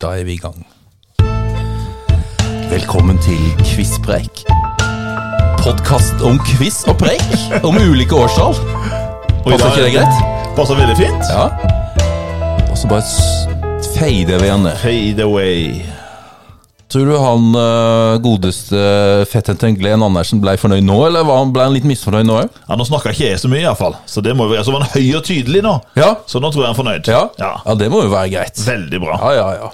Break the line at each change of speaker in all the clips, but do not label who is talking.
Da er vi i gang.
Velkommen til Quizpreik. Podkast om quiz og preik om ulike årstall.
i
Passer
dag-
ikke det greit?
Passer veldig fint.
Ja. Og så bare s- fader vi han ned.
Fade away.
Tror du han eh, godeste fettenten Glenn Andersen blei fornøyd nå, eller var han, ble han litt misfornøyd nå òg?
Ja, nå snakka ikke jeg så mye, iallfall. Så det må jo være Så var han høy og tydelig nå.
Ja.
Så nå tror jeg han er fornøyd.
Ja. ja, det må jo være greit.
Veldig bra.
Ja, ja, ja.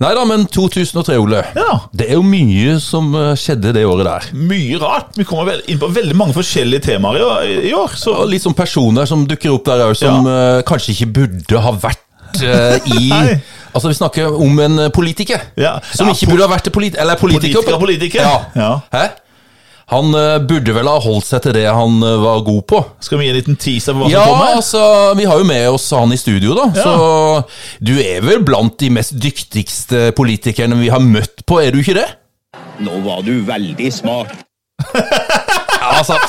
Nei da, men 2003, Ole.
Ja.
Det er jo mye som eh, skjedde det året der.
Mye rart. Vi kommer vel inn på veldig mange forskjellige temaer i år. I år så
Og litt sånn personer som dukker opp der òg, som eh, kanskje ikke burde ha vært eh, i
Nei.
Altså, vi snakker om en eh, politiker
Ja.
som
Ja,
ikke burde ha vært til politi eller politiker.
Politiker, politiker.
Ja.
Ja.
Hæ? Han eh, burde vel ha holdt seg til det han eh, var god på.
skal vi gi en liten teaser på hva som
Ja,
kommer.
altså, vi har jo med oss han i studio, da. Så du er vel blant de mest dyktigste politikerne vi har møtt på, er du ikke det?
Nå var du veldig smart.
Ja, altså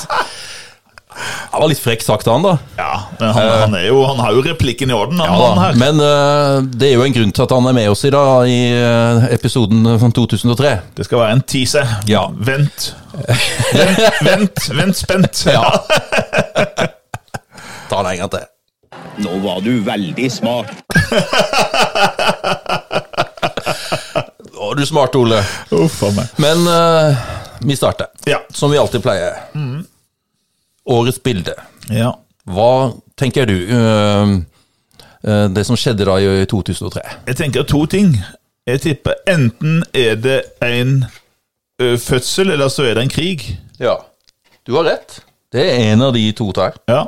Det var litt frekk sagt av han, da.
Ja, men han, han, er jo, han har jo replikken i orden, han,
Eh. Ja, da.
han her.
Men eh, det er jo en grunn til at han er med oss i dag, i eh, episoden fra 2003.
Det skal være en teaser.
Ja.
Vent. Vent, vent, vent spent.
Ja. Ta den en gang til.
Nå var du veldig smart.
Å, du smarte, Ole.
Uff a meg.
Men eh, vi starter,
Ja.
som vi alltid pleier. Årets bilde.
ja.
Hva tenker du eh, eh, det som skjedde da i 2003?
Jeg tenker to ting. Jeg tipper enten er det en ø, fødsel, eller så er det en krig.
Ja, du har rett. Det er en av de to der.
Ja.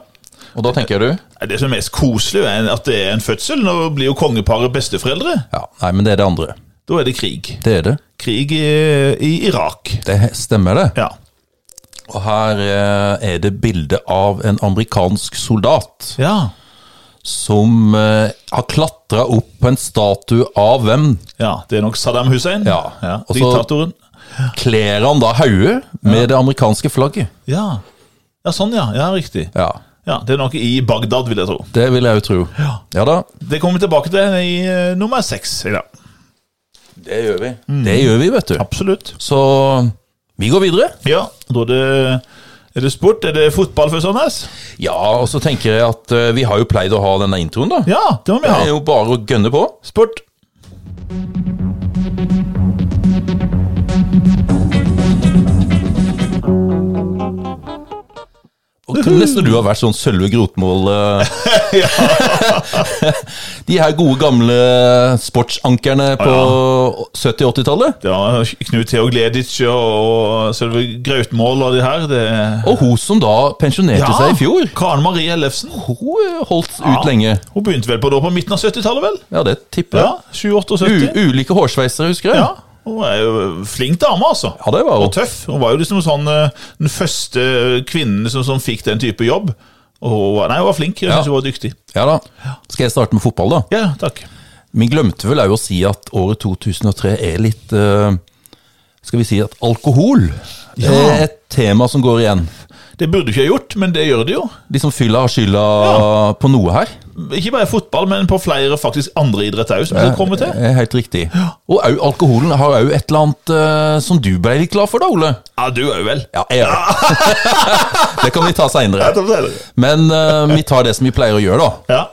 Og da tenker du?
Nei, Det som er mest koselig, er at det er en fødsel. Nå blir jo kongeparet besteforeldre.
Ja, Nei, men det er det andre.
Da er det krig.
Det er det.
Krig i, i Irak.
Det stemmer, det.
Ja.
Og her eh, er det bilde av en amerikansk soldat
Ja.
som eh, har klatra opp på en statue av hvem?
ja. Det er nok Saddam Hussein.
Ja. Og så-
Diktatoren.
Kler han da hodet med det amerikanske flagget?
Ja. ja, sånn, ja. Ja, Riktig.
Ja,
Ja, Det er nok i Bagdad, vil jeg tro.
det vil jeg jo tro.
Ja.
da,
Det kommer vi tilbake til i ø, nummer seks i dag.
det gjør vi. Mm. Det gjør vi, vet du.
Absolutt.
Så vi går videre.
Ja, da er det, er det sport. Er det fotball først, Anders?
Ja, og så tenker jeg at eh, vi har jo pleid å ha denne introen, da.
Ja, det må vi
Det er
ha.
jo bare å gønne på.
Sport.
Og kunne nesten du har vært sånn Sølve Grotmål eh. De her gode gamle sportsankerne på 70- og 80-tallet.
Det var Knut Theo Gleditsch og Sølve Grautmål og de her. Det
Og hun som da pensjonerte seg i fjor,
Karen Marie Ellefsen.
hun eh, holdt ut lenge.
Hun begynte vel på da på midten av 70-tallet, vel?
Ja, det tipper
Ja,
jeg.
78-70.
U ulike hårsveisere, husker jeg.
Ja, hun er jo flink dame, altså.
Ja, det var
Og
hun.
tøff. Hun var jo liksom sånn eh, den første kvinnen liksom som, som fikk den type jobb. Og hun var, nei, hun var flink. Jeg
Ja.
synes hun var dyktig.
Ja da. Skal jeg starte med fotball, da?
Ja, takk.
Vi glemte vel òg å si at året 2003 er litt eh, Skal vi si at alkohol
Ja.
er et tema som går igjen.
Det burde ikke jeg gjort, men det gjør det jo.
De som fylla har skylda på noe her.
Ikke bare fotball, men på flere faktisk andre idretter òg, som vi skal komme til.
Er Eh, helt riktig. Og au- alkoholen har òg et eller annet eh, som du ble litt glad for, da, Ole.
Ja, du òg, vel?
Ja, jeg gjør det. det kan vi ta seinere. Men eh, vi tar det som vi pleier å gjøre, da.
Ja.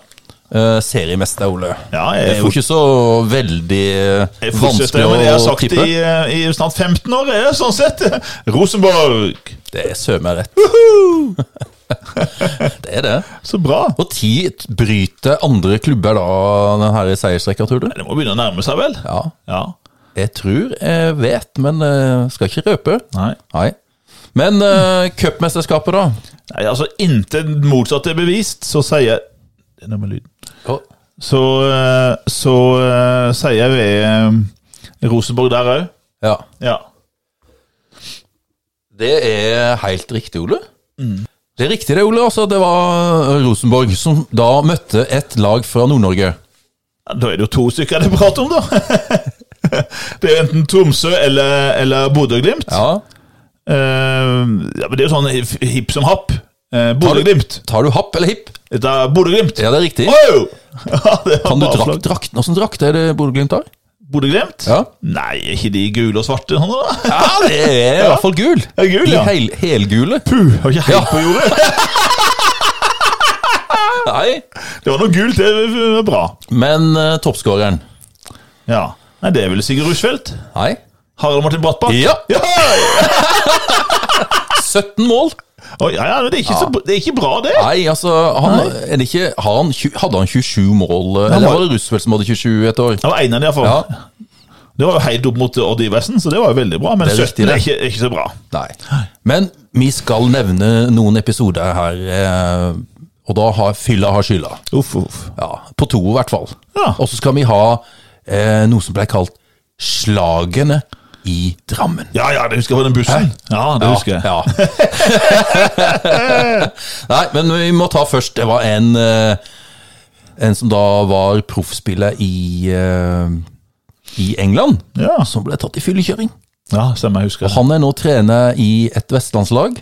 Eh, seriemester, Ole.
Ja, jeg
det er jo ikke så veldig eh, vanskelig
Jeg fortsetter med det jeg har
å
sagt
tippe.
i, eh, i snart 15 år, jeg, sånn sett. Rosenborg!
Det er søren meg rett. det er det.
Så bra.
Og ti bryter andre klubber da den her seiersrekka, tror du?
Det må begynne å nærme seg, vel?
Ja.
Ja.
Jeg tror jeg vet, men eh, skal ikke røpe.
Nei.
Nei. Men uh, cupmesterskapet, da?
Nei, altså Inntil det motsatte er bevist, så sier jeg Det er noe med lyden. Så, eh, så eh, sier jeg ved eh, Rosenborg der òg.
Ja.
Ja.
Det er helt riktig, Ole. Det er riktig det, Ole. Altså, det var Rosenborg som da møtte et lag fra Nord-Norge.
Ja, Da er det jo to stykker det er prat om, da. Det er jo enten Tromsø eller, eller Bodø-Glimt.
Ja.
Eh, ja, men det er jo sånn hip- hipp som happ. Eh, Bodø-Glimt.
Tar du happ eller hipp?
Dette er Bodø-Glimt.
Ja, det er riktig.
Wow! Ja, det var
Kan du
bra
drak,
flagg.
drakten? Åssen drakt er det Bodø-Glimt har?
Bodø-Glimt?
Ja.
Nei, er ikke de gule og svarte nå, da?
Ja, det er i hvert fall gul.
Er gul,
De
ja.
hel, helgule.
Puh, har ikke helt
Ja.
på jordet.
Nei.
Det var noe gult, det var bra.
Men uh, toppskåreren
Ja. Nei, det er vel Sigurd Rushfeldt?
Nei.
Harald Martin Brattbakk?
Ja.
Ja.
17 mål.
Oi, ja, ja, men det er, ikke så, det er ikke bra, det.
Nei, altså han, Er det ikke, har han, tju- Hadde han 27 mål? eh, Eller
var-
var det Roosevelt som hadde 27 et år?
Det var en av de, iallfall.
Ja.
Det var jo helt opp mot Odd Iversen, så det var jo veldig bra. Men
Det er
17
riktig, det.
er ikke, er ikke så bra.
Nei. Men vi skal nevne noen episoder her, eh, og da har fylla har skylda.
Uff, uff.
Ja, på to i hvert fall.
Ja.
Og så skal vi ha eh, noe som ble kalt Slagene i Drammen.
Ja, ja, det husker jeg på den bussen. Ja, det husker jeg.
Ja. Nei, men vi må ta først Det var en eh, En som da var proffspiller i eh, I England,
Ja,
som ble tatt i fyllekjøring.
ja stemmer, jeg husker.
Han er nå trener i et vestlandslag.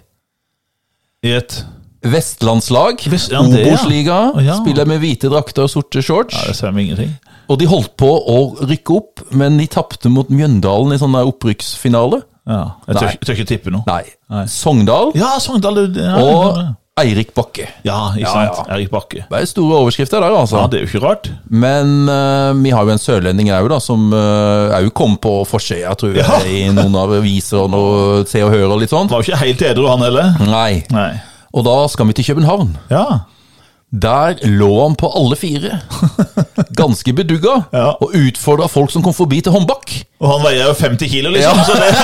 I et
Vestlandslag,
Vest- ja, det, ja.
Obos-liga.
Å, ja.
Spiller med hvite drakter og sorte shorts.
Ja, det stemmer ingenting.
Og de holdt på å rykke opp, men de tapte mot Mjøndalen i sånn der opprykksfinale.
Ja, Jeg tør,
Nei.
ikke- tør ikke tippe noe.
Nei, Sogndal
Ja, Sogndal det- ja,
og Eirik Bakke.
Ja, ikke
Ja,
sant.
ja.
Erik Bakke.
Det er store overskrifter der, altså.
Ja, det er jo ikke rart.
Men eh, vi har jo en sørlending òg, da, som òg kom på forsida, tror jeg,
Ja.
i noen av aviser og noe Se og Hør og litt sånn.
Han var jo ikke helt edru, han heller.
Nei.
Nei.
Og da skal vi til København.
Ja.
Der lå han på alle fire, ganske bedugga,
Ja.
og utfordra folk som kom forbi til håndbak.
Og han veier jo 50 kilo, liksom.
Ja.
Så det,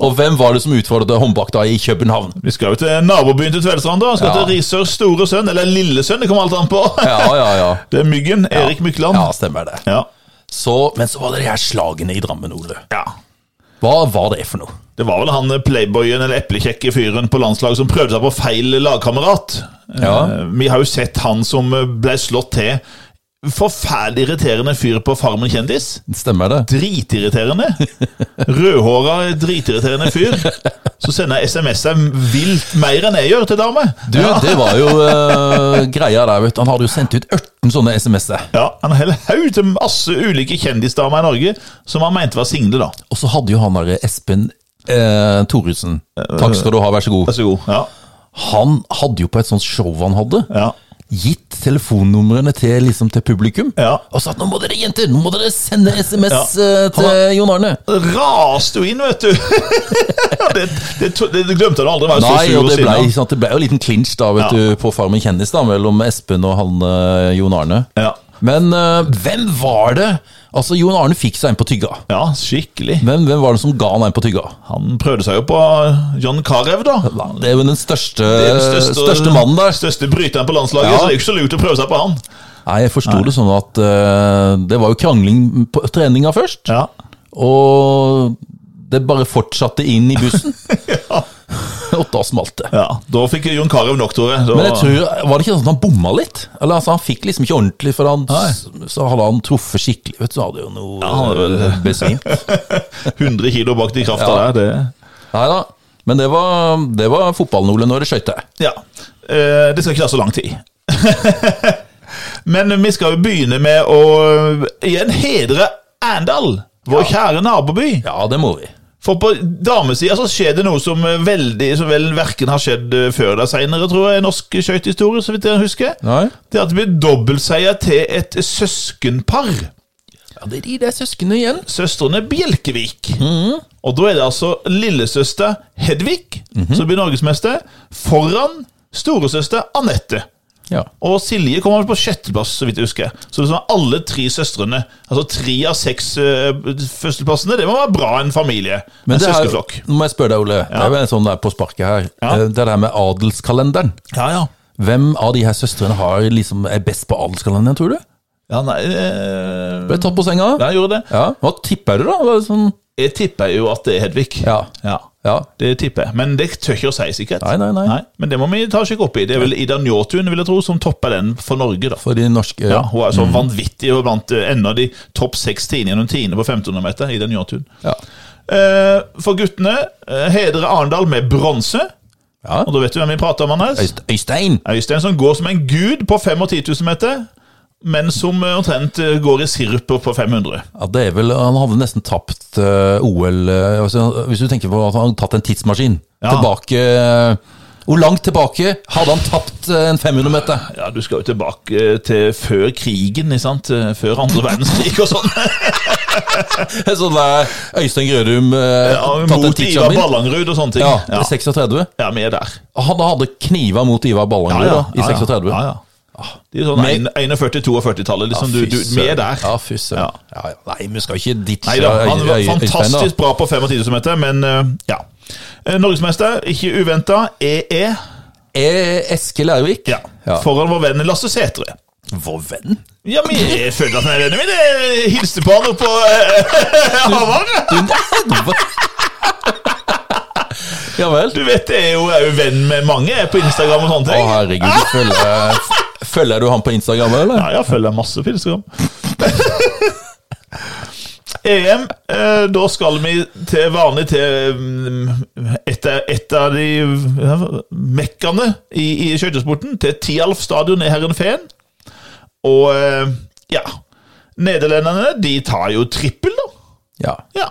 Og hvem var det som utfordra til håndbak da i København?
vi skal jo til nabobyen til Tvedestrand, da. Han skal
Ja.
til Risørs store sønn, eller lille sønn, det kommer alt an på.
Ja, ja, ja.
Det er Myggen. Erik Mykland.
Ja, stemmer det.
Ja.
Så, men så var det de her slagene i Drammen, Ole.
ja.
Hva var det for noe?
Det var vel han eh, playboyen eller eplekjekke fyren på landslaget som prøvde seg på feil lagkamerat.
Ja.
Eh, Vi har jo sett han som eh, ble slått til. Forferdelig irriterende fyr på Farmen kjendis.
Stemmer det?
Dritirriterende. Rødhåra, dritirriterende fyr. Så sender jeg SMS-er vilt mer enn jeg gjør til dame.
Du, det var jo eh, greia der, vet du. Han hadde jo sendt ut 18 sånne SMS-er.
Ja, Han har en haug til masse ulike kjendisdamer i Norge som han mente var single, da.
Og så hadde jo han der Espen eh, Thoresen. Takk skal du ha, vær så god.
Vær så god. Ja,
Han hadde jo på et sånt show han hadde,
ja.
gitt telefonnumrene til, liksom, til publikum.
Ja.
Og sagt 'nå må dere, jenter, nå må dere sende SMS
Ja.
eh, til
Han
Jon Arne'.
Raste jo inn, vet du. det, det, to- det glemte han aldri. Var jo så
Nei,
sur
og det
sinna.
ble, sant, det ble jo en liten clinch da, vet du, på Farmen kjendis da, mellom Espen og han eh, Jon Arne.
Ja.
Men eh, hvem var det? Altså, Jon Arne fikk seg en på tygga.
Ja, skikkelig.
Men hvem var det som ga han en på tygga?
Han prøvde seg jo på John Carew, da.
Det er jo den største,
Det er den
største, mannen der.
Største bryteren på landslaget,
Ja.
så det er jo ikke så lurt å prøve seg på han.
Nei, jeg forsto det sånn at eh, det var jo krangling på treninga først,
Ja.
og det bare fortsatte inn i bussen, og da smalt det.
ja. Da fikk John Carew nok, Tore. Da-
Men jeg tror, var det ikke sånn at han bomma litt? Eller altså, Han fikk liksom ikke ordentlig, for han, så hadde han truffet skikkelig. Vet du, så hadde jo noe
han hadde vel-
eh, besvimt.
100 kilo bak de krafta
Ja.
der, det
Nei da. Men det var, det var fotballen, Ole. Nå er det skøyter.
Ja. Eh, det skal ikke ta så lang tid. Men vi skal jo begynne med å igjen hedre Arendal, vår kjære naboby.
Ja, det må vi.
For på damesida så skjer det noe som eh, veldig Som vel verken har skjedd eh, før eller seinere, tror jeg, i norsk skøytehistorie, så vidt jeg husker.
Nei.
Det er at det blir dobbeltseier til et søskenpar.
Ja, Det er de der søsknene igjen.
Søstrene Bjelkevik. Og da er det altså lillesøster Hedvig
Mhm.
som blir norgesmester, foran storesøster Anette.
Ja.
Og Silje kommer vel på sjetteplass, så vidt jeg husker. Så det er sånn alle tre søstrene, altså tre av seks eh, førsteplassene, det må være bra en familie.
Men
en
det er,
søskenflokk.
nå må jeg spørre deg, Ole. Det er jo en sånn der på sparket her.
Ja.
Eh, Det der med adelskalenderen.
Ja, ja.
Hvem av de her søstrene har liksom, er best på adelskalenderen, tror du?
Ja, nei eh,
Ble tatt på senga?
Ja, jeg gjorde det.
Ja. Hva tipper du, da? Var det Sånn?
Jeg tipper jo at det er Hedvig.
Ja. Ja.
Det tipper jeg, men det tør ikke å si sikkert.
Nei, nei, nei.
Men det må vi ta og sjekke opp i. Det er vel Ida Njåtun, vil jeg tro, som topper den for Norge, da.
For de norske
Ja, hun er
Mm.
så vanvittig og blant eh, en av de topp seks tiende gjennom tiende på 1500 meter. Ida Njåtun.
Ja.
Eh, for guttene eh, hedrer Arendal med bronse.
Ja.
Og da vet du hvem vi prater om, Anders.
Øyst- Øystein!
Øystein som går som en gud på 5 og 10 000 meter. men som eh, omtrent eh, går i sirup på 500.
Ja, det er vel, Han hadde nesten tapt eh, OL eh, altså, Hvis du tenker på at han hadde tatt en tidsmaskin
Ja.
tilbake eh, Hvor langt tilbake hadde han tapt eh, en 500 meter?
Ja, du skal jo tilbake eh, til før krigen, ikke sant? Eh, Før andre verdenskrig og sånn.
En sånn der Øystein Grødum eh,
Ja,
tatt en
mot Ivar
tidsmaskin?
Ballangrud og sånne ting.
Ja,
ja.
36.
ja vi er der.
Han hadde kniva mot Ivar Ballangrud da, i 36.
Ja, ja. Det er jo sånn 41-42-tallet, liksom. Du, du, vi er der.
Ja, fy søren.
Ja.
Ja, ja. Nei, vi skal ikke ditche
Nei da, han
Øy-
var
Øy- Øystein, da.
fantastisk bra på 25 som heter, men eh, ja. Eh, Norgesmester, ikke uventa, EE.
Eh, Eskil Ervik.
Ja. Foran vår venn Lasse Sætre.
Vår venn?
Ja, men jeg føler at han er vennen min. Jeg hilste på han oppe på eh, Hamar.
Du, ja vel.
Du vet, jeg er jo, jeg er jo venn med mange jeg er på Instagram og sånne
Å,
ting.
herregud. du Følger, f- følger du han på Instagram, eller?
Ja, jeg følger masse på Instagram. EM, eh, da skal vi til vanlig til mm, et, av- et av de ja, mekkene i, i skøytesporten. Til Tialf stadion i Herrenfeen. Og eh, ja Nederlenderne de tar jo trippel, da.
Ja.
Ja.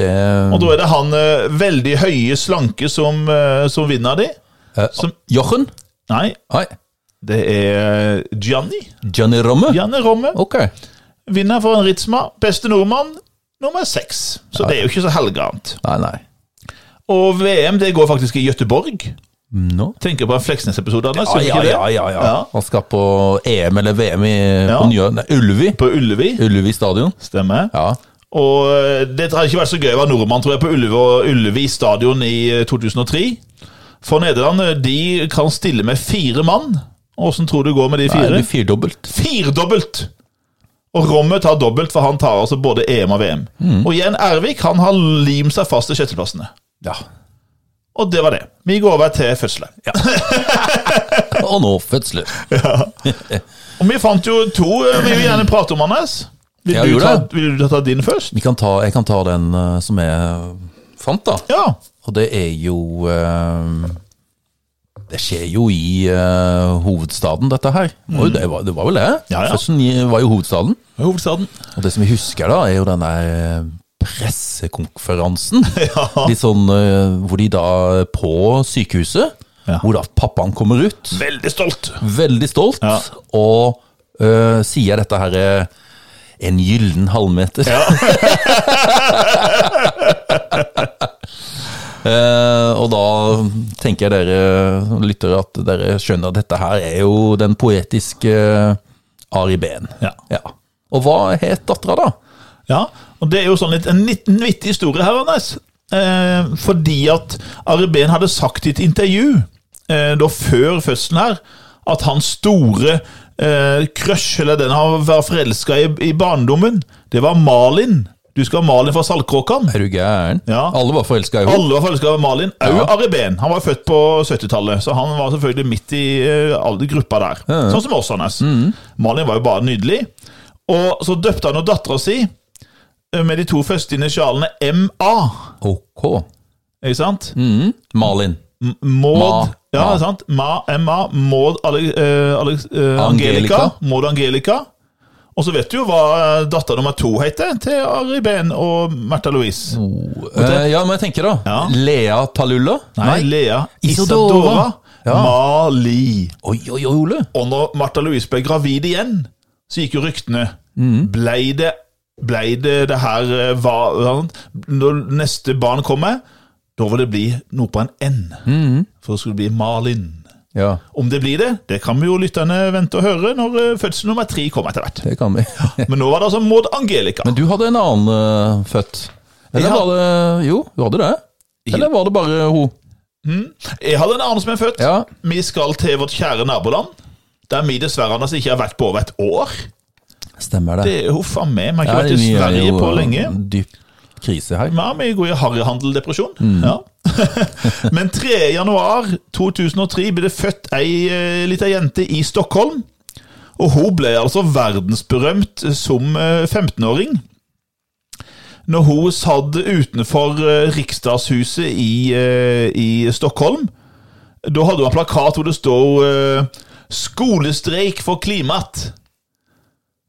Det
Og da er det han eh, veldig høye, slanke som, eh, som vinner de.
eh,
som-
Jochen?
Nei,
Nei.
det er Gianni.
Johnny Romme?
Janne Romme.
Ok.
Vinner for en Ritzma, beste nordmann, nummer seks. Så det er jo ikke så halvgærent.
Nei, nei.
Og VM det går faktisk i Gøteborg.
Nå?
Tenker på en Fleksnes-episode, Anders.
Ja,
gjør vi
ja,
ikke det?
ja, ja, ja. Han skal på EM eller VM i
Ja.
på Njø- nei, Ullevi.
På Ullevi.
Ullevi stadion.
Stemmer.
Ja.
Og eh, det har ikke vært så gøy å være nordmann, tror jeg, på Ullevi, Ullevi stadion i eh, 2003. For Nederland eh, de kan stille med fire mann. Åssen tror du det går med de
Nei, det
fire?
blir firdobbelt.
Firdobbelt! Og Rommet tar dobbelt, for han tar altså både EM og VM.
Mm.
Og igjen Ervik han har limt seg fast til sjetteplassene.
Ja.
Og det var det. Vi går over til fødselen.
Og nå fødsler.
Og vi fant jo to eh, vi vil gjerne prate om, Anders. Vil,
Ja,
du,
gjorde
ta,
det.
vil du ta din først?
Vi kan ta, jeg kan ta den eh, som jeg fant, da.
Ja.
Og det er jo eh, Det skjer jo i eh, hovedstaden, dette her. Må jo Det, var, det var vel det?
Mm. Ja, ja.
Fødselen i- var jo hovedstaden.
Hovedstaden.
Og det som vi husker, da, er jo den der eh, pressekonferansen.
Ja.
Litt sånn eh, hvor de da er på sykehuset,
Ja.
hvor da pappaen kommer ut,
Veldig stolt.
veldig stolt,
Ja.
og eh, sier dette her eh, en gyllen halvmeter. Eh, og da tenker jeg dere lyttere at dere skjønner at dette her er jo den poetiske eh, Ari Behn.
Ja.
Og hva het dattera, da?
Ja, og det er jo sånn litt, en liten vittig historie her, Anders. Eh, fordi at Ari Behn hadde sagt i et intervju eh, da før fødselen her, at hans store eh, crush, eller den han var forelska i, i barndommen, det var Malin. Du skal ha Malin fra Saltkråkan.
Er du gæren?
Ja.
Alle var forelska i henne.
Alle var forelska i Malin, òg
Ja.
Ari Behn. Han var født på 70-tallet, så han var selvfølgelig midt i eh, alle gruppa der. Sånn som oss, Anders.
Mm.
Malin var jo bare nydelig. Og så døpte han jo dattera si eh, med de to første initialene MA,
Ok.
ikke sant?
Mm. Malin.
M- Maud
Ma.
Ja,
Ma.
ikke sant? Ma, MA, Maud Ale, eh, Alex, eh, Angelica.
Angelica.
Maud Angelica. Og så vet du jo hva eh, datter nummer to heter til Ari Behn og Märtha Louise.
Eh, ja, men jeg tenker da.
Ja.
Lea Talulla?
Nei, Lea
Isadora.
Isadora
Ja.
Mali.
Oi, oi, oi, Ole.
Og når Martha Louise ble gravid igjen, så gikk jo ryktene.
Mm.
Blei det, blei det det her eh, hva- hva- Når neste barn kommer, da vil det bli noe på en N.
Mm.
For det skulle bli Malin.
Ja,
Om det blir det, det kan vi jo lytterne vente og høre når eh, fødsel nummer tre kommer etter hvert.
det kan vi.
Men nå var det altså Maud Angelica.
Men du hadde en annen eh, født. Eller
Ja.
var det Jo, du hadde det. Eller var det bare hun?
Jeg hadde en annen som er født.
Ja.
Vi skal til vårt kjære naboland. Der vi dessverre Anders, ikke har vært på over et år.
Stemmer
Det er huff a meg. Vi har
Ja,
ikke vært i
vi er
Sverige
jo
på lenge.
Dyp krise her.
Ja, vi går i harryhandeldepresjon. Ja. Men 3. januar 2003 ble det født ei eh, lita jente i Stockholm. Og hun ble altså verdensberømt som eh, 15-åring. Når hun satt utenfor eh, Riksdagshuset i, eh, i Stockholm, da hadde hun en plakat hvor det stod eh, 'Skolestreik for klimat'.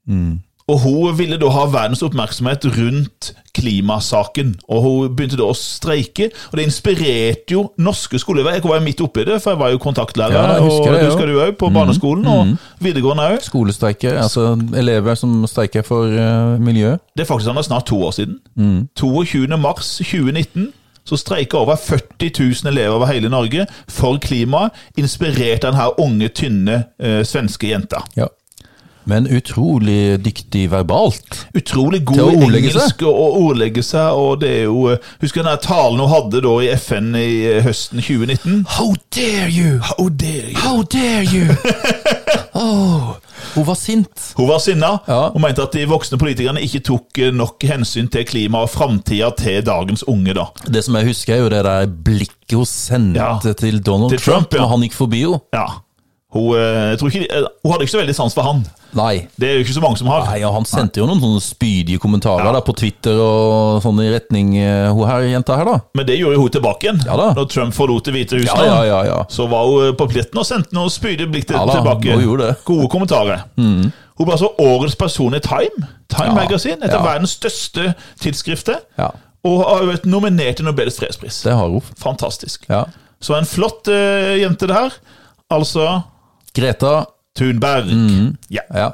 Mm.
Og hun ville da ha verdens oppmerksomhet rundt klimasaken. Og hun begynte da å streike, og det inspirerte jo norske skoleelever. Jeg var jo midt oppi det, for jeg var jo kontaktlærer,
Ja, jeg husker det,
og det
ja. Mm.
husker du òg, på barneskolen og videregående òg.
Skolestreiker, altså elever som streiker for eh, miljøet.
Det er faktisk han er snart to år siden. 22. mars 2019 så streiker over 40 000 elever over hele Norge for klimaet, inspirert av denne unge, tynne eh, svenske jenta.
Ja. Men utrolig dyktig verbalt.
Utrolig god
Til å
i
ordlegge
engelsk og, og ordlegge seg, og det er jo eh, Husker du den der talen hun hadde da i FN i eh, høsten 2019?
How dare you!
How dare you?
How dare you! oh, hun var sint.
Hun var sinna
Ja.
og mente at de voksne politikerne ikke tok eh, nok hensyn til klima og framtida til dagens unge, da.
Det som jeg husker, er jo det der blikket hun sendte
Ja.
til Donald
Til
Trump,
Trump, ja.
når han gikk forbi henne.
Ja. Hun, eh, jeg tror ikke, eh, hun hadde ikke så veldig sans for han.
Nei.
Det er jo ikke så mange som har.
Nei, og Han sendte jo noen sånne spydige kommentarer da, på Twitter og sånn i retning eh, hun her jenta her, da.
Men det gjorde jo hun tilbake igjen.
Ja da.
Når Trump forlot Det hvite huset.
Ja, ja, ja, ja.
Så var hun på pletten og sendte noen spydige blikk til,
Ja da,
tilbake.
hun gjorde det. Mm.
Gode kommentarer. Hun ble altså årets person i Time, Time
Ja,
Magazine, et av
ja.
verdens største tidsskrifter.
Ja.
Og har jo vært nominert til Nobels fredspris.
Det har hun.
Fantastisk.
Ja.
Så en flott eh, jente det her. Altså
Greta
Thunberg.
Mm.
Ja.
ja.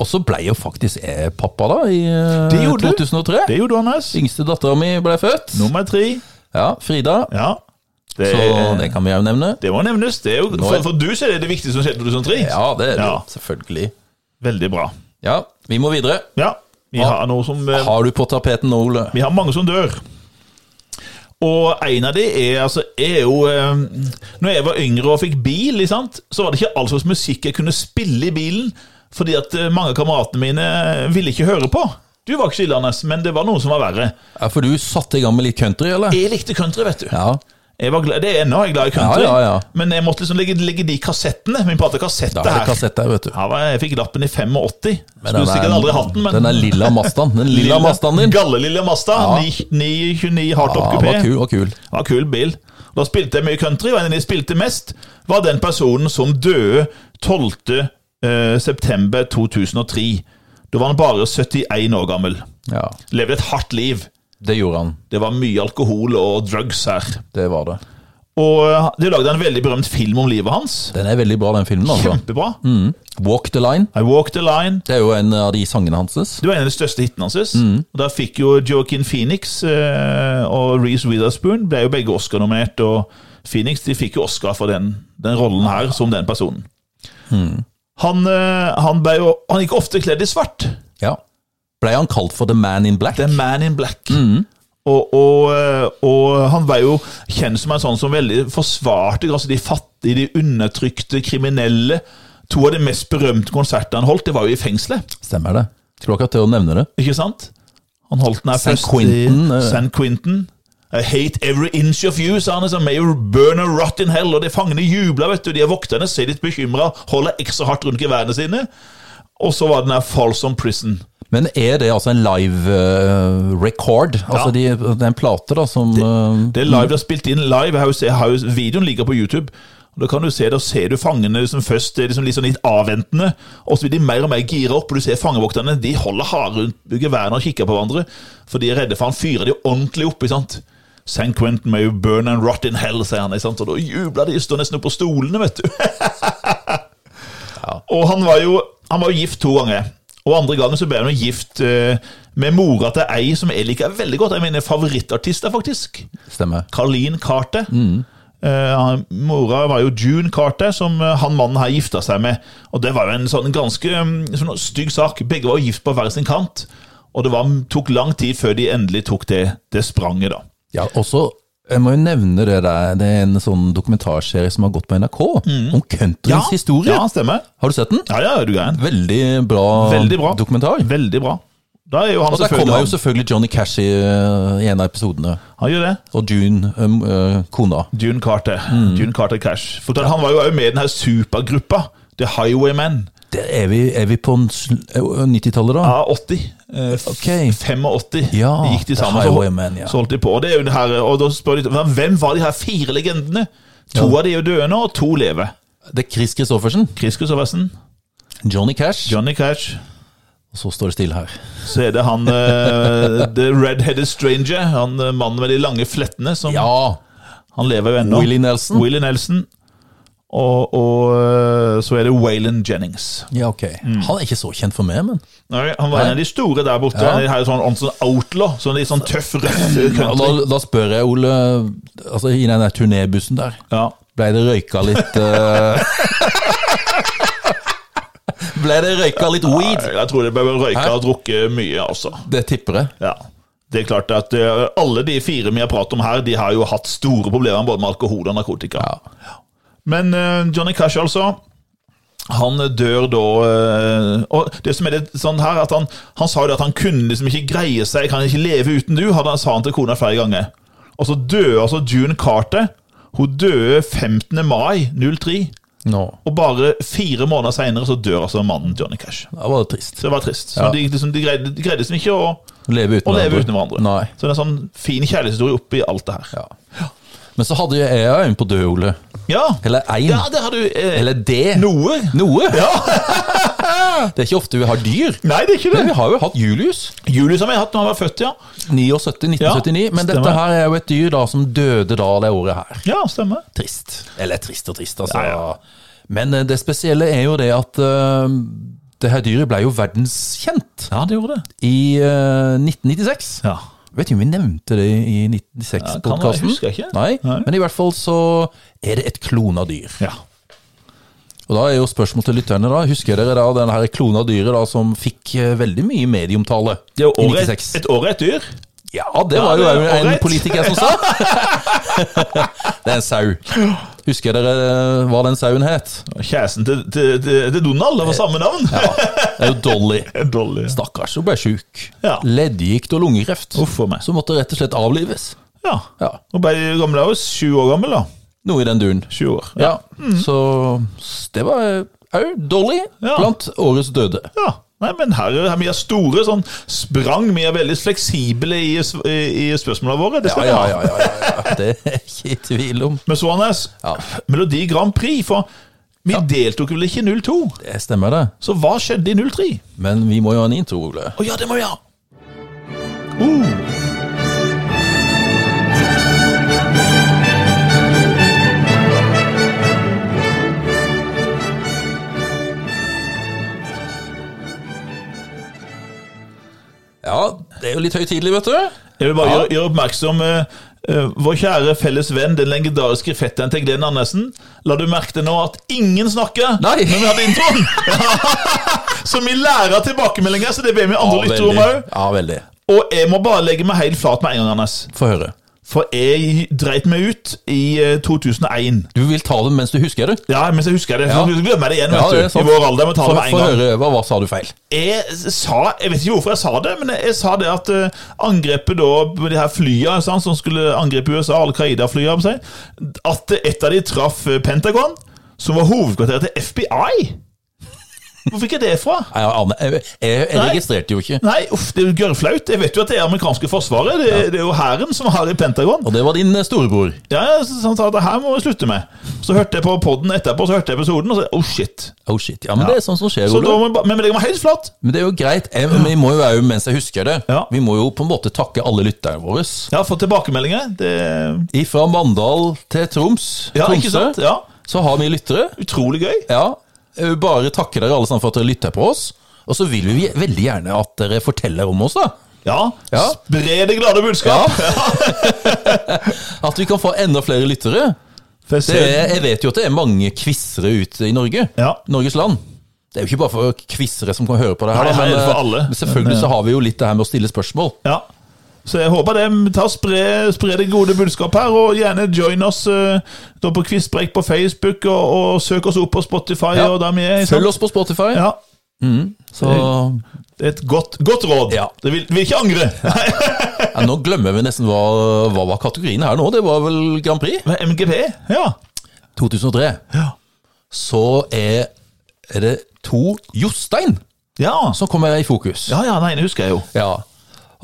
Og så ble jo faktisk jeg pappa, da, i eh,
Det gjorde du.
2003.
Det gjorde Anders.
Yngste dattera mi ble født.
Nummer tre.
Ja, Frida.
Ja. Det,
Så det kan vi jo nevne.
det må nevnes. Det er jo,
Sånn, Nå
for,
er-
for du så er sånn det det viktigste som skjedde i 2003.
Ja, det er det.
Ja.
jo, Selvfølgelig.
Veldig bra.
Ja, vi må videre.
Ja, vi har noe som eh,
Har du på tapeten nå, Ole?
Vi har mange som dør. Og en av de er, altså, er jo eh, Når jeg var yngre og fikk bil, ikke sant, så var det ikke all slags musikk jeg kunne spille i bilen, fordi at eh, mange av kameratene mine eh, ville ikke høre på. Du var ikke så ille, Anders, men det var noe som var verre.
Ja, for du satte i gang med litt country, eller?
Jeg likte country, vet du.
Ja.
Jeg var glad, det er ennå jeg er glad i country,
Ja, ja, ja.
men jeg måtte liksom legge, legge de kassettene. Vi prater kassetter
Da er det
her.
kassett der, vet du.
Ja, hva, jeg fikk lappen i 85.
Men
Skulle sikkert aldri hatt den, men
den er lilla Mazdaen. Den lilla Mazdaen din.
Gallelilla Mazda.
Ja.
929 hardtop
Ja,
kupé.
var kul, var kul.
Det var en kul bil. Da spilte jeg mye country, og en av de spilte mest, var den personen som døde 12. eh, september 2003. Da var han bare 71 år gammel.
Ja,
Levde et hardt liv.
det gjorde han.
Det var mye alkohol og drugs her.
Det var det.
Og eh, de lagde en veldig berømt film om livet hans.
Den er veldig bra, den filmen. altså.
Kjempebra.
Walk the Line.
I Walk the Line.
Det er jo en av de sangene hans.
Det var en av de største hitene hans. Og Der fikk jo Joaquin Phoenix eh, og Reece Witherspoon ble jo begge Oscar-nominert. Og Phoenix de fikk jo Oscar for den, den rollen her, som den personen. Han, eh, han, ble jo, han gikk ofte kledd i svart.
Ja. Ble han kalt for The Man in Black?
The Man in Black. Og, og, eh, og han var jo kjent som en sånn som veldig forsvarte altså de fattige, de undertrykte, kriminelle. To av de mest berømte konsertene han holdt, det var jo i fengselet.
Stemmer det. Skulle akkurat til å nevne det.
Ikke sant? Han holdt den her
San
først
Quentin,
i
eh.
San Quentin. I hate every inch of you, sa han. liksom. May you burn a rot in hell. Og de fangene jubla, vet du. De er vokterne, ser litt bekymra, holder ekstra hardt rundt geværene sine. Og så var den her Folsom Prison.
Men er det altså en live eh, record? Altså de, det er en plate da som eh,
Det er live, det er spilt inn live. Jeg har jo se, jeg har jo, videoen ligger på YouTube. Og Da kan du se, da ser du fangene liksom først det er liksom litt, sånn litt avventende, og så blir de mer og mer gira opp. og Du ser fangevokterne de holder hardt rundt geværene og kikker på hverandre, for de er redde for han fyrer de ordentlig opp. ikke sant? San Quentin may you burn and rot in hell, sier han. ikke sant? Og da jubler de, står nesten opp på stolene, vet du. Og han var jo han var jo gift to ganger. Og andre gangen så ble han jo gift eh, med mora til ei som jeg liker veldig godt. En av mine favorittartister, faktisk.
stemmer.
Carleen Carter. Eh, han- mora var jo June Carter, som eh, han mannen her gifta seg med. Og Det var jo en sånn ganske mm, sånn stygg sak. Begge var jo gift på hver sin kant. Og det var, mm, tok lang tid før de endelig tok det, det spranget, da.
Ja, også, jeg må jo nevne det der, det er en sånn dokumentarserie som har gått på NRK, om countryens historie.
Mm. ja stemmer.
Har du sett den?
Ja, ja, er du gæren.
Veldig bra,
Veldig bra.
dokumentar.
Veldig bra. Da er jo han
Og der
selvfølgelig
kommer jo
han.
selvfølgelig Johnny Cash i, eh, i en av episodene.
han gjør det.
Og June, um, eh, kona.
June Carter.
Mm.
June Carter Cash. For Han var jo også med i den her supergruppa, The Highwaymen.
Det er, vi, er vi på en sl- eh, 90-tallet, da?
Ja, 80. Eh, f-
Ok.
85
Ja,
de gikk de
The
sammen. Så,
Highwaymen, ja.
så holdt de på. Og, det er jo det her, og da spør de "Men hvem var de her fire legendene? To
Ja.
av de er jo døde nå, og to lever.
Det er Chris Christoffersen.
Chris Christoffersen,
Johnny Cash.
Johnny Cash,
Og så står det stille her.
Så er det han eh, The Red-Headed Stranger, han eh, mannen med de lange flettene, som
Ja!
han lever jo ennå.
Willie Nelson.
Willie Nelson. Og, og eh, så er det Waylon Jennings.
Ja, ok.
Mm.
Han er ikke så kjent for meg, men
Nei, han var en av de store der borte.
Ja.
Han er jo sånn ordentlig sånn outlaw. Sånn litt sånn tøff, røff
ja, da,
country.
da spør jeg Ole altså, I den der turnébussen der,
Ja.
blei det røyka litt uh... Blei det røyka litt weed?
Jeg tror det bør røyke
Hæ?
og drukke mye, altså.
Det tipper jeg.
Ja. Det er klart at eh, alle de fire vi har pratet om her, de har jo hatt store problemer både med alkohol og narkotika. Men eh, Johnny Cash, altså. Han dør da eh, Og det som er litt sånn her, at han, han sa jo det at han kunne liksom ikke greie seg, kan ikke leve uten du, hadde han sa han til kona flere ganger. Og så døde altså June Carter. Hun døde 15. mai 03.
Nå.
Og bare fire måneder seinere så dør altså mannen Johnny Cash.
Da var det trist.
Så det var trist. Så
Ja.
de, liksom, de, greide, de greide liksom ikke å
Leve uten
å leve uten hverandre.
Nei.
Så det er en sånn fin kjærlighetshistorie oppi alt det her.
Ja. Men så hadde jo jeg òg en på død, Ole.
Ja,
Eller én.
ja der har du eh,
Eller det.
noe.
Noe. det er ikke ofte vi har dyr.
Nei, det er ikke
Men
det.
vi har jo hatt Julius.
Julius har vi hatt når han var født, ja.
79, 1979.
Ja,
men
stemmer.
dette her er jo et dyr da som døde da det året her.
Ja, stemmer.
Trist. Eller trist og trist, altså.
Ja, ja.
Men eh, det spesielle er jo det at eh, det her dyret ble jo verdenskjent
Ja, det gjorde det.
i eh, 1996.
Ja.
Vet ikke om vi nevnte det i
Ja, kan være,
1996-podkasten.
husker jeg ikke.
Nei,
Nei.
Men i hvert fall så er det et klona dyr.
Ja.
Og da er jo spørsmålet til lytterne da, husker dere da den her klona dyret da som fikk eh, veldig mye medieomtale
Det er jo
i
året,
96?
et år er et dyr.
Ja, det var jo
det er
en- en
ålreit.
politiker som sa. det er en sau. Husker dere eh, hva den sauen het?
Kjæresten til, til, til, til Donald det var samme navn.
Ja, det er jo Dolly.
Dårlig.
Stakkars, hun ble sjuk.
Ja.
Leddgikt og lungekreft.
Uff a meg.
Så måtte rett og slett avlives.
Ja.
Ja,
Nå ble de gamle da, sju år gammel, da.
Noe i den duren.
Sju år.
Ja, Så s- det var au, Dolly
Mm. Ja.
blant årets døde.
Ja. Nei, men her er vi er store sånn sprang. Vi er veldig fleksible i, s- i, i spørsmålene våre. Det
Ja,
skal vi
ja,
ha.
ja, ja, ja, ja. Det er ikke i tvil om.
Men så, Anders,
Ja.
Melodi Grand Prix, for vi deltok vel ikke i 02?
Det stemmer, det.
Så hva skjedde i 03? Å
Men vi må jo ha en intro, Ole.
ja, det må vi ha! Uh,
Ja, det er jo litt høytidelig, vet du.
jeg vil bare
Ja.
gjøre, gjøre oppmerksom eh, eh, Vår kjære felles venn, den legendariske fetteren til Glenn Andersen. La du merke til nå at ingen snakker
Nei.
når vi hadde introen? så vi lærer av tilbakemeldinger, så det ber vi andre lyttere om òg.
Ja, veldig.
Og jeg må bare legge meg helt flat med en gang, Anders.
Få høre.
For jeg dreit meg ut i eh, 2001.
Du vil ta det mens du husker det?
Ja, mens jeg husker det.
Ja.
For Du glemmer det igjen, vet du. I vår alder. må ta det
Få-
med
Få
en gang.
høre, hva, hva sa du feil?
Jeg sa, jeg vet ikke hvorfor jeg sa det, men jeg, jeg sa det at eh, angrepet da på de her flyene sant, som skulle angripe USA, Al Qaida-flyene, på seg, at et av de traff eh, Pentagon, som var hovedkvarteret til FBI. Hvor fikk jeg det fra?
Nei, Jeg, aner- jeg, jeg, jeg
Nei.
registrerte jo ikke.
Nei, uff, det er jo gørrflaut. Jeg vet jo at det er amerikanske forsvaret. Det, det er jo hæren som har det i Pentagon.
Og det var din eh, storebror.
Ja, så Han sa at det her må vi slutte med. Så hørte jeg på podden etterpå, så hørte jeg episoden, og så oh shit.
Oh shit, ja, Men det er sånn som skjer,
Så da
Ole.
må jeg, ba- men jeg legger meg helt flat.
Men det er jo greit. Jeg, men vi må jo òg, mens jeg husker det,
Ja.
vi må jo på en måte takke alle lytterne våre.
Jeg har fått tilbakemeldinger. Det,
Fra Mandal til Troms,
ja, ikke
Tromsø,
sant? Ja,
så har vi lyttere.
Utrolig gøy.
Ja, eh, bare takke dere alle sammen for at dere lytter på oss. Og så vil vi veldig gjerne at dere forteller om oss, da.
Ja,
Ja.
Spre det glade budskap.
At vi kan få enda flere lyttere.
For jeg
Det
ser-
er, jeg vet jo at det er mange quizere ute i Norge.
Ja.
Norges land. Det er jo ikke bare for quizere som kan høre på det her,
Nei,
da,
nei, det er for
eh,
alle.
men selvfølgelig så har vi jo litt det her med å stille spørsmål.
ja. Så jeg håper det. Ta og spre, spre det gode budskap her, og gjerne join oss eh, da på Quizbreak på Facebook, og, og søk oss opp på Spotify.
Ja.
og der vi er. ikke sant?
Følg oss på Spotify.
Ja.
Så ja,
Det er et godt, godt råd.
Ja.
Det vil, vil ikke angre.
Nå glemmer vi nesten hva, hva var kategorien her nå. Det var vel Grand Prix
Men MGP? Ja.
2003.
Ja.
Så er, er det to Jostein
Ja,
som kommer i fokus.
ja, ja nei, det husker jeg jo.
Ja.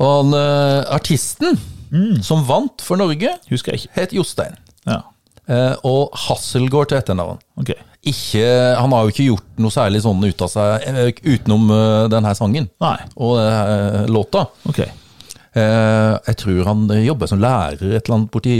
Og han, eh, artisten som vant for Norge,
Mm. Husker jeg ikke.
het Jostein.
Ja.
Eh, eh, og Hasselgaard til etternavn.
Ok.
Ikke, han har jo ikke gjort noe særlig sånn ut av seg eh, utenom eh, denne sangen
Nei.
og eh, låta.
Ok.
Eh, jeg tror han jobber som lærer et eller annet borti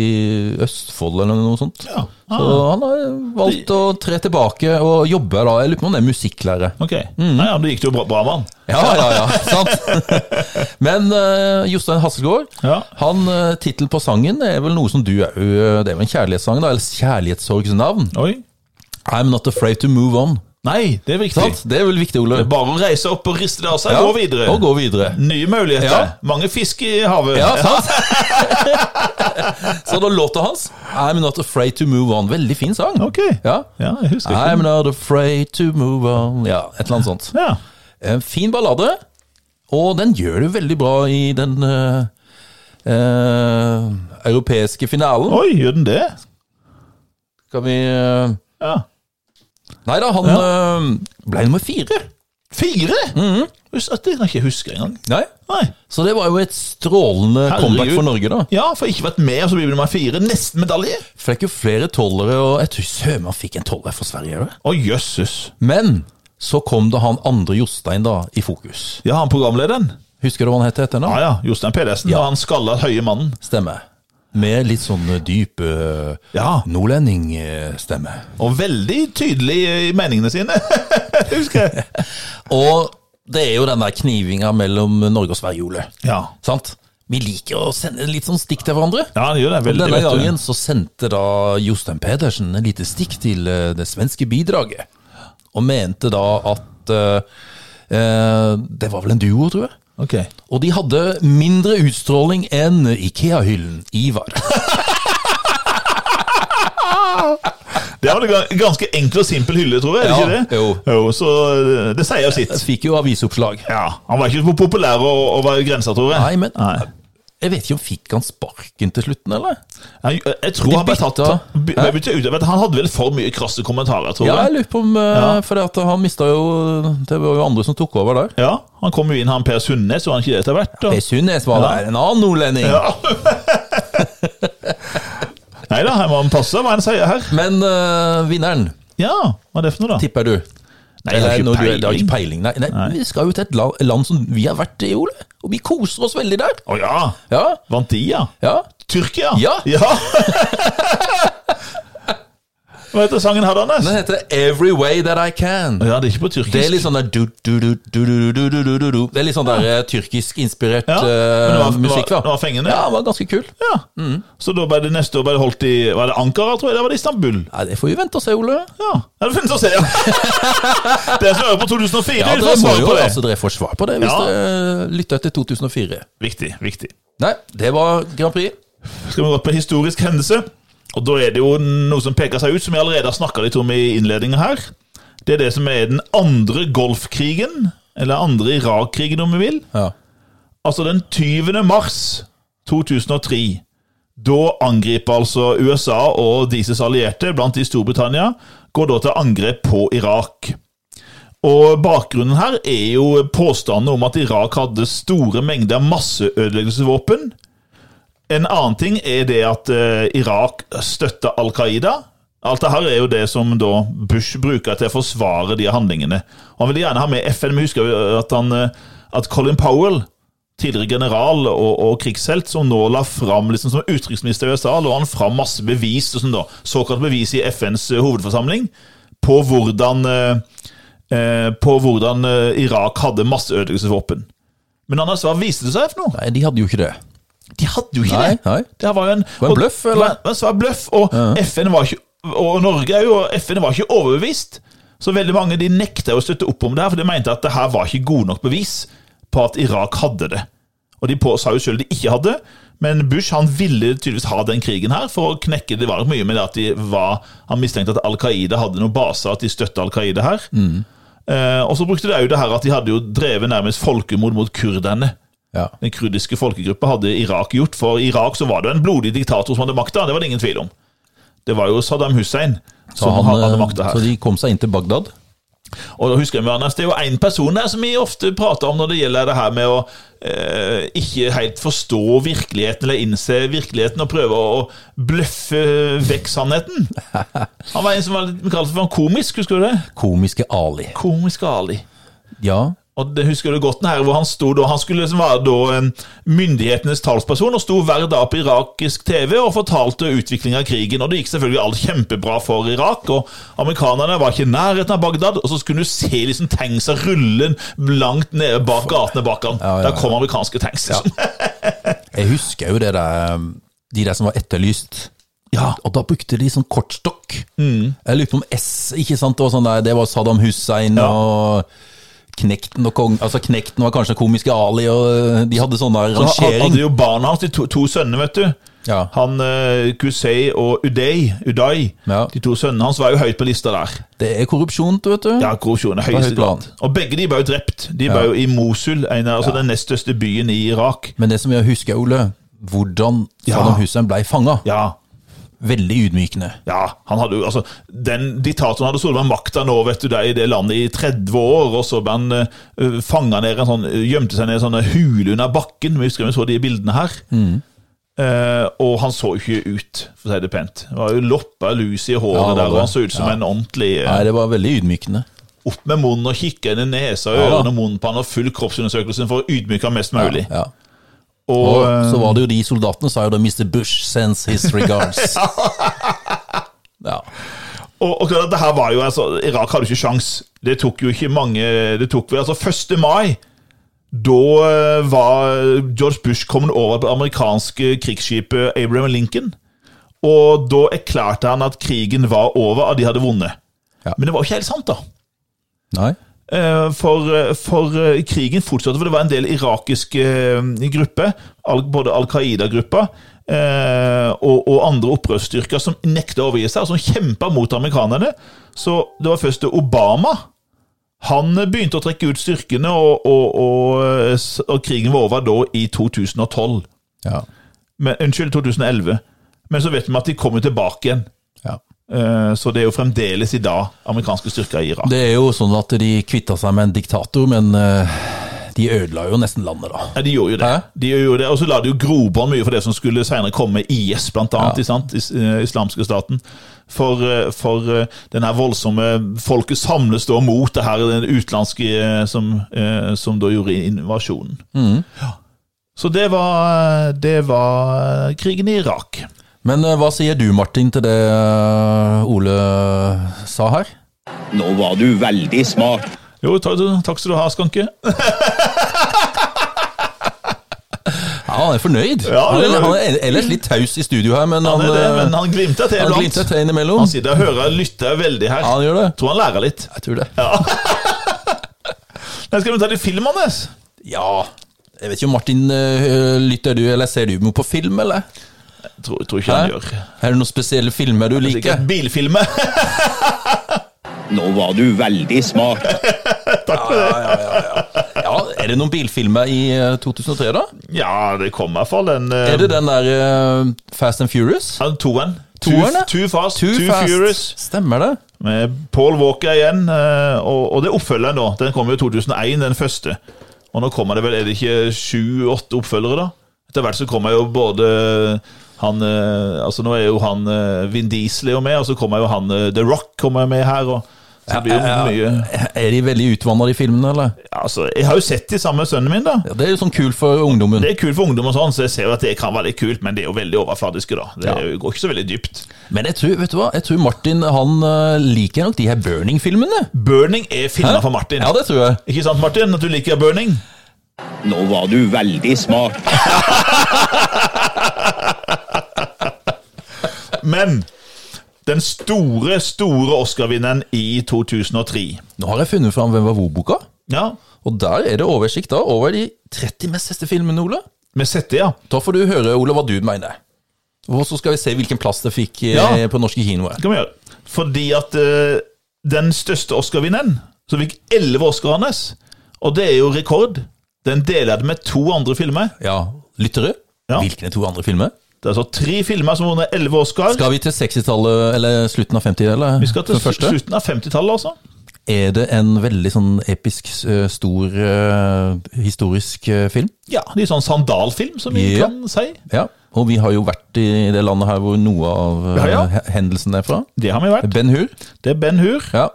Østfold eller noe sånt.
Ja. Ah.
Så han har valgt å tre tilbake og jobbe da. Jeg lurer på om han er musikklærer.
Ok.
Mhm.
Nei, ja, men det gikk jo bra, bra med han.
Ja, ja, ja, sant? Men eh, Jostein Hasselgaard,
Ja.
han uh, tittelen på sangen er vel noe som du er jo Det er vel en kjærlighetssang, da? Eller kjærlighetssorgsnavn?
Oi.
I'm not afraid to move on.
Nei, det er viktig.
Sant? Det er vel viktig, Ole.
Bare å reise opp og riste det av seg,
Ja,
gå videre.
Og gå videre.
Nye muligheter.
Ja.
Mange fisk i havet.
Ja, sant? Så da låta hans I'm not afraid to move on. Veldig fin sang.
Ok.
Ja.
Ja, jeg husker ikke.
I'm not afraid to move on. Ja, et eller annet sånt.
Ja.
En fin ballade, og den gjør det veldig bra i den eh, eh, europeiske finalen.
Oi, gjør den det?
Skal vi eh,
Ja.
Nei da, han eh, ble nummer fire.
Fire?
Mhm.
Husk at Det kan jeg ikke huske engang.
Nei.
Nei.
Så det var jo et strålende
Herregud.
comeback for Norge, da.
Ja, for ikke vært med, og så blir det nummer fire. Nesten medalje.
For det er ikke flere tollere, og jeg tror søren meg han fikk en toller for Sverige. gjør det?
Å, jøsses.
Men så kom det han andre Jostein da, i fokus.
Ja, han programlederen.
Husker du hva han het etter nå?
Ja, ja. Jostein Pedersen. Og han skalla høye mannen.
Stemme. Med litt sånn eh, dyp eh,
Ja,
nordlendingstemme.
og veldig tydelig eh, i meningene sine. husker jeg.
Og det er jo den der knivinga mellom Norge og Sverige, Ole.
Ja.
Sant? Vi liker å sende litt sånn stikk til hverandre.
ja, han gjør det veldig.
Denne
vet du.
gangen så sendte da Jostein Pedersen et lite stikk til eh, det svenske bidraget, og mente da at eh, eh, Det var vel en duo, tror jeg?
Ok.
Og de hadde mindre utstråling enn Ikea-hyllen Ivar.
Det var det ga- ganske enkel og simpel hylle, tror jeg. er det
Ja,
ikke det?
jo.
så eh, det sier jo sitt.
Fikk jo avisoppslag.
Ja, Han var ikke så populær å- å være grensa, tror jeg.
Nei, men
Nei.
jeg vet ikke om fikk han sparken til slutten, eller?
Jeg, jeg tror
De
han ble tatt
bytta-
by-
Hæ?
ble byttet ut, jeg vet, Han hadde vel for mye krasse kommentarer, tror
Ja, jeg
jeg.
lurer på om eh, For det at han mista jo Det var jo andre som tok over der.
Ja, Han kom jo inn, han Per Sundnes, var han ikke det etter hvert?
Per
Og...
Sundnes var der, en annen nordlending.
Nei da, her må han passe hva han sier her.
Men eh, vinneren,
Ja, hva er det for noe, da?
tipper du?
Nei, jeg har ikke
Eller, når du- det har
peiling.
ikke peiling. Nei, nei, Vi skal jo til et land, land som vi har vært i, Ole. Og vi koser oss veldig der.
Å ja,
Ja,
vant de, ja?
ja.
Tyrkia?
Ja.
Hva heter sangen her, Anders?
Den heter Every Way That I Can.
Ja, det er ikke på tyrkisk.
Det er litt sånn der du, du, du, du, du, du, du, du, du, du. Det er litt sånn der eh, tyrkisk inspirert
Ja, men det var-
eh, musikk, da.
det var fengende.
Ja, det var ganske kul.
Ja. Så da ble det neste år ble det holdt i Var det Ankara, tror jeg? Eller var det Istanbul?
Nei, det får vi vente og se, Ole.
Ja, ja det finnes å se, ja. Dere som hører på 2004,
Ja,
dere
dere må
får svare
jo
på det.
altså, dere får svar på det hvis
Ja.
dere eh, lytter til 2004.
Viktig, viktig.
Nei, det var Grand Prix.
Skal vi gå på historisk hendelse? Og da er det jo noe som peker seg ut, som vi allerede har snakka litt om i innledningen her. Det er det som er den andre Golfkrigen, eller andre Irak-krigen, om vi vil.
Ja.
Altså den 20. mars 2003. Da angriper altså USA og deres allierte, blant de Storbritannia, går da til angrep på Irak. Og Bakgrunnen her er jo påstandene om at Irak hadde store mengder masseødeleggelsesvåpen. En annen ting er det at eh, Irak støtter Al Qaida. Alt det her er jo det som da Bush bruker til å forsvare de handlingene. Og Han ville gjerne ha med FN, men husker jo at, han, eh, at Colin Powell, tidligere general og, og krigshelt, som nå la fram liksom som utenriksminister i USA, lå han fram masse bevis, og sånn da, såkalt bevis i FNs hovedforsamling, på hvordan, eh, eh, på hvordan eh, Irak hadde masseødeleggelsesvåpen. Men Anders, hva viste det seg for noe?
Nei, de hadde jo ikke det.
De hadde jo ikke
Nei,
det.
nei.
Det her var jo en,
var en bløff, eller?
Det var en svær bløff, og FN var ikke og Norge er jo, FN var ikke overbevist. Så veldig mange de nekta å støtte opp om det her, for de mente at det her var ikke gode nok bevis på at Irak hadde det. Og de på, sa jo sjøl de ikke hadde, men Bush han ville tydeligvis ha den krigen her for å knekke det var nok mye med det at de var, han mistenkte at Al Qaida hadde noen baser, at de støtta Al Qaida her.
Mm.
Eh, og så brukte de jo det her at de hadde jo drevet nærmest folkemord mot kurderne
Ja.
den kurdiske folkegruppa hadde Irak gjort. For i Irak så var det en blodig diktator som hadde makta, det var det ingen tvil om. Det var jo Saddam Hussein
Så,
som
han,
hadde
eh,
makta
så
her.
de kom seg inn til Bagdad.
Og da husker jeg Ernest, Det er jo én person der som vi ofte prater om når det gjelder det her med å eh, ikke helt forstå virkeligheten eller innse virkeligheten og prøve å bløffe vekk sannheten. Han var en som var litt vi kalte for en komisk, husker du det?
Komiske Ali.
Komisk Ali.
Ja.
Og det husker du godt den her, hvor Han sto da, han skulle liksom være da en myndighetenes talsperson og sto hver dag på irakisk TV og fortalte utviklinga av krigen. og Det gikk selvfølgelig alt kjempebra for Irak. og Amerikanerne var ikke i nærheten av Bagdad. og Så skulle du se liksom tanksa rulle langt nede bak gatene bak han.
ja, ja.
Der kom amerikanske tanks. liksom.
Jeg husker jo det der um, De der som var etterlyst. Ja, og da brukte de sånn kortstokk.
Mm.
Jeg lurer på om S ikke sant? Det var, sånn der, det var Saddam Hussein
Ja.
og Knekten og kong Altså Knekten var kanskje komiske Ali, og de hadde sånn der
Så han
rangering.
hadde jo barna hans, de to, to sønnene, vet du.
Ja.
Han eh, Kusei og Uday, Uday
Ja.
de to sønnene hans, var jo høyt på lista der.
Det er korrupsjon, vet du.
Ja, korrupsjon er
høyt
høyeste
plan.
grad. Og begge de var jo drept. De var jo i Mosul, en av, altså den nest største byen i Irak.
Men det som jeg husker, Ole, hvordan
Ja.
Saddam Hussein ble fanga.
Ja,
Veldig ydmykende.
ja, han hadde jo, altså, den diktatoren hadde sittet med makta nå, vet du, der i det landet i 30 år, og så ble han uh, fanga ned i en sånn, gjemte seg ned i en sånn hule under bakken, vi husker vi så de bildene her.
Mm.
Eh, og han så jo ikke ut, for å si det pent. Det var jo loppa lus i håret
Ja, det var
der, og
det.
han så ut som en ordentlig eh,
Nei, det var veldig ydmykende.
Opp med munnen og kikke inn i
Ja,
nesa,
da.
ørene og munnen på han, og full kroppsundersøkelse for å ydmyke ham mest mulig.
Ja.
Og,
Og
eh,
så var det jo de soldatene sa jo da Mr. Bush sends his regards. ja.
Og, og klart at det her var jo, altså, Irak hadde jo ikke sjans. Det tok jo ikke mange Det tok vel altså 1. mai. Da eh, var George Bush kommet over på det amerikanske krigsskipet Abraham Lincoln. Og da erklærte han at krigen var over, og de hadde vunnet.
Ja.
Men det var jo ikke helt sant, da.
Nei.
Eh, For, eh, for eh, krigen fortsatte, for det var en del irakiske eh, grupper, al- både Al Qaida-gruppa eh, og, og andre opprørsstyrker som nekta å overgi seg, og som kjempa mot amerikanerne. Så det var først Obama. Han eh, begynte å trekke ut styrkene, og, og, og, eh, s- og krigen var over da i 2012.
Ja.
Men, unnskyld, 2011. Men så vet vi at de kommer tilbake igjen.
ja.
Eh, Så det er jo fremdeles i dag amerikanske styrker i Irak.
Det er jo sånn at de kvitta seg med en diktator, men eh, de ødela jo nesten landet, da.
Ja, de gjorde jo det.
Hæ?
De gjorde jo det, Og så la de jo grobånd mye for det som skulle senere komme IS, blant
Ja.
annet. ikke sant? Is eh, islamske staten. For, eh, for eh, den her voldsomme Folket samles da mot det her den utenlandske eh, som, eh, som da gjorde invasjonen.
Mm.
Ja. Så det var, eh, det var eh, krigen i Irak.
Men eh, hva sier du, Martin, til det eh, Ole eh, sa her?
Nå var du veldig smart.
Jo, takk, takk skal du ha, Skanke.
Ja, han er fornøyd.
Ja,
han,
det
er,
er-
han er ellers litt taus i studio her, men han,
Det er det, men
eh,
han glimter til
han
iblant.
glimter til innimellom.
Han sitter og hører og lytter veldig her.
Ja, han gjør det.
Tror han lærer litt.
Jeg tror det.
Nei, skal vi ta de filmene?
Ja. Jeg vet ikke om Martin, eh, lytter du eller ser du noe på film, eller?
Tror, tror ikke han
Hæ?
gjør.
Er det noen spesielle filmer du liker?
Sikkert bilfilmer.
Nå var du veldig smart.
Ja, Er det noen bilfilmer i eh, 2003, da?
Ja, det kom i hvert fall en eh,
Er det den der eh, Fast and Furious?
ja, Toen.
Toeren, ja.
Too, too Fast, Too,
Too Fast.
Furious.
Stemmer det?
Med Paul Walker igjen. eh, Og, og det er oppfølgeren, da. Den kom jo i 2001, den første. Og nå kommer det vel, er det ikke sju-åtte oppfølgere, da? Etter hvert så kommer jo både han eh, Altså, nå er jo han eh, Vin Diesel er jo med, og så kommer jo han eh, The Rock kommer med her. og så det blir jo mye
Er de veldig utvanna, de filmene, eller?
Altså, Jeg har jo sett de sammen med sønnen min, da.
Ja, det er jo sånn kult for ungdommen.
Det er kult for ungdom, og sånn, så jeg ser jo at det kan være litt kult, men det er jo veldig overfladiske, da. Det er jo- går ikke så veldig dypt.
Men jeg tror, vet du hva? Jeg tror Martin han eh, liker nok de her Burning-filmene.
Burning er filmen
Hæ?
for Martin.
Ja, det tror jeg.
Ikke sant, Martin? At du liker burning?
Nå var du veldig smart.
Men den store, store Oscar-vinneren i 2003
Nå har jeg funnet fram Hvem var hvor-boka,
Ja,
og der er det oversikt da over de 30 mest siste filmene, Ole.
vi setter, ja.
Da får du høre, Ole, hva du mener. Og så skal vi se hvilken plass det fikk eh,
Ja.
på norske kinoer.
Det kan vi gjøre. Fordi at eh, den største Oscar-vinneren, som fikk elleve Oscar hans, og det er jo rekord, den deler jeg det med to andre filmer.
Ja, lyttere?
Ja.
Hvilke to andre filmer?
Det er altså tre filmer som har vunnet elleve Oscar.
Skal vi til 60-tallet, eller slutten av 50-tallet?
Vi skal til
som første?
slutten av 50-tallet, altså.
Er det en veldig sånn episk, eh, stor, eh, historisk eh, film?
Ja, det er sånn sandalfilm, som vi
Ja.
kan si.
Ja. Og vi har jo vært i det landet her hvor noe av eh,
Ja, ja.
he- hendelsen er fra.
Det har vi vært.
Ben Hur.
Det er Ben Hur.
Ja.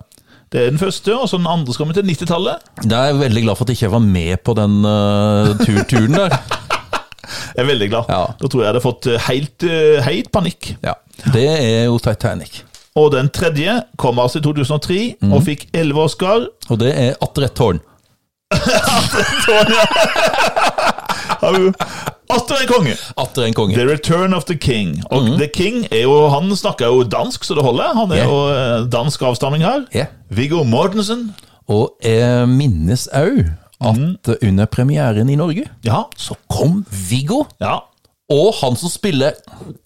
Det er den første, og så den andre skal vi til 90-tallet.
Da er jeg veldig glad for at jeg ikke var med på den eh, tur turen der.
Jeg er veldig glad.
Ja.
Da tror jeg jeg hadde fått eh, helt, eh, helt panikk.
Ja. Det er jo Titanic.
Og den tredje kom altså i 2003
Mhm.
og fikk 11 Oscar.
Og det er Atter et tårn.
Har jo Atter en konge!
Atter en konge.
The Return of the King. Og The King er jo, han snakker jo dansk, så det holder. Han er
Mhm. Ja.
jo eh, dansk avstamning her.
Ja.
Viggo Mortensen.
Og jeg minnes òg
Mm.
at under premieren i Norge
Ja.
så kom Viggo
ja.
og han som spiller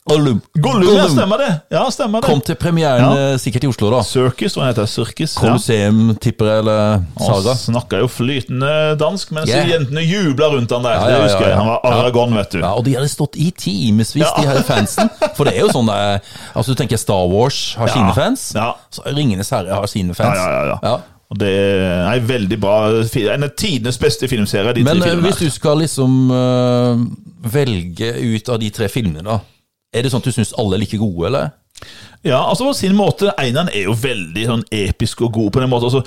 Gollum,
Gollum, ja, stemmer det. Ja, stemmer det.
kom til premieren eh, sikkert i Oslo, da.
Circus, hva heter det? Circus? ja.
Colosseum, tipper jeg, eller Saga.
Han snakker jo flytende dansk, mens
Yeah.
jentene jubla rundt han der.
ja, ja,
Det husker
ja.
jeg. Han var Aragon, vet du.
Ja, og de hadde stått i timevis, de her fansen. For det er jo sånn eh, Altså, du tenker Star Wars har
Ja.
sine fans.
Ja.
Så Ringenes herre har sine
Ja,
fans.
ja, ja, ja. Og det er en veldig bra fi- En av tidenes beste filmserier, de
Men
tre
eh,
filmene.
hvis du skal liksom eh, velge ut av de tre filmene, da. Er det sånn at du syns alle er like gode, eller?
Ja, altså på sin måte, Einan er jo veldig sånn episk og god på den måten. Altså,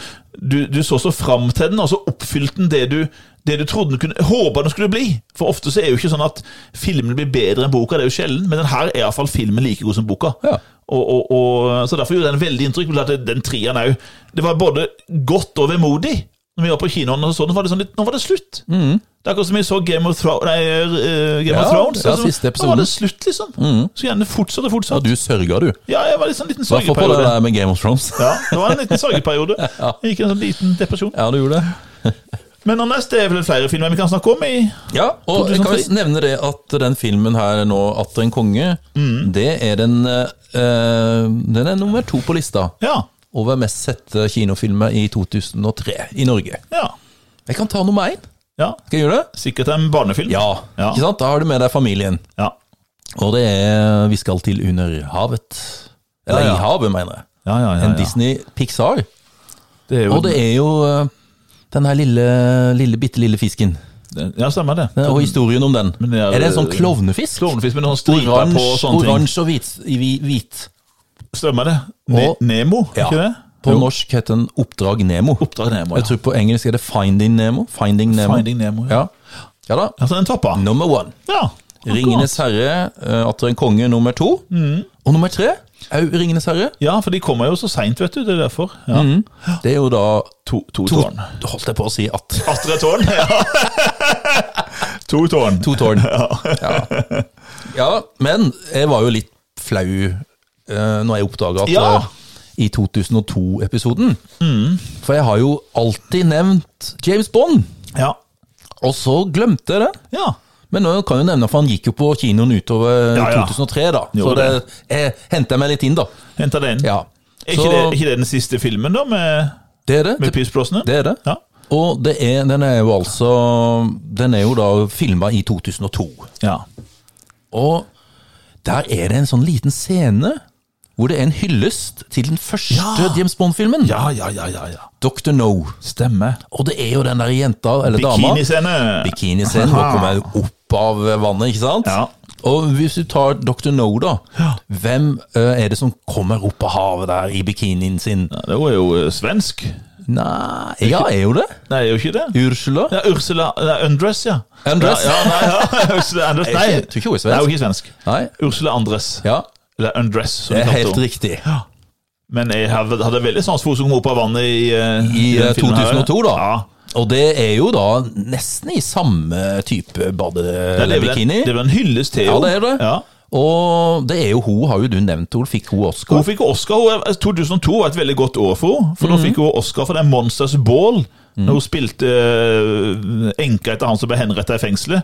du, du så så fram til den, og så oppfylte den det du, det du trodde den kunne, håpa den skulle bli. For ofte så er jo ikke sånn at filmene blir bedre enn boka, det er jo sjelden. Men den her er iallfall filmen like god som boka.
Ja.
Og, og, og, så derfor gjorde den veldig inntrykk. men at Den trieren òg. Det var både godt og vemodig. Når vi var på kinoen, og så den, var det sånn litt, nå var det slutt. Det er akkurat som vi så Game of, Thro nei, eh,
Mm.
Game
Ja,
of Thrones.
ja,
Altså,
siste
nå var
episoden. Mm.
det slutt, liksom. Så gjerne fortsatt og
Ja,
fortsatt.
du sørga, du.
Ja, jeg var litt sånn liten
I hvert fall på det
sorgeperiode.
der med Game of Thrones.
Ja, det var en liten sorgeperiode. Jeg gikk i en sånn liten depresjon.
Ja, du gjorde det.
Men Anders, det er vel flere filmer vi kan snakke om? i...
Ja, og jeg kan
2003.
jo nevne det at den filmen her nå, 'Atter en konge', det er den eh, eh, Den er nummer to på lista
Ja.
over mest sette kinofilmer i 2003 i Norge.
ja,
Jeg kan ta nummer én.
ja.
Skal jeg gjøre det?
Sikkert en barnefilm.
Ja.
Ja.
Ikke sant? Da har du med deg familien.
Ja.
Og det er 'Vi skal til under havet'. Eller
Ja, ja.
i havet, mener jeg.
Ja, ja, ja,
En
ja.
Disney Pixar.
Det er jo,
Og det er jo eh, den her lille, lille bitte lille fisken.
Ja, stemmer det.
Og historien om den.
Men det
er,
er-
det en sånn klovnefisk?
Klovnefisk med noen striper på og
Oransje
sånne ting.
oransje og hvit. i hvi- hvit.
Stemmer det. Ne
Og-
Nemo,
Ja.
ikke det?
På norsk heter den Oppdrag Nemo.
Oppdrag Nemo,
Jeg
ja.
tror på engelsk er det Finding Nemo. Finding Nemo.
Finding Nemo, ja.
ja. ja da.
Altså den toppa.
Nummer one.
Ja. akkurat.
Ringenes herre, eh, Atter en konge, nummer to.
Mm.
Og nummer tre er jo Ringenes herre.
Ja, for de kommer jo så seint, vet du. Det er derfor. Ja.
Mm. Det er jo da
To, to
to,
tårn.
Holdt jeg på å si at
Atter et tårn. Ja. to tårn.
To tårn. Ja. ja, men jeg var jo litt flau eh, når jeg oppdaga at
Ja.
eh, I 2002-episoden. For jeg har jo alltid nevnt James Bond,
Ja.
og så glemte jeg det.
ja.
Men nå kan jeg jo nevne, for han gikk jo på kinoen utover eh,
Ja, ja.
2003, da. Så
Gjorde
det, jeg henter meg litt inn, da.
Henta det inn.
Ja.
Er
Så
ikke, det, er ikke det den siste filmen, da, med,
det er det.
med
Det,
pysblåsene?
det er det.
Ja.
Og det er, den er jo altså Den er jo da filma i 2002.
Ja.
Og der er det en sånn liten scene hvor det er en hyllest til den første
Ja.
James Bond-filmen.
Ja, ja, ja, ja, ja.
Dr. No.
Stemmer.
Og det er jo den der jenta, eller dama
Bikiniscene.
Bikiniscenen. Hun kommer opp av vannet, ikke sant?
Ja.
Og hvis du tar Dr. No, da. Hvem eh, er det som kommer opp av havet der i bikinien sin?
Ja, det var jo eh, svensk.
Nei Ja, er jo det?
Nei, det er jo ikke det.
Ursula?
Ja, Ursula nei, Undress, ja.
Undress?
Ja, ja, nei, ja. Ursula Undress.
Jeg
Nei,
tror ikke- tror ikke hun er svensk.
Nei, hun er ikke svensk.
Nei.
Ursula Andress.
Ja,
Eller Undress, som
det
de
er
kalte
helt
henne.
riktig.
Men jeg hadde hadde veldig sans for hun som kom opp av vannet i, eh,
I
den
eh,
filmen her.
2002, da.
Ja.
Og det er jo da nesten i samme type
Ja, det er vel en-
bade-bikini.
Det er vel en hyllest til
Ja,
henne.
det er det.
Ja.
Og det er jo hun, har jo du nevnt hun, fikk hun Oscar.
Hun fikk Oscar. Hun, 2002 var et veldig godt år for henne. For
Mm.
da fikk hun Oscar for den Monsters Ball, når hun spilte eh, enka etter han som ble henrettet i fengselet.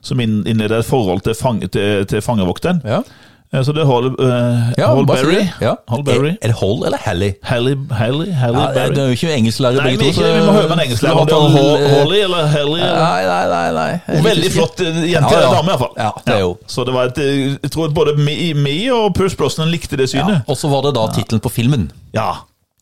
Som inn- innledet et forhold til, fang, til, til fangevokteren.
Ja,
Eh, Så det er Hall, eh,
ja
Hall
bare si
Berry.
det. Ja.
Hall Berry.
Er, er det Hall eller Hally?
Halle, Halle, Halle
Ja, det,
Berry.
det er jo ikke engelsklærer
Nei,
begge
vi,
to.
ikke, vi må høre med en engelsklærer.
så-
Om det er Hall- Holly eller Halle eller
Nei, nei, nei. nei. Jeg er litt
Veldig
usikker.
flott eh, jente,
Ja, ja.
eller dame i hvert fall.
Ja, det er jo.
Så det var et, eh, jeg tror at både Me, Me og Purs Brosnan likte det
Ja.
synet.
Og så var det da tittelen på filmen.
Ja.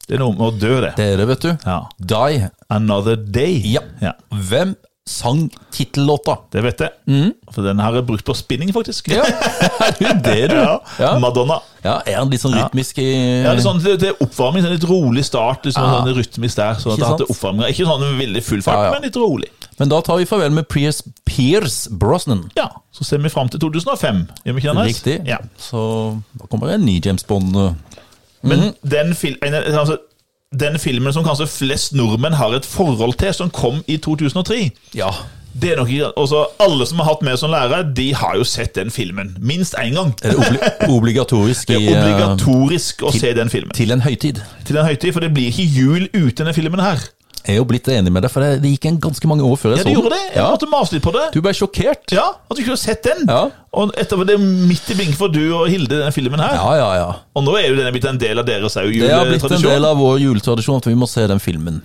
Det er noe med å dø, det.
Dere, vet du.
Ja.
Die.
Another Day.
Ja. Hvem sang tittellåta?
Det vet jeg. For den har jeg brukt på spinning, faktisk.
Mm. Ja, er det det, du?
Ja.
Ja.
Madonna.
Ja, Er han litt sånn rytmisk i
Ja, det er sånn, det, det er oppvarming, sånn litt rolig start, liksom,
Ja.
sånn rytmisk der.
Ikke
Sånn at det
sant?
er oppvarming. Ikke sånn veldig full fart,
Ja, ja.
men litt rolig.
Men da tar vi farvel med Pierce, Pierce Brosnan.
Ja, Så ser vi fram til 2005. Gjør vi ikke det, Anders?
Riktig.
Ja.
Så da kommer det en ny James Bond. eh.
Men den, fil en- en- altså, den filmen som kanskje flest nordmenn har et forhold til, som kom i 2003
Ja.
det er nok, ikke- altså, Alle som har hatt med som lærer, de har jo sett den filmen. Minst én gang.
Er det obli obligatorisk
Det
i,
er
eh,
obligatorisk å se den filmen
til en høytid?
til en høytid, for det blir ikke jul uten denne filmen her.
Jeg er jo blitt enig med deg, for det, det gikk en ganske mange år før jeg
Ja, det
så
gjorde det.
den.
Jeg
sånn. Ja.
måtte mase litt på det.
Du ble sjokkert?
Ja, At du ikke har sett den.
Ja.
Og etterpå det er midt i blinken for du og Hilde, denne filmen her.
Ja, ja, ja.
Og nå er jo denne blitt en del av deres òg,
Det har blitt en del
juletradisjon.
av vår juletradisjon at vi må se den filmen.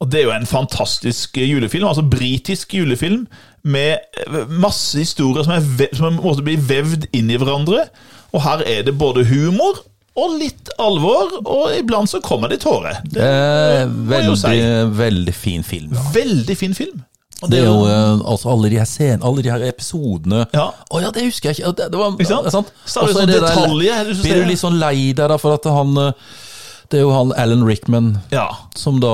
Og det er jo en fantastisk julefilm, altså britisk julefilm, med eh, masse historier som, er vev, som måtte bli vevd inn i hverandre. Og her er det både humor og litt alvor, og iblant så kommer det tårer. Det er
Eh,
jeg jo
veldig,
si.
veldig fin film.
en veldig fin film. Og
Det er jo eh, altså alle de her scenen, alle de her episodene Å ja.
Ja.
det husker jeg ikke. Ja, Det, det var,
Ikke sant?
ja,
Så er det
Og så
sånn
er det der-
detaljer, er det du
Blir
ser?
du litt sånn lei deg da, for at han eh, Det er jo han Alan Rickman
Ja.
som da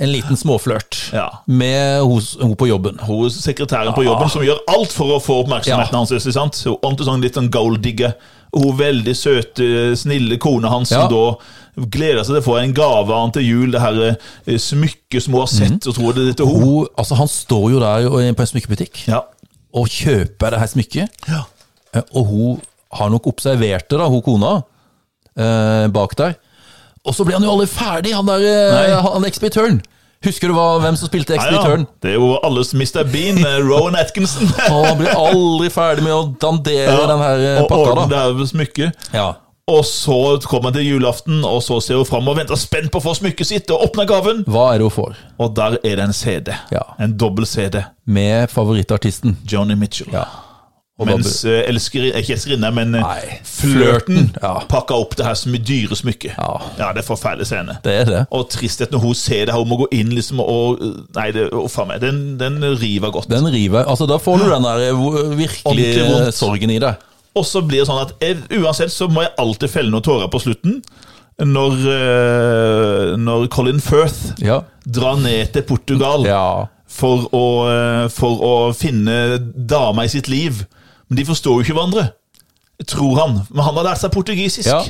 En liten småflørt
Ja.
med hos- hun på jobben.
Hun er sekretæren på jobben som gjør alt for å få oppmerksomheten
Ja.
hans. ikke sant? Hun er ordentlig sånn litt sånn golddigger. Hun veldig søte, snille kona hans
Ja.
som da gleder seg til å få en gave av han til jul. Det her eh, smykket som hun har
Mhm.
sett og tror det er til henne.
Hun, altså Han står jo der og- på en smykkebutikk
Ja.
og kjøper det her smykket.
Ja.
Eh, Og hun har nok observert det, da, hun kona eh, bak der. Og så ble han jo aldri ferdig, han der eh,
Nei.
han ekspeditøren. Husker du hva, hvem som spilte
Ja, ja.
ekspeditøren?
Det er jo alles Mr. Bean, eh, Rowan Atkinson.
Og han blir aldri ferdig med å dandere den her eh,
og
pakka,
ordne
da.
det her smykket.
Ja.
Og så kommer han til julaften, og så ser hun fram og venter spent på å få smykket sitt og åpner gaven.
Hva er det hun får?
Og der er det en CD.
Ja.
En dobbel CD.
Med favorittartisten.
Johnny Mitchell.
Ja. Og da
Mens eh, elskeri- ikke elskerinne, men eh,
Nei,
flørten
flørten, ja.
pakka opp det her som et dyre smykke.
Ja.
det er forferdelig scene.
Det er det.
Og tristhet når hun ser det, her, hun må gå inn liksom og Nei, det, å, faen meg, den, den river godt.
Den river Altså, da får du den der eh, vo- virkelig
Ordentlig vondt.
eh, sorgen i deg.
Og så blir det sånn at jeg, uansett så må jeg alltid felle noen tårer på slutten. Når, eh, når Colin Firth
Ja.
drar ned til Portugal
Ja.
for, å, eh, for å finne dama i sitt liv. Men de forstår jo ikke hverandre, tror han. Men han har lært seg portugisisk.
Ja.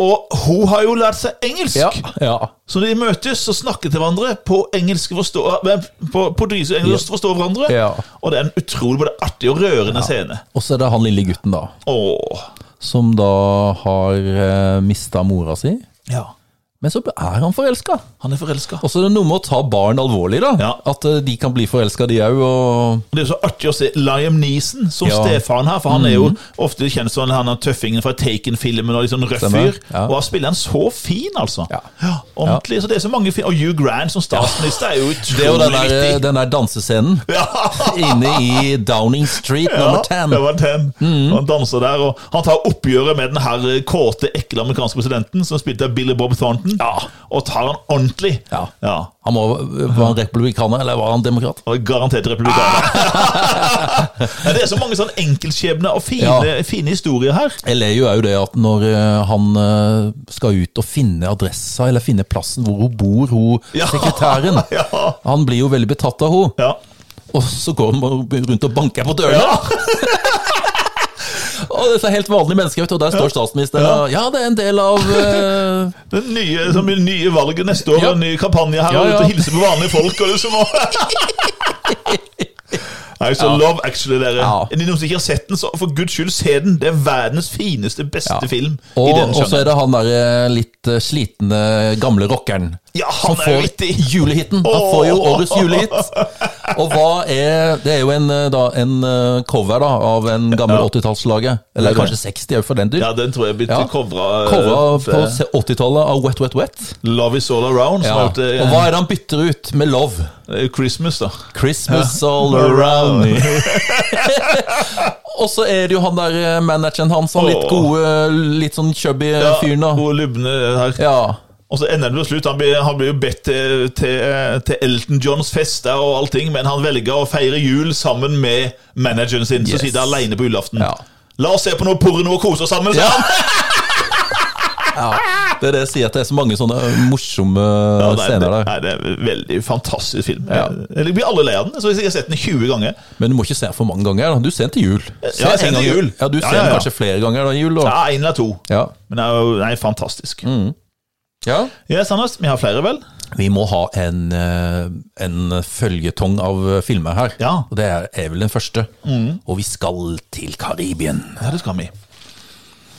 Og hun har jo lært seg engelsk.
Ja. ja.
Så når de møtes og snakker til hverandre på engelsk forstå, eh, på portugisisk og engelsk forstår hverandre.
Ja.
Og det er en utrolig både artig og rørende scene.
Og så er det han lille gutten, da.
Åh.
Som da har eh, mista mora si.
Ja.
Men så er han forelska.
Han er forelska.
Og så er det noe med å ta barn alvorlig, da.
Ja.
At eh, de kan bli forelska, de òg. Og
Det er jo så artig å se Liam Neeson som
Ja. Mm.
stefaren her, for han er jo ofte kjent som han er tøffingen fra Taken-filmen og litt sånn røff
Stemmer,
fyr.
ja.
Og han spiller han så fin, altså.
Ja.
Ordentlig. Så det er så mange fin Og Hugh Grant som statsminister er jo
det er jo
utrolig
den der, eh,
viktig.
den der dansescenen
Ja.
inne i Downing Street
Ja,
nummer Mm. 10.
det var ten. Og Han danser der, og han tar oppgjøret med den her eh, kåte, ekle amerikanske presidenten, som spilte av Billy Bob Thornton, og tar han ordentlig.
Ja. Han må, eh, var han republikaner, eller var han demokrat?
Og garantert republikaner. Men det er så mange sånn enkeltskjebner og fine,
Ja.
fine historier her.
Jeg ler jo òg det at når eh, han eh, skal ut og finne adressa, eller finne plassen hvor hun bor, hun
Ja.
sekretæren
Ja.
Han blir jo veldig betatt av henne,
Ja.
og så går han bare rundt og banker på dørene.
Ja.
Og dette er helt vanlige mennesker, vet du, og der står statsministeren og Ja, det er en del av eh,
Det nye, som blir nye valget neste år,
Ja.
og en ny kampanje her,
Ja, ja.
og ut og hilse på vanlige folk. og liksom Nei, så Love Actually, dere.
Ja.
Er det noen som ikke har sett den, så for guds skyld, se den. Det er verdens fineste, beste
Ja.
film. i
Og,
den
og så er det han der eh, litt eh, slitne gamle rockeren.
Ja, han
som
er
får
vittig.
julehiten. Han får jo
Åh.
årets julehit. Og hva er Det er jo en, eh, da, en eh, cover da, av en gammel
Ja.
80-tallslaget. Eller kanskje 60 er jo for den dyr.
Ja, den tror jeg blitt
Ja.
covra. eh,
Cover på
eh,
se- 80-tallet av Wet Wet Wet.
Love Is All Around.
Ja.
Som
Og
heter, eh,
hva er det han bytter ut med Love?
eh, Christmas, da.
Christmas all around me. Og så er det jo han der eh, manageren hans, han litt
Åh.
gode, litt sånn chubby eh,
Ja,
fyren da.
Hun lubne her.
Ja.
Og så ender det på slutt. Han blir, han blir jo bedt til, til, eh, til Elton Johns fester og allting, men han velger å feire jul sammen med manageren sin, som
Yes.
sitter alene på julaften.
Ja.
La oss se på noe porno og kose oss sammen! sa
Ja.
han.
ja. Det er det jeg sier, at det er så mange sånne eh, morsomme
Ja, nei,
scener
det,
der.
nei, det er en veldig fantastisk film.
Ja.
Jeg blir alle lei av den. Så jeg har sett den 20 ganger.
Men du må ikke se den for mange ganger. da. Du ser den til jul. Se
jeg ser
en
den til
gang-
jul.
Ja, Du
Ja,
ser
ja,
den
ja.
kanskje flere ganger da i jul. Da.
Ja, Mm. Én eller to.
Ja.
Men det er jo nei, fantastisk.
ja.
Ja, Sandnes, vi har flere, vel?
Vi må ha en, eh, en følgetong av eh, filmer her.
Ja. Mm.
Og det er, er vel den første. Og vi skal til Karibien.
Ja, det skal vi.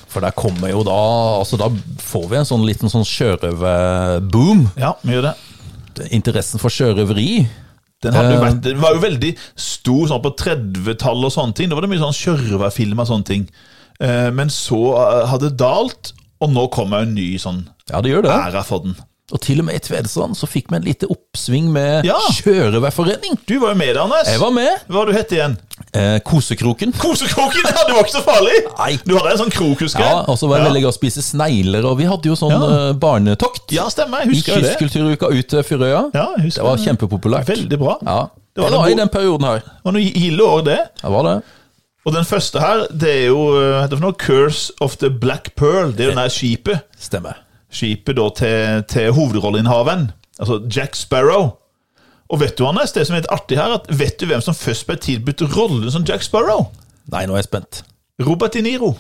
For der kommer jo da Altså da får vi en sånn liten sånn sjørøverboom.
Ja, vi gjør det.
Interessen for sjørøveri.
Den hadde jo
Eh.
vært, den var jo veldig stor sånn på 30-tallet og sånne ting. Da var det mye sånn sjørøverfilm og sånne ting. Eh, Men så eh, hadde det dalt, og nå kommer en ny sånn
Ja, det gjør det.
æra for den.
Og til og med i Tvedestrand så fikk vi en lite oppsving med
Ja.
sjørøverforening.
Du var jo med der, Anders.
Jeg var med.
Hva du hette igjen?
Eh, kosekroken.
Kosekroken! Ja, det var ikke så farlig!
Nei.
Du hadde en sånn krok, husker jeg.
Ja, og så var det veldig gøy å spise snegler, og vi hadde jo sånn
Ja.
eh, barnetokt.
Ja, stemmer. Jeg
I
husker jo det.
kystkulturuka ut til Fyrøya.
Ja, jeg
det
husker
var
det.
kjempepopulært.
Veldig bra.
Ja.
Det
det
var en
var i
god-
den perioden her.
Og noe gilde år, det.
Det var det.
Og den første her, det er jo eh, hva heter det for noe? Curse of the Black Pearl. Det er jo
Eh.
det der skipet.
Stemmer.
skipet da til, til hovedrolleinnehaveren, altså Jack Sparrow. Og vet du, Anders, det som er litt artig her, at vet du hvem som først ble tilbudt rollen som Jack Sparrow?
Nei, nå er jeg spent.
Robert De Niro.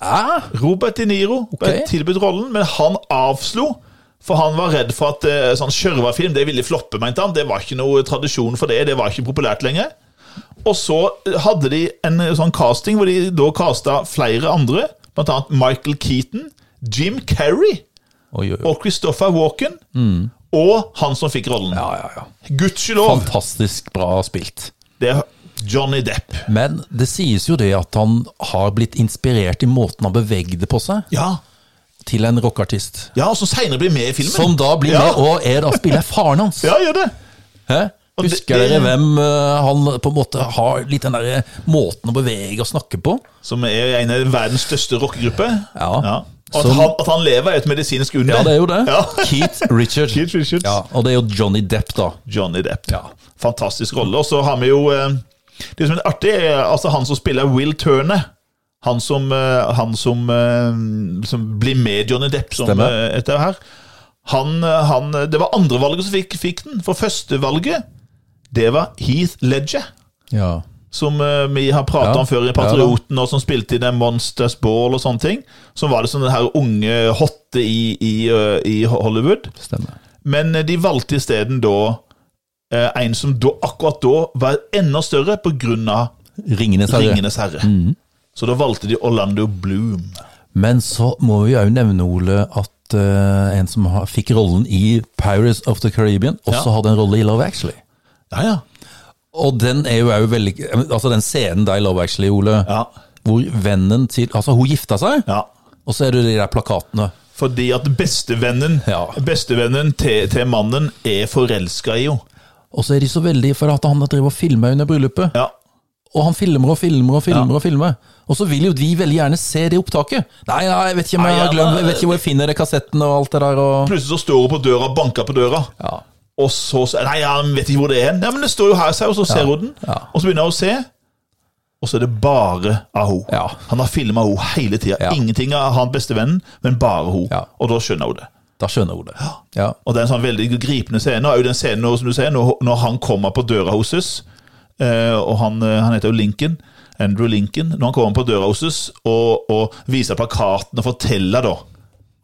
Ah,
Robert De Niro ble
Ok.
tilbudt rollen, men han avslo. For han var redd for at eh, sånn sjørøverfilm det ville floppe, mente han. Det var ikke noe tradisjon for det, det var ikke populært lenger. Og så hadde de en sånn casting hvor de da casta flere andre, blant annet Michael Keaton, Jim Carrey
oi, oi, oi.
og Christopher Walken og han som fikk rollen.
Ja, ja, ja.
Gudskjelov!
Fantastisk bra spilt.
Det er Johnny Depp.
Men det sies jo det at han har blitt inspirert i måten han bevegde på seg,
Ja,
til en rockeartist.
ja og som seinere blir med i filmen.
Som da blir
ja.
med, og er da spiller faren hans.
Ja, gjør det.
Hæ?
Og det-
Husker
det-
dere hvem eh, han på en måte har litt den der eh, måten å bevege og snakke på?
Som er en av verdens største rockegrupper.
Ja.
Og at,
Som-
han, at han lever, er et medisinsk under.
Ja, det er jo det.
Ja.
Keith Richard.
Keith Richards.
Ja, og det er jo Johnny Depp, da.
Johnny Depp. Fantastisk rolle. Og så har vi jo eh, Det som er artig, er altså han som spiller Will Turner. Han som, eh, han som, eh, som blir med Johnny Depp som,
Stemmer.
eh, etter her. Han, eh, han, det var andrevalget som fikk, fikk den. For førstevalget, det var Heath Ledger.
Ja.
Som eh, vi har prata
Ja,
om før i Patrioten, og som spilte i den Monsters Ball og sånne ting. Som var liksom den her unge hotte i, i, eh, i Hollywood.
Stemmer.
Men eh, de valgte isteden da eh, en som da, akkurat da var enda større pga.
Ringenes herre.
Ringenes herre. Så da valgte de Orlando Bloom.
Men så må vi òg nevne, Ole, at eh, en som har, fikk rollen i Pirates of the Caribbean, også
Ja.
hadde en rolle i Love Actually.
Ja, ja.
Og den er jo òg veldig Altså, den scenen der i Love Actually, Ole,
Ja.
hvor vennen til Altså, hun gifta seg,
ja.
og så er det de der plakatene.
Fordi at bestevennen
Ja.
Bestevennen til, til mannen er forelska i henne.
Og så er de så veldig For at han driver og filmer under bryllupet.
Ja.
Og han filmer og filmer og filmer. Og filmer Og så vil jo de veldig gjerne se det opptaket. Nei, nei, jeg vet ikke om jeg
Nei,
har
ja,
glemt Jeg vet ikke hvor jeg finner det kassetten og alt det der. Og...
Plutselig så står hun på døra og banker på døra.
Ja.
Og så sier Nei, jeg vet ikke hvor det er hen. Ja, men det står jo her, sier hun, så ser hun den.
Ja.
Og så begynner hun å se, og så er det bare av hun.
Ja.
Han har filma hun hele tida.
Ja.
Ingenting av han bestevennen, men bare hun.
Ja.
Og da skjønner hun det.
Da skjønner hun det. Ja.
Og det er en sånn veldig gripende scene. Og er jo den scenen når, som du sier, når, når han kommer på døra hos oss, eh, og han, eh, han heter jo Lincoln, Andrew Lincoln, når han kommer på døra hos oss og, og viser plakaten og forteller da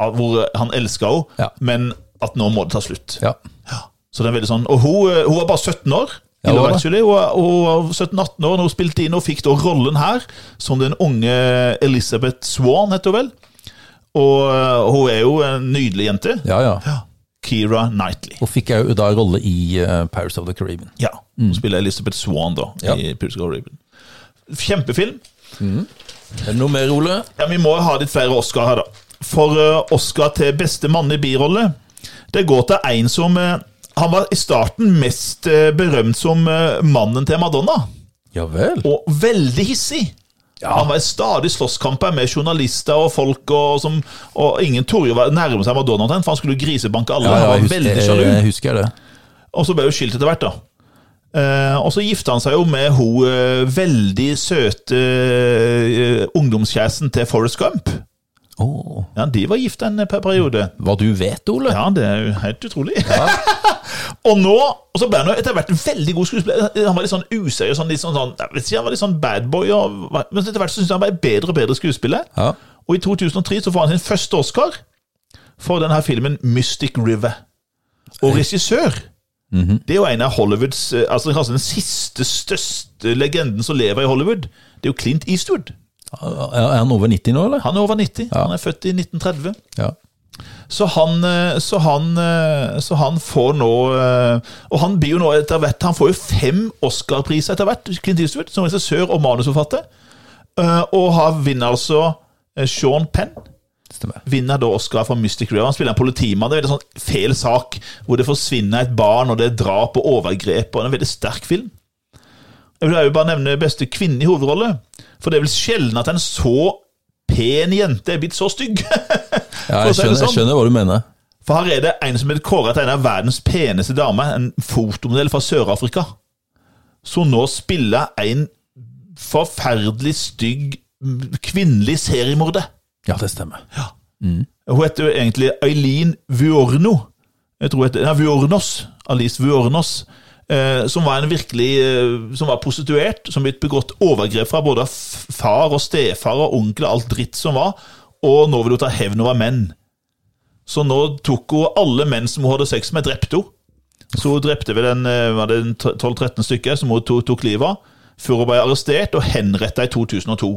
av hvor han elsker henne,
Ja.
men at nå må det ta slutt.
Ja.
Så det er veldig sånn, Og hun, eh, hun var bare 17 år. i
Ja, hun
Love
var det.
Actually. Hun var- hun var 17-18 år når hun spilte inn og fikk da rollen her som den unge Elizabeth Swan, heter hun vel. Og eh, hun er jo en nydelig jente.
ja, ja.
Ja. Keira Knightley.
Og fikk jeg jo da rolle i eh, Pirates of the Caribbean.
Ja, Hun spiller Elizabeth Swan da,
Mm. Ja.
i Pirates of the Caribbean. Kjempefilm.
Er det noe mer, Ole?
Ja, Vi må jo ha litt flere Oscar her, da. For eh, Oscar til beste mann i birolle, det går til en som eh, Han var i starten mest eh, berømt som eh, mannen til Madonna,
Ja vel.
og veldig hissig. Han var i stadig slåsskamper med journalister og folk, og, som, og ingen torde å være- nærme seg Madonna, omtrent, for han skulle jo grisebanke alle.
ja,
han
jeg,
var
husker,
veldig
jeg,
sjalu.
jeg husker det.
Og så ble hun skilt etter hvert, da. Eh, og så gifta han seg jo med hun eh, veldig søte eh, ungdomskjæresten til Forrest Gump.
Åh.
Ja, De var gift en per- periode.
Hva du vet, Ole?
Ja, det er jo helt utrolig. og nå, og så ble han jo etter hvert en veldig god skuespiller. Han var litt sånn useriøs, sånn, litt sånn, sånn, jeg vet ikke, han var litt sånn bad boy. Og, men etter hvert så syntes jeg han var en bedre og bedre skuespiller.
Ja.
Og i 2003 så får han sin første Oscar for denne filmen Mystic River. Og regissør. Det er jo en av Hollywoods eh, Altså kanskje den siste største legenden som lever i Hollywood. Det er jo Clint Eastwood.
Er er han over 90 nå, eller?
Han er over 90. Han er født i 1930.
Ja.
Så han, eh, så han, eh, så han får nå eh, Og han blir jo nå etter hvert Han får jo fem Oscar-priser etter hvert, Clint Eastwood, som regissør og manusforfatter. Eh, Og han vinner altså eh, Sean Penn.
Stemmer.
Vinner da Oscar for Mystic River. Han spiller en politimann. Det er en veldig sånn fæl sak hvor det forsvinner et barn, og det er drap og overgrep. og det er En veldig sterk film. Jeg vil jo bare nevne beste kvinne i hovedrolle, for det er vel sjelden at en så pen jente er blitt så stygg.
Ja,
For å
jeg,
si det
skjønner, jeg
sånn.
skjønner hva du mener.
For her er det en som er kåret til en av verdens peneste damer, en fotomodell fra Sør-Afrika, som nå spiller en forferdelig stygg mm, kvinnelig seriemorder.
Ja, det stemmer.
Hun heter jo egentlig Eileen Vuorno. Jeg tror hun heter, nei, Vuornos. Alice Vuornos. Eh, som var en virkelig eh, Som var prostituert, som blitt begått overgrep fra både f- far og stefar og onkel og alt dritt som var. Og nå vil hun ta hevn over menn. Så nå tok hun alle menn som hun hadde sex med, drepte hun. Så hun drepte vel en, eh, var det en t- 12-13 stykker som hun to- tok livet av, før hun ble arrestert og henretta i 2002.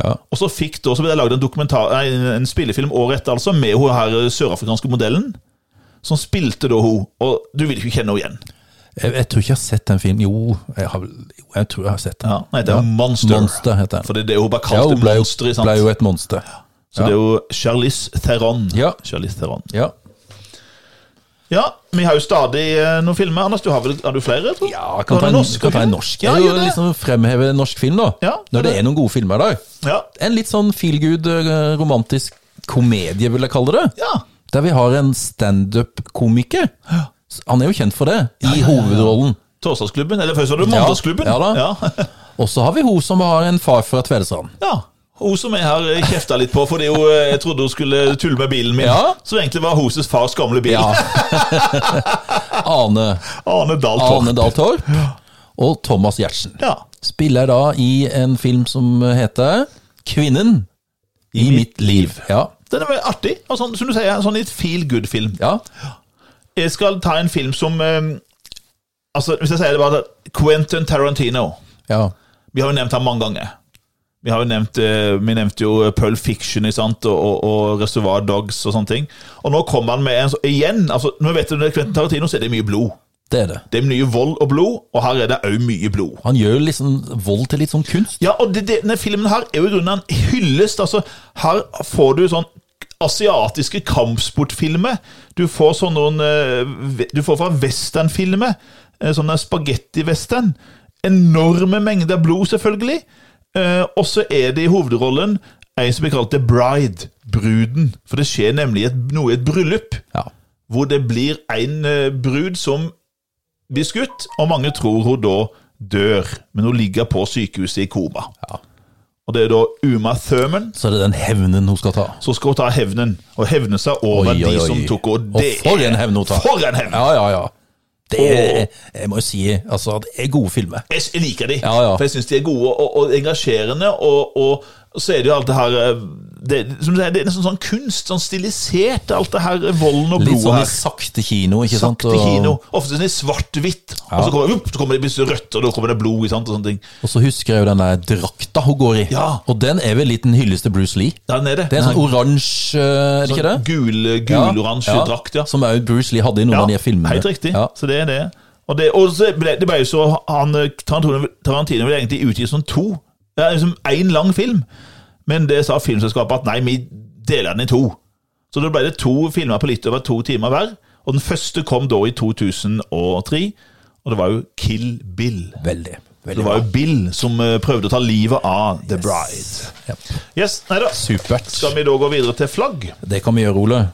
Ja.
Og så fikk da, så ble det laget en, dokumentar- nei, en spillefilm året etter, altså, med hun her sørafrikanske modellen, som spilte da hun, og du vil ikke kjenne henne igjen.
Jeg, jeg tror ikke jeg har sett den filmen. Jo, jeg, har, vel- jo, jeg tror jeg har sett den.
Ja, nei, det er Monster.
Monster heter den.
For det er det hun bare
Ja,
kalte
hun ble, jo-
monster, sant?
ble jo et monster.
Så det er jo Charlize Theron.
Ja.
Charlize Theron.
Ja.
Ja, vi har jo stadig eh, noen filmer. Anders, du har, vel, har du flere, jeg tror?
Ja,
Har
kan
du
ta en
norsk,
norsk. Kan ta en
ikke?
norsk. Jeg
Ja,
vil
gjør det.
liksom fremheve en norsk film, da.
Ja,
Når det
det.
er noen gode filmer der.
Ja.
En litt sånn feelgood, eh, romantisk komedie, vil jeg kalle det.
Ja.
Der vi har en standup-komiker. Han er jo kjent for det, i hovedrollen.
Torsdagsklubben, eller først var det
Ja,
Mandagsklubben.
ja da.
Ja.
Og så har vi hun som har en far fra Tvedestrand.
Ja. Hun som jeg har kjefta litt på fordi hun, eh, jeg trodde hun skulle tulle med bilen min.
Ja.
Som egentlig var hennes fars gamle bil.
Ja. Ane,
Arne Dahl Torp.
Ane Dahl Torp og Thomas Giertsen.
Ja.
Spiller da i en film som heter Kvinnen i mitt liv. Ja.
Den er veldig artig. Og sånn, som du sier, sånn litt feel good-film.
ja.
Jeg skal ta en film som eh, Altså, Hvis jeg sier det bare Quentin Tarantino.
ja.
Vi har jo nevnt ham mange ganger. Vi har jo nevnt, eh, vi nevnte jo Pulp Fiction ikke sant? og, og, og Reservoir Dogs og sånne ting. Og nå kommer han med en så- igjen. altså, Når vi vet om det er Quentin Tarantino, så er det mye blod.
Det er det.
Det er mye vold og blod, og her er det òg mye blod.
Han gjør liksom vold til litt sånn kunst.
Ja, og det, det, denne filmen her er jo i grunnen en hyllest. Altså, her får du sånn asiatiske kampsportfilmer. Du får sånn noen eh, ve- Du får fra westernfilmer, eh, sånne spagetti-western. Enorme mengder blod, selvfølgelig. Eh, Og så er det i hovedrollen ei som blir kalt The Bride, bruden. For det skjer nemlig et, noe i et bryllup
Ja.
hvor det blir en eh, brud som blir skutt, og mange tror hun da dør, men hun ligger på sykehuset i koma. Og det er da Uma Thurman
Så er det den hevnen hun skal ta.
som skal ta hevnen, og hevne seg over
Oi, oi,
de
oi.
som tok henne.
Og
Det er-
for en hevn hun tar.
For en hevn!
Ja, ja, ja. Det er, jeg må jo si altså, det er gode filmer.
Jeg jeg liker de,
Ja, ja.
for jeg syns de er gode og, og engasjerende, og, og så er det jo alt det her eh, det, som det, er, det er nesten sånn kunst, sånn stilisert, alt det her eh, volden og
Litt
blodet
sånn i
her.
sakte kino, ikke sant?
Sakte
Og-
kino. Ofte sånn i svart-hvitt. Og så kommer, opp, så kommer det plutselig rødt, og da kommer det blod. ikke sant, og sånne ting.
Og så husker jeg jo den der drakta hun går i.
Ja.
Og den er vel litt en hyllest til Bruce Lee.
Der nede.
Det er en sånn oransje, eh, er det ikke det?
Gul,
Ja.
gul-oransje Sånn drakt, ja.
Som også Bruce Lee hadde i noen av de filmene.
Helt riktig.
Ja.
Så det er det. Og det, og så ble, det ble jo så han, eh, Tarantino, Tarantino ville egentlig utgi som to. Ja, liksom én lang film. Men det sa filmselskapet at nei, vi deler den i to. Så da ble det to filmer på litt over to timer hver. Og den første kom da i 2003, og det var jo Kill Bill.
Veldig.
Det
veldig
var jo Bill som eh, prøvde å ta livet av The Bride.
bra. Ja.
Yes, nei da.
Supert.
Skal vi da gå videre til flagg?
Det kan vi gjøre, Ole.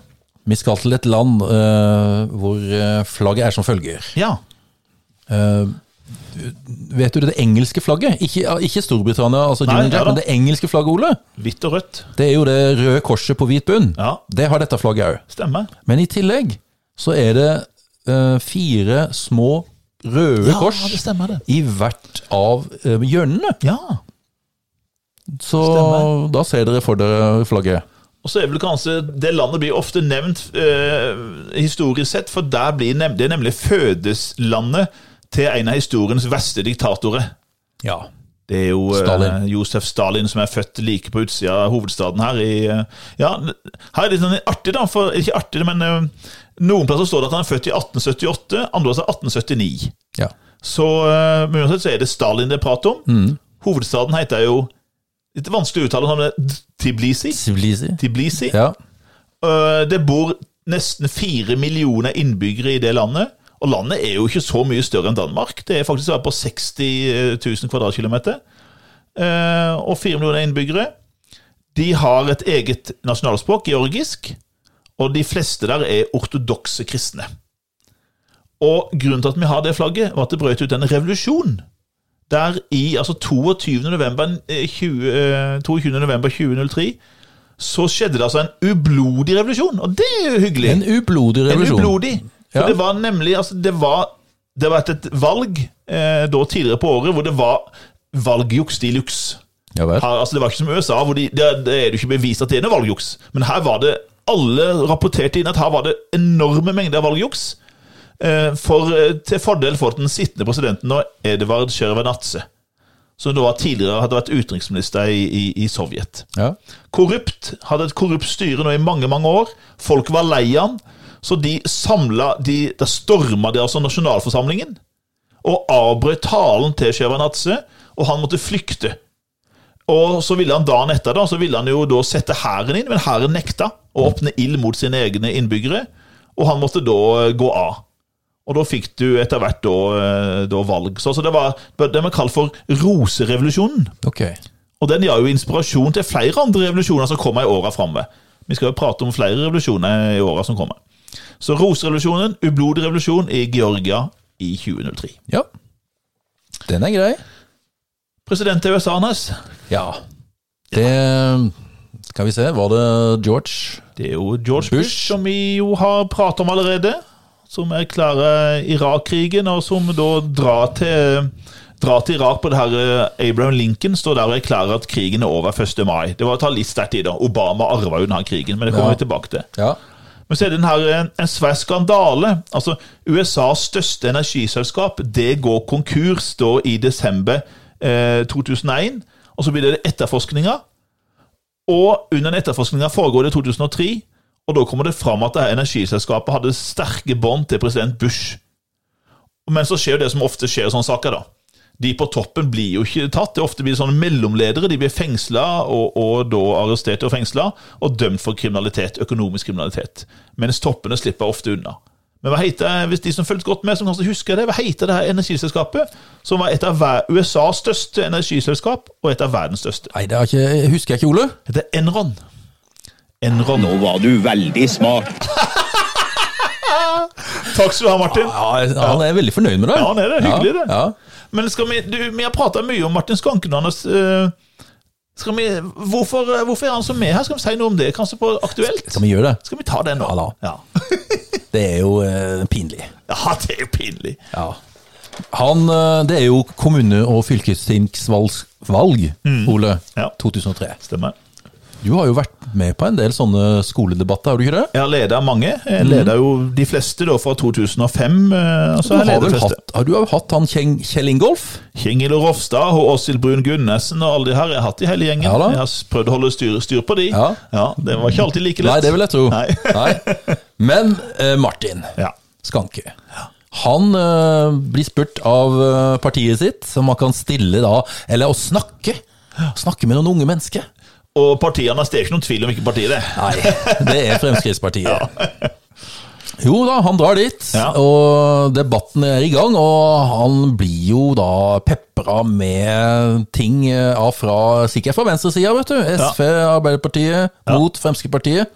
Vi skal til et land eh, hvor eh, flagget er som følger.
Ja.
Eh, vet du det, det engelske flagget? Ikke, ikke Storbritannia, altså
Nei,
Union
ja
Jack,
da.
men det engelske flagget, Ole.
Hvitt og rødt.
Det er jo det røde korset på hvit bunn.
Ja.
Det har dette flagget òg.
Stemmer.
Men i tillegg så er det eh, fire små røde
Ja,
kors
det stemmer det.
i hvert av eh, hjørnene.
Ja.
Så
Stemmer.
da ser dere for dere flagget.
Og så er vel kanskje Det landet blir ofte nevnt eh, historisk sett, for der blir nev- det er nemlig fødeslandet til en av historiens verste diktatorer.
Ja.
Det er jo eh,
Stalin.
Josef Stalin som er født like på utsida av hovedstaden her. I, eh, ja, her er det litt sånn artig, da. For, ikke artig, men eh, noen plasser står det at han er født i 1878, andre plasser 1879.
ja.
Så eh, men uansett så er det Stalin det er prat om. Hovedstaden heter jo Litt vanskelig å uttale, men det er Tbilisi.
Tbilisi.
Tbilisi.
Ja.
Øh, Det bor nesten fire millioner innbyggere i det landet. Og landet er jo ikke så mye større enn Danmark. Det er faktisk bare på 60 000 kvadratkilometer. Eh, Og fire millioner innbyggere. De har et eget nasjonalspråk, georgisk. Og de fleste der er ortodokse kristne. Og grunnen til at vi har det flagget, var at det brøt ut en revolusjon. Der i altså 22. november, eh, 20, eh, 22. november 2003 så skjedde det altså en ublodig revolusjon, og det er jo hyggelig.
En ublodig revolusjon.
En ublodig. For
Ja.
det var nemlig altså, det, var, det var et valg eh, da tidligere på året hvor det var valgjuks de luxe.
Ja vel.
Her, altså, det var ikke som i USA, hvor de, der, der er det jo ikke bevist at det er noe valgjuks. Men her var det Alle rapporterte inn at her var det enorme mengder valgjuks. Eh, for, eh, til fordel for den sittende presidenten nå, Edvard Sjevernadze. Som da var tidligere hadde vært utenriksminister i, i, i Sovjet.
Ja.
Korrupt. Hadde et korrupt styre nå i mange, mange år. Folk var lei han. Så de samla de, Da storma de altså nasjonalforsamlingen. Og avbrøt talen til Sjevernadze, og han måtte flykte. Og så ville han dagen etter da, så ville han jo da sette hæren inn, men hæren nekta å åpne ild mot sine egne innbyggere. Og han måtte da eh, gå av. Og da fikk du etter hvert da, eh, da valg. Så altså, det var det vi kaller for roserevolusjonen.
Ok.
Og den ga jo inspirasjon til flere andre revolusjoner som kommer i åra framover. Vi skal jo prate om flere revolusjoner i åra som kommer. Så roserevolusjonen, ublodig revolusjon i Georgia i 2003.
Ja. Den er grei.
President til USA, Anders.
Ja. Det Skal vi se, var det George?
Det er jo George Bush,
Bush.
som vi jo har pratet om allerede. Som erklærer Irak-krigen, og som da drar til, drar til Irak på det her eh, Abraham Lincoln står der og erklærer at krigen er over 1. mai. Det var å ta litt sterkt i, da. Obama arva jo denne krigen, men det kommer
Ja.
vi tilbake til.
Ja.
Men så er det den her, eh, en, en svær skandale. Altså, USAs største energiselskap det går konkurs da i desember eh, 2001. Og så blir det etterforskninga. Og under den etterforskninga foregår det i 2003. Og da kommer det fram at det her energiselskapet hadde sterke bånd til president Bush. Men så skjer jo det som ofte skjer i sånne saker, da. De på toppen blir jo ikke tatt. Det ofte blir det sånne mellomledere. De blir fengsla, og, og da arrestert og fengsla, og dømt for kriminalitet, økonomisk kriminalitet. Mens toppene slipper ofte unna. Men hva heter, hvis de som fulgte godt med, som kanskje husker det, hva heter det her energiselskapet? Som var et av ver- USAs største energiselskap, og et av verdens største.
Nei, det er ikke, husker jeg ikke, Ole.
Det heter Enron. Enron.
Nå var du veldig smart.
Takk skal du ha, Martin.
Ja, han er veldig fornøyd med det.
Ja, han er det. Hyggelig, det.
Ja.
Men skal vi, du, vi har prata mye om Martin Skanken hans. eh, Skal vi, hvorfor, eh, hvorfor er han så med her? Skal vi si noe om det, kanskje på Aktuelt?
Skal vi gjøre det?
Skal vi ta den nå?
Ja da.
Ja.
Det er jo eh, pinlig.
Ja, det er jo pinlig.
Ja. Han, eh, det er jo kommune- og fylkestingsvalg, valg, Ole,
Mm. Ja.
2003.
Stemmer.
Du har jo vært med på en del sånne skoledebatter, har du ikke det?
Jeg har leda mange. Jeg leda jo de fleste da fra 2005. eh, og
Du
så har jeg
har,
ledet
vel
fleste.
hatt, har du jo hatt han Kjeng, Kjell Ingolf?
Kjengil og Rofstad og Åshild Brun Gunnessen og alle de her. Jeg har hatt de hele gjengen.
Ja da.
jeg har s- prøvd å holde styr, styr på de.
Ja.
Det var ikke alltid like lett.
Nei, det vil jeg tro.
Nei.
Nei. Men eh, Martin
Ja.
Skanke. Han eh, blir spurt av eh, partiet sitt om han kan stille da Eller å snakke. Snakke med noen unge mennesker.
Og partiene altså, det er ikke noen tvil om hvilket parti det er.
Nei, det er Fremskrittspartiet. Jo da, han drar dit,
Ja.
og debatten er i gang. Og han blir jo da pepra med ting eh, av fra, sikkert fra venstresida, vet du. SV, Arbeiderpartiet, mot Fremskrittspartiet.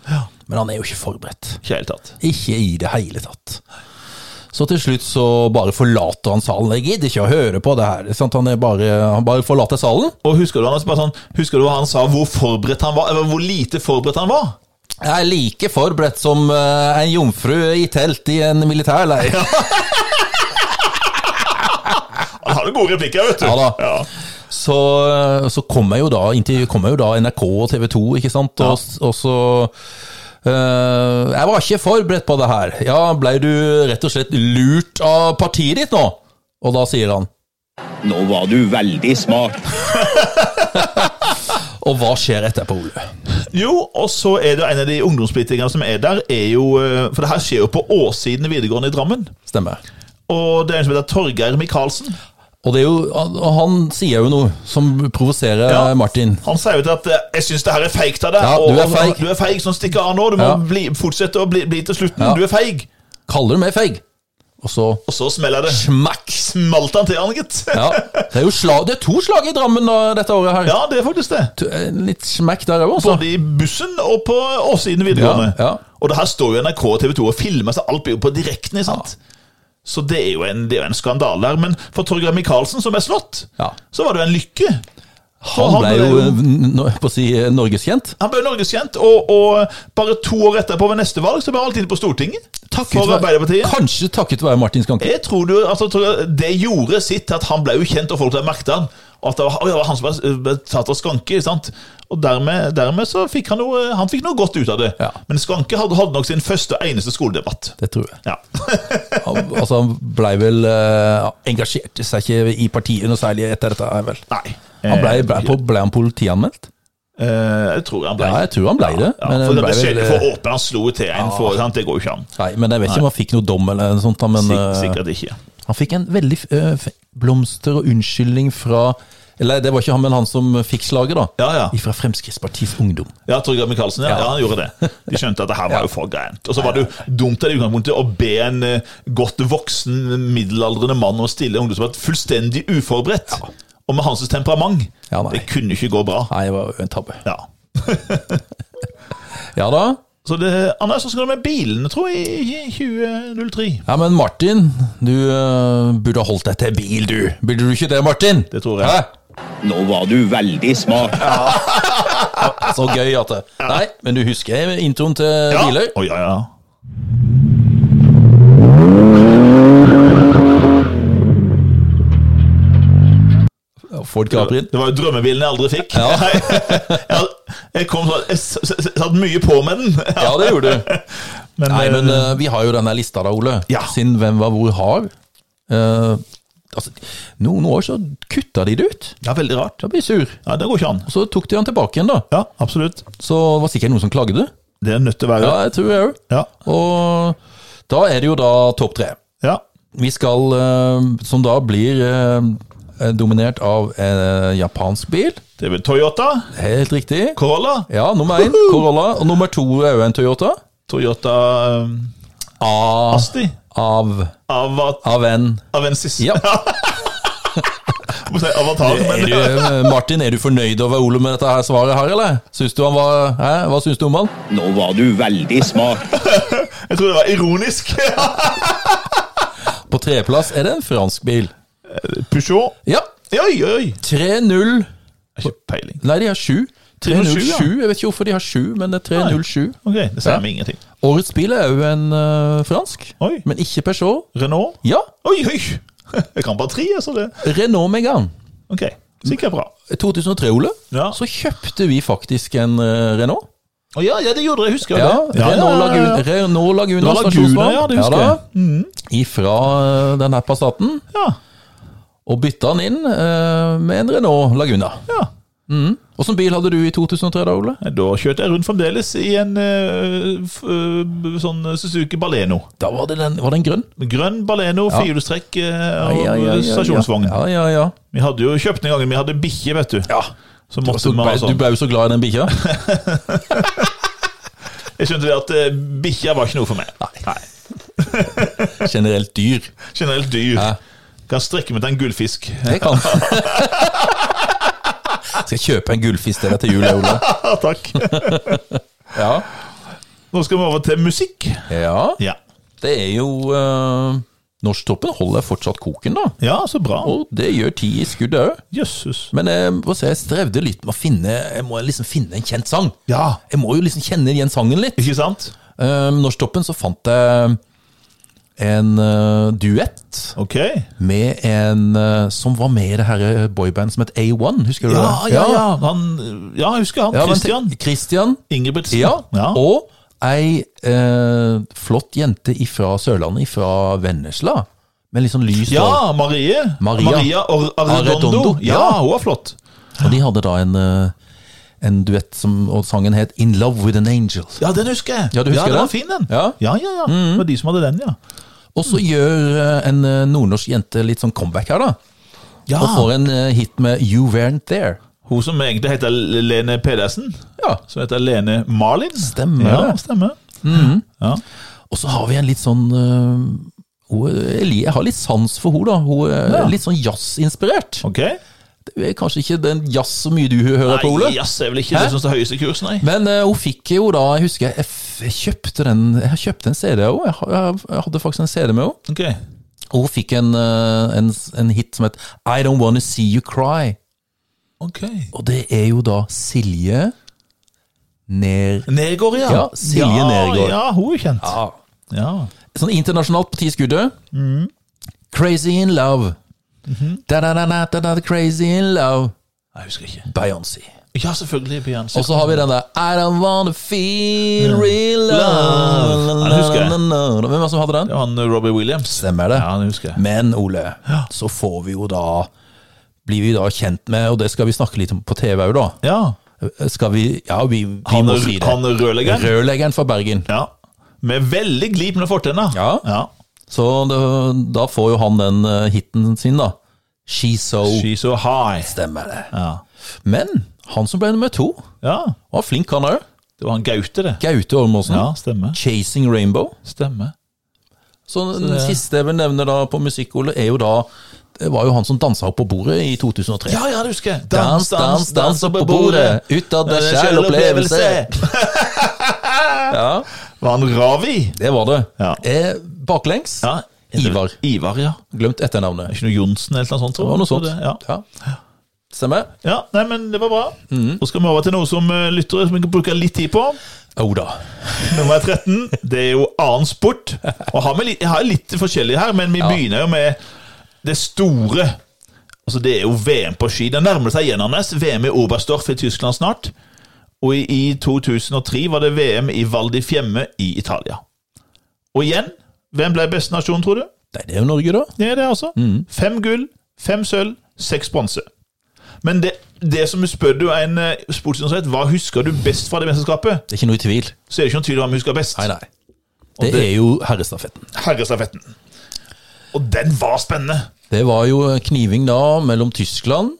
Men han er jo ikke forberedt.
Ikke helt tatt.
Ikke i det hele tatt. Så til slutt så bare forlater han salen. Jeg gidder ikke å høre på det her. Sant? Han, er bare, han bare forlater salen.
Og husker du, han, bare sånn, husker du hva han sa, hvor forberedt han var? Eller hvor lite forberedt han var?
Jeg er like forberedt som eh, en jomfru i telt i en militærleir.
Han hadde gode replikker, vet du.
Ja da. Så, eh, så kommer jo da, inntil, kommer jo da NRK og TV 2, ikke sant? Og, og så eh, Jeg var ikke forberedt på det her. Ja, blei du rett og slett lurt av partiet ditt nå? Og da sier han
Nå var du veldig smart.
Og hva skjer etterpå, Ole?
Jo, og så er det en av de ungdomspolitikerne som er der, er jo eh, For det her skjer jo på Åssiden videregående i Drammen.
Stemmer.
Og det er en som heter Torgeir Micaelsen.
Og det er jo, han, og han sier jo noe som provoserer
Ja.
Martin.
Han sier jo til at eh, 'jeg syns det her er feigt av deg'.
Ja,
og-
du er
og-
feig.
Du er feig, sånn stikker av nå. Du må
Ja.
bli, fortsette å bli, bli til slutten.
Ja.
Du er feig.
Kaller du meg feig? Og så
Og så smeller det.
smakk!
Smalt han til han, gitt. Ja.
Ja. Det er jo slag, det er to slag i Drammen da, dette året her.
det er faktisk det.
To- eh, Litt smekk der òg, altså.
Både i bussen og på Åssiden videregående.
Ja, ja.
Og det her står jo NRK og TV 2 og filmer, så alt blir jo på direkten. ikke sant? Så det er, jo en, det er jo en skandale der. Men for Torgeir Micaelsen, som er slått,
Ja.
så var det jo en lykke. For
Han ble jo n- n- på å si eh, norgeskjent.
Han ble norgeskjent, og, og bare to år etterpå ved neste valg så ble han alltid inne på Stortinget.
Takket
for
være-
Arbeiderpartiet.
Kanskje takket være Martin Skanke.
Jeg tror du, altså, tror jeg Det gjorde sitt til at han ble jo kjent, og folk ble merket han. Og at det var, å, det var han som ble, ble tatt av Skanke. sant? Og dermed, dermed så fikk han noe, han fikk noe godt ut av det.
Ja.
Men Skanke hadde, hadde nok sin første og eneste skoledebatt.
Det tror jeg.
Ja.
Han, altså, han blei vel eh, engasjerte seg ikke i partiet noe særlig etter dette, her, vel.
Nei.
Han ble,
Eh,
ble, på- ble han politianmeldt?
eh, jeg tror han ble
Ja, jeg tror han ble det.
Ja,
men
for
han
det
ble vel,
skjedde
eh,
for åpen, han slo til en for sant? Det går jo ikke an.
Nei, men jeg vet ikke om han fikk noe dom eller noe sånt, da, men
Sik
eh,
sikkert ikke.
han fikk en veldig eh, f- blomster og unnskyldning fra Eller det var ikke han, men han som fikk slaget, da.
Ja, ja.
Fra Fremskrittspartiets Ungdom.
Ja, Torgeir Micaelsen, ja. ja, han gjorde det. De skjønte at det her var jo for gærent. Og så var det jo dumt av det utgangspunktet å be en eh, godt voksen, middelaldrende mann å stille ungdom som var fullstendig uforberedt. Og med hans temperament.
Ja, nei.
det kunne ikke gå bra.
Nei, det var jo en tabbe.
Ja.
Ja da.
Så det, Anders, hvordan går det med bilene, tror jeg, i 2003?
Ja, men Martin, du eh, burde ha holdt deg til bil, du. Burde du ikke det, Martin?
Det tror jeg.
Nå var du veldig smart.
Hæ? Så gøy at det Nei, men du husker introen til
Ja.
Biløy?
Å, ja, ja.
Ford Caprin.
Det var jo drømmebilen jeg aldri fikk.
Ja.
jeg, jeg kom sånn, jeg s- s- s- satt mye på med den.
Ja, det gjorde du.
Men,
Nei, men
eh,
eh, vi har jo denne lista da, Ole.
Ja.
Siden Hvem var hvor har. Eh, altså, noen år så kutta de det ut.
ja, veldig rart.
Da ble jeg sur.
Ja, Det går ikke an.
Og så tok de han tilbake igjen, da.
Ja, absolutt.
Så var det sikkert noen som klagde.
Det er nødt til å være.
Ja, jeg tror jeg òg.
Ja.
Og da er det jo da topp tre.
ja.
Vi skal eh, Som da blir eh, dominert av en japansk bil.
Det er vel Toyota,
Helt riktig.
Corolla,
Ja, nummer én Corolla. Og nummer to er jo en Toyota.
Toyota um,
A,
Asti,
av
Avat
Av en
Avensis
Ja.
Jeg må si Avatar,
Er
men
du, eh, Martin, er du fornøyd over Ole med dette her svaret her, eller? Syns du han var hæ? Hva syns du om han?
Nå var du veldig smart.
jeg tror det var ironisk.
På tredjeplass er det en fransk bil.
Peugeot.
Ja.
Oi, oi, oi.
3-0
Jeg har ikke peiling.
Nei, de har sju.
307, ja.
307, Jeg vet ikke hvorfor de har sju, men det er 307.
Ok, Det sier
Ja.
meg ingenting.
Årets bil er jo en eh, fransk,
Oi.
men ikke Peugeot.
Renault.
Ja,
Oi, oi. Jeg kan bare tre, altså. det.
Renault Megane.
Ok. Sikkert bra.
2003, Ole,
Ja.
så kjøpte vi faktisk en eh, Renault.
Å ja, ja, det gjorde det, jeg husker
Ja,
det. Ja,
Renault
ja, ja, ja.
Laguna, Renault Laguna,
Laguna,
stasjonsvogn.
ja, det husker
da.
jeg. Mm.
Ifra eh, den her Passaten,
Ja,
og bytta den inn eh, med en Renault Laguna.
ja.
Åssen bil hadde du i 2003 da, Ole?
Da kjørte jeg rundt fremdeles i en eh, f- eh, sånn Suzuki Baleno.
Da var, det den, var den grønn?
Grønn Baleno, firehjulstrekk eh, og
Ja, ja, ja, ja.
stasjonsvogn.
Ja, ja, ja.
Vi hadde jo kjøpt den gangen vi hadde bikkje, vet du.
ja.
Så måtte
Så
vi ha
ble, du
sånn.
ble jo så glad i den bikkja.
Jeg skjønte det at eh, bikkja var ikke noe for meg. Nei.
Generelt dyr.
Generelt dyr.
Hæ?
Kan strekke meg til en gullfisk.
Det kan Skal jeg kjøpe en gullfisk til deg til jul, Ole?
Takk.
Ja.
Nå skal vi over til musikk.
ja.
Ja,
Det er jo eh, Norsktoppen holder fortsatt koken, da.
ja så bra.
Og det gjør ti i skuddet òg.
Jøsses.
Men jeg, må si, jeg strevde litt med å finne Jeg må liksom finne en kjent sang.
Ja.
Jeg må jo liksom kjenne igjen sangen litt.
Ikke sant?
Eh, Norsktoppen så fant jeg en eh, duett
Ok.
med en eh, som var med i det her boybandet som het A1. Husker du
Ja,
det?
ja, ja. Han, ja, jeg husker han.
Ja, men te-
Christian
Christian,
Ingebrigtsen.
ja.
ja.
Og ei eh, flott jente fra Sørlandet, fra Vennesla. Med litt sånn lys hår.
Ja, Marie.
Maria.
Or Arredondo.
Arredondo,
Ja,
ja.
hun var flott.
Og de hadde da en, eh, en duett som, og sangen het In Love With An Angel.
Ja, den husker jeg.
Ja, du husker
ja, den var
den?
fin, den.
Ja. Mm.
ja, ja. ja. Det var de som hadde den, ja.
Og så gjør eh, en eh, nordnorsk jente litt sånn comeback her, da.
ja.
Og får en eh, hit med You Weren't There.
Hun som egentlig heter Lene Pedersen,
Ja.
som heter Lene Marlin.
Stemmer
Ja,
det.
stemmer. Ja.
Og så har vi en litt sånn eh, hun, Eli- Jeg har litt sans for henne, da. Hun er
Ja.
litt sånn jazzinspirert.
Ok.
Det er Kanskje ikke den jazz så mye du hører på, Ole.
Nei, jazz er vel ikke det som står høyeste kurs, nei.
Men eh, hun fikk jo da Jeg husker jeg, f- jeg kjøpte den Jeg kjøpte en CD av henne. Jeg, har- jeg, jeg hadde faktisk en CD med henne.
Ok.
Og hun fikk en, eh, en, s- en hit som het I Don't Wanna See You Cry.
Ok.
Og det er jo da Silje Ner...
Nergård, ja.
Ja, Silje
ja,
Nergård.
Ja, hun er kjent.
Ja.
Ja.
Sånn internasjonalt på ti skuddet.
Mm.
Crazy in love.
Mhm.
Da-da-da-da-da-da, crazy in love.
Jeg husker ikke.
Beyoncé.
Ja, selvfølgelig Beyoncé.
Og så har vi den der I don't wanna feel real love.
Love. Ja, den husker jeg.
Na-na-na-na. Hvem var det som hadde den?
Det var han eh, Robbie Williams.
Stemmer det.
Ja, det husker jeg.
Men Ole, så får vi jo da blir vi da kjent med, og det skal vi snakke litt om på TV òg, da.
Ja.
Skal vi Ja, vi, vi
Han,
må
er-
si det.
han er rødleggeren.
Rørleggeren fra Bergen.
Ja. Med veldig glipende fortenner.
Ja.
ja.
Så det, da får jo han den eh, hiten sin, da. She's So.
She's so high.
Stemmer det.
Ja.
Men han som ble nummer to,
ja.
var flink, han òg.
Det var han Gaute, det.
Gaute Ormåsen.
Ja, stemmer.
Chasing Rainbow.
Stemmer.
Så den siste jeg vil nevne da på musikk-Ole, er jo da Det var jo han som dansa opp på bordet i 2003.
Ja, ja, det husker jeg.
Dans, dans, dans opp på bordet. Ut av deg sjæl opplevelse. Ja,
Var han Ravi?
det var det.
Ja.
Eh, baklengs. Ivar.
Ivar, ja.
Glemt etternavnet.
Ikke noe Johnsen eller noe sånt? tror
Det var noe
jeg.
sånt.
Ja.
Ja. Stemmer.
ja, nei, men det var bra.
Mhm.
Nå skal vi over til noe som eh, lyttere som vi kan bruke litt tid på.
Oh da.
Nummer 13, det er jo annen sport. Og har vi litt, jeg har litt forskjellig her, men vi begynner jo med det store. Altså Det er jo VM på ski. Det nærmer seg igjen, Anders. VM i Oberstdorf i Tyskland snart. Og i, i 2003 var det VM i Val di Fiemme i Italia. Og igjen, hvem ble beste nasjon, tror du?
Nei, det er jo Norge, da.
Det er det, altså. Fem gull, fem sølv, seks bronse. Men det, det som vi spør du en eh, sportsinteressert, hva husker du best fra det mesterskapet,
Det er ikke noe i tvil.
så er det ikke noen tvil om hvem vi husker best.
Nei, nei. Det,
det-
er jo herrestafetten.
herrestafetten. Og den var spennende!
Det var jo kniving da mellom Tyskland,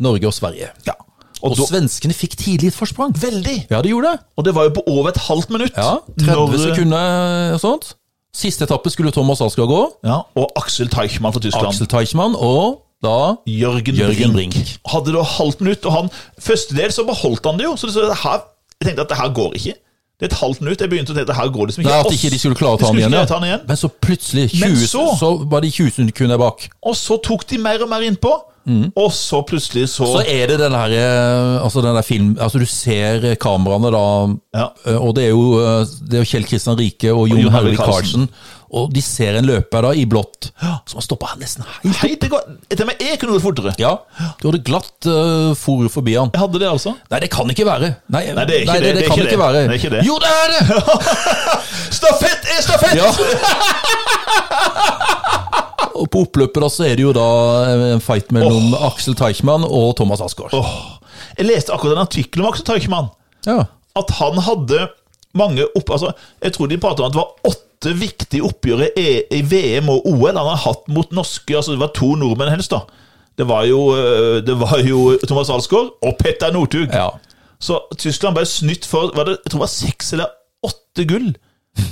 Norge og Sverige.
Ja. Og,
Og
da,
svenskene fikk tidlig et forsprang.
veldig!
Ja, de gjorde det.
Og det var jo på over et halvt minutt.
Ja, 30
Når-
sekunder og sånt. Siste etappe skulle Thomas Alsgaard gå.
Ja, og Aksel Teichmann for Tyskland.
Aksel Teichmann og da
Jørgen,
Jørgen
Brink.
Brink.
Hadde da halvt minutt, og han Første del så beholdt han det jo, så, det, så det her, jeg tenkte at det her går ikke. Det er et halvt minutt. Jeg begynte å tenke at det her går liksom
Det
ikke.
er at
Og
ikke de
s-
skulle klare å ta han
skulle
igjen.
ikke
ja.
klare å ta han igjen.
Men så plutselig, 20,
Men
så,
så-
var de 20 sekunder bak.
Og så tok de mer og mer innpå, og så plutselig så,
Mm. Så er det den her, eh, altså den der film, altså du ser eh, kameraene da,
Ja.
eh, og det er jo, eh, det er jo Kjell Kristian Rike og Jon
Jon
Hervik
Hervik Karlsen.
Karlsen, og de ser en løper da i blått som har stoppa nesten helt.
Hei, det går Til og med jeg kunne gått fortere.
Ja, du hadde glatt uh, for forbi han.
Jeg hadde det, altså.
Nei, det kan ikke være. Nei,
Nei, det er ikke det, det er
kan
ikke det.
være.
Det er ikke det.
Jo, det er det!
Stafett er stafett!
Ja. Og på oppløpet da, så er det jo da eh, en fight mellom Aksel Teichmann og Thomas Asgaard.
Åh, jeg leste akkurat en artikkel om Aksel Teichmann.
Ja.
At han hadde mange opp... Altså, jeg tror de pratet om at det var åtte viktige oppgjør i E- i VM og OL han har hatt mot norske Altså, det var to nordmenn helst, da. Det var jo, øh, det var jo Thomas Alsgaard og Petter Northug.
ja.
Så Tyskland ble snytt for var det, Jeg tror det var seks eller åtte gull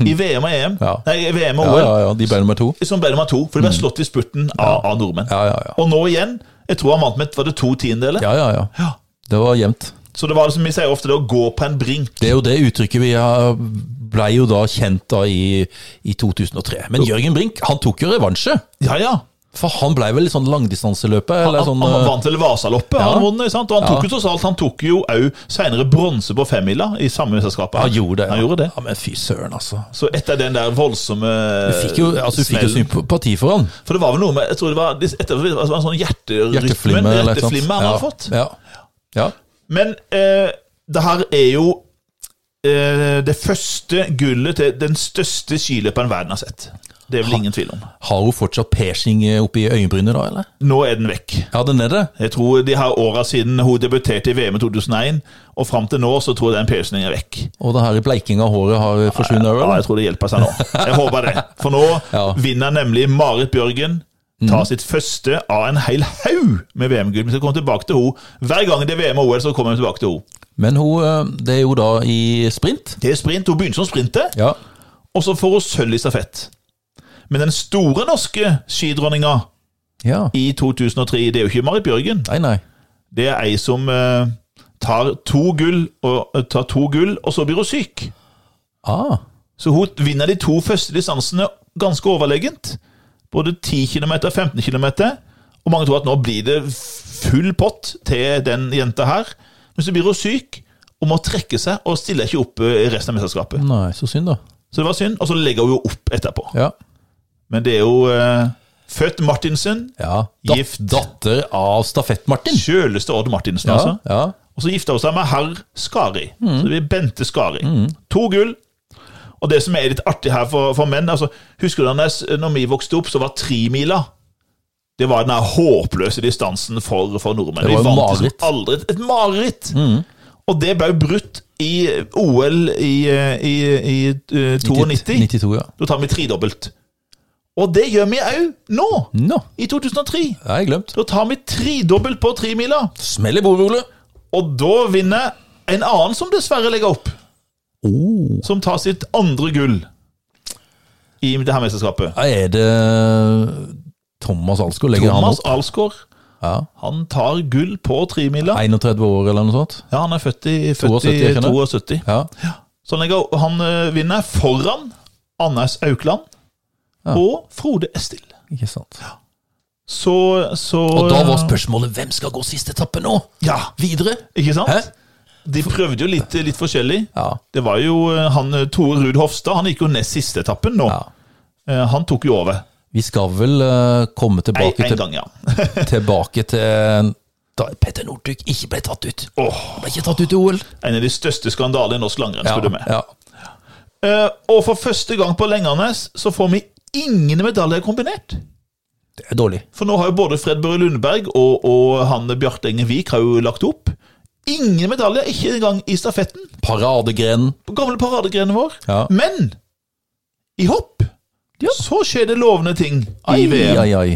i VM og EM.
Ja.
Nei, i VM og
Ja,
OL.
ja, ja, de ble nummer to.
Som ble nummer to, for de ble slått i spurten av, av nordmenn.
Ja, ja, ja.
Og nå igjen. Jeg tror han vant med var det to tiendedeler.
Ja, ja, ja.
Ja.
Det var jevnt.
Så det var det som vi sier ofte, det å gå på en brink.
Det er jo det uttrykket vi har- ble jo da kjent da i, i 2003. Men Jørgen Brink han tok jo revansje.
Ja, ja.
For han ble vel litt sånn langdistanseløpet?
Han,
Eller sånn,
han
eh,
vant vel Vasaloppet,
Ja.
han vant, ikke sant? Og han
Ja.
tok jo tross alt, han tok jo òg seinere bronse på femmila i samme selskapet.
han gjorde det.
Han gjorde det.
Ja, Men fy søren, altså.
Så etter den der voldsomme
Du fikk jo, altså, du fikk jo
smellen.
sympati for han.
For det var vel noe med Jeg tror det var, etter, det var en sånn hjerterytme,
Hjerteflimmer eller et eller annet.
hjerteflimmer han
ja.
hadde fått.
Ja. ja.
Men eh, det her er jo eh, det første gullet til den største skiløperen verden har sett. Det er vel ingen tvil om.
Har hun fortsatt persing eh, oppi øyenbrynet da, eller?
Nå er den vekk.
Ja, den er det.
Jeg tror de her åra siden hun debuterte i VM i 2001, og fram til nå, så tror jeg den piercingen er vekk.
Og det her i bleiking av håret har forsvunnet over,
Ja,
eller?
jeg tror det hjelper seg nå. Jeg håper det. For nå
Ja. Mhm.
vinner nemlig Marit Bjørgen. Ta sitt første av en hel haug med VM-gull. Vi skal komme tilbake til henne. Hver gang det er VM og OL, så kommer vi tilbake til henne.
Men hun, eh, det er jo da i sprint.
Det er sprint. Hun begynte som sprinter,
Ja.
og så får hun sølv i stafett. Men den store norske skidronninga
ja.
i 2003, det er jo ikke Marit Bjørgen.
Nei, nei.
Det er ei som eh, tar, to gull, og, eh, tar to gull, og så blir hun syk.
Ah,
Så hun vinner de to første distansene ganske overlegent. Både 10 km og 15 km. Og mange tror at nå blir det full pott til den jenta her. Men så blir hun syk og må trekke seg og stiller ikke opp eh, i resten av mesterskapet.
nei, så synd da.
Så det var synd, og så legger hun jo opp etterpå.
Ja.
Men det er jo eh, født Martinsen.
ja. Dat
Gift.
Datter av stafett-Martin.
Sjøleste Odd Martinsen,
Ja,
altså.
ja.
Og så gifta hun seg med herr Skari.
Mm.
Så det blir Bente Skari. To gull. Og det som er litt artig her for, for menn altså, Husker du Anders, når vi vokste opp, så var tremila Det var den her håpløse distansen for, for nordmenn.
Det var jo
Vi vant
mareritt. Mm.
liksom Aldri, et mareritt! Og det ble jo brutt i OL i, i, i, eh, 92.
92, ja.
Da tar vi tredobbelt. Og det gjør vi òg nå,
Nå,
i 2003.
det har jeg glemt.
Da tar vi tredobbelt på tremila.
Smell i bordet, Ole.
Og da vinner en annen som dessverre legger opp,
Oh.
som tar sitt andre gull i det her mesterskapet.
Er det Thomas Alsko? Legger
Thomas
han opp?
Alsgaard.
Ja.
Han tar gull på tremila.
31 år eller noe sånt?
Ja, han er født i født
72,
i
jeg kjenner.
72.
Ja.
Så han, legger, han eh, vinner foran Anders Aukland og Frode Estil.
Ikke sant.
Så, så
Og eh, da var spørsmålet hvem skal gå siste etappe nå?
Ja,
Videre?
ikke sant?
Hæ?
De prøvde jo litt, litt forskjellig.
Ja.
Det var jo eh, han eh, Tore Ruud Hofstad. Han gikk jo ned siste etappen nå.
ja.
Eh, Han tok jo over.
Vi skal vel eh, komme
En,
tilbake
en
til,
gang, ja.
tilbake til da Petter Northug ikke ble tatt ut. Han
Åh,
ble ikke tatt ut i OL.
en av de største skandalene i norsk langrenn,
Ja,
spør du meg.
ja.
Eh, og for første gang på Lengernes så får vi ingen medaljer kombinert.
Det er dårlig.
For nå har jo både Fred Børre Lundberg og, og han Bjarte Engen Wiik har jo lagt opp. Ingen medaljer, ikke engang i stafetten,
Paradegrenen.
på gamle paradegrenen vår.
Ja.
Men i hopp så skjer det lovende ting i VM.
ai, ai.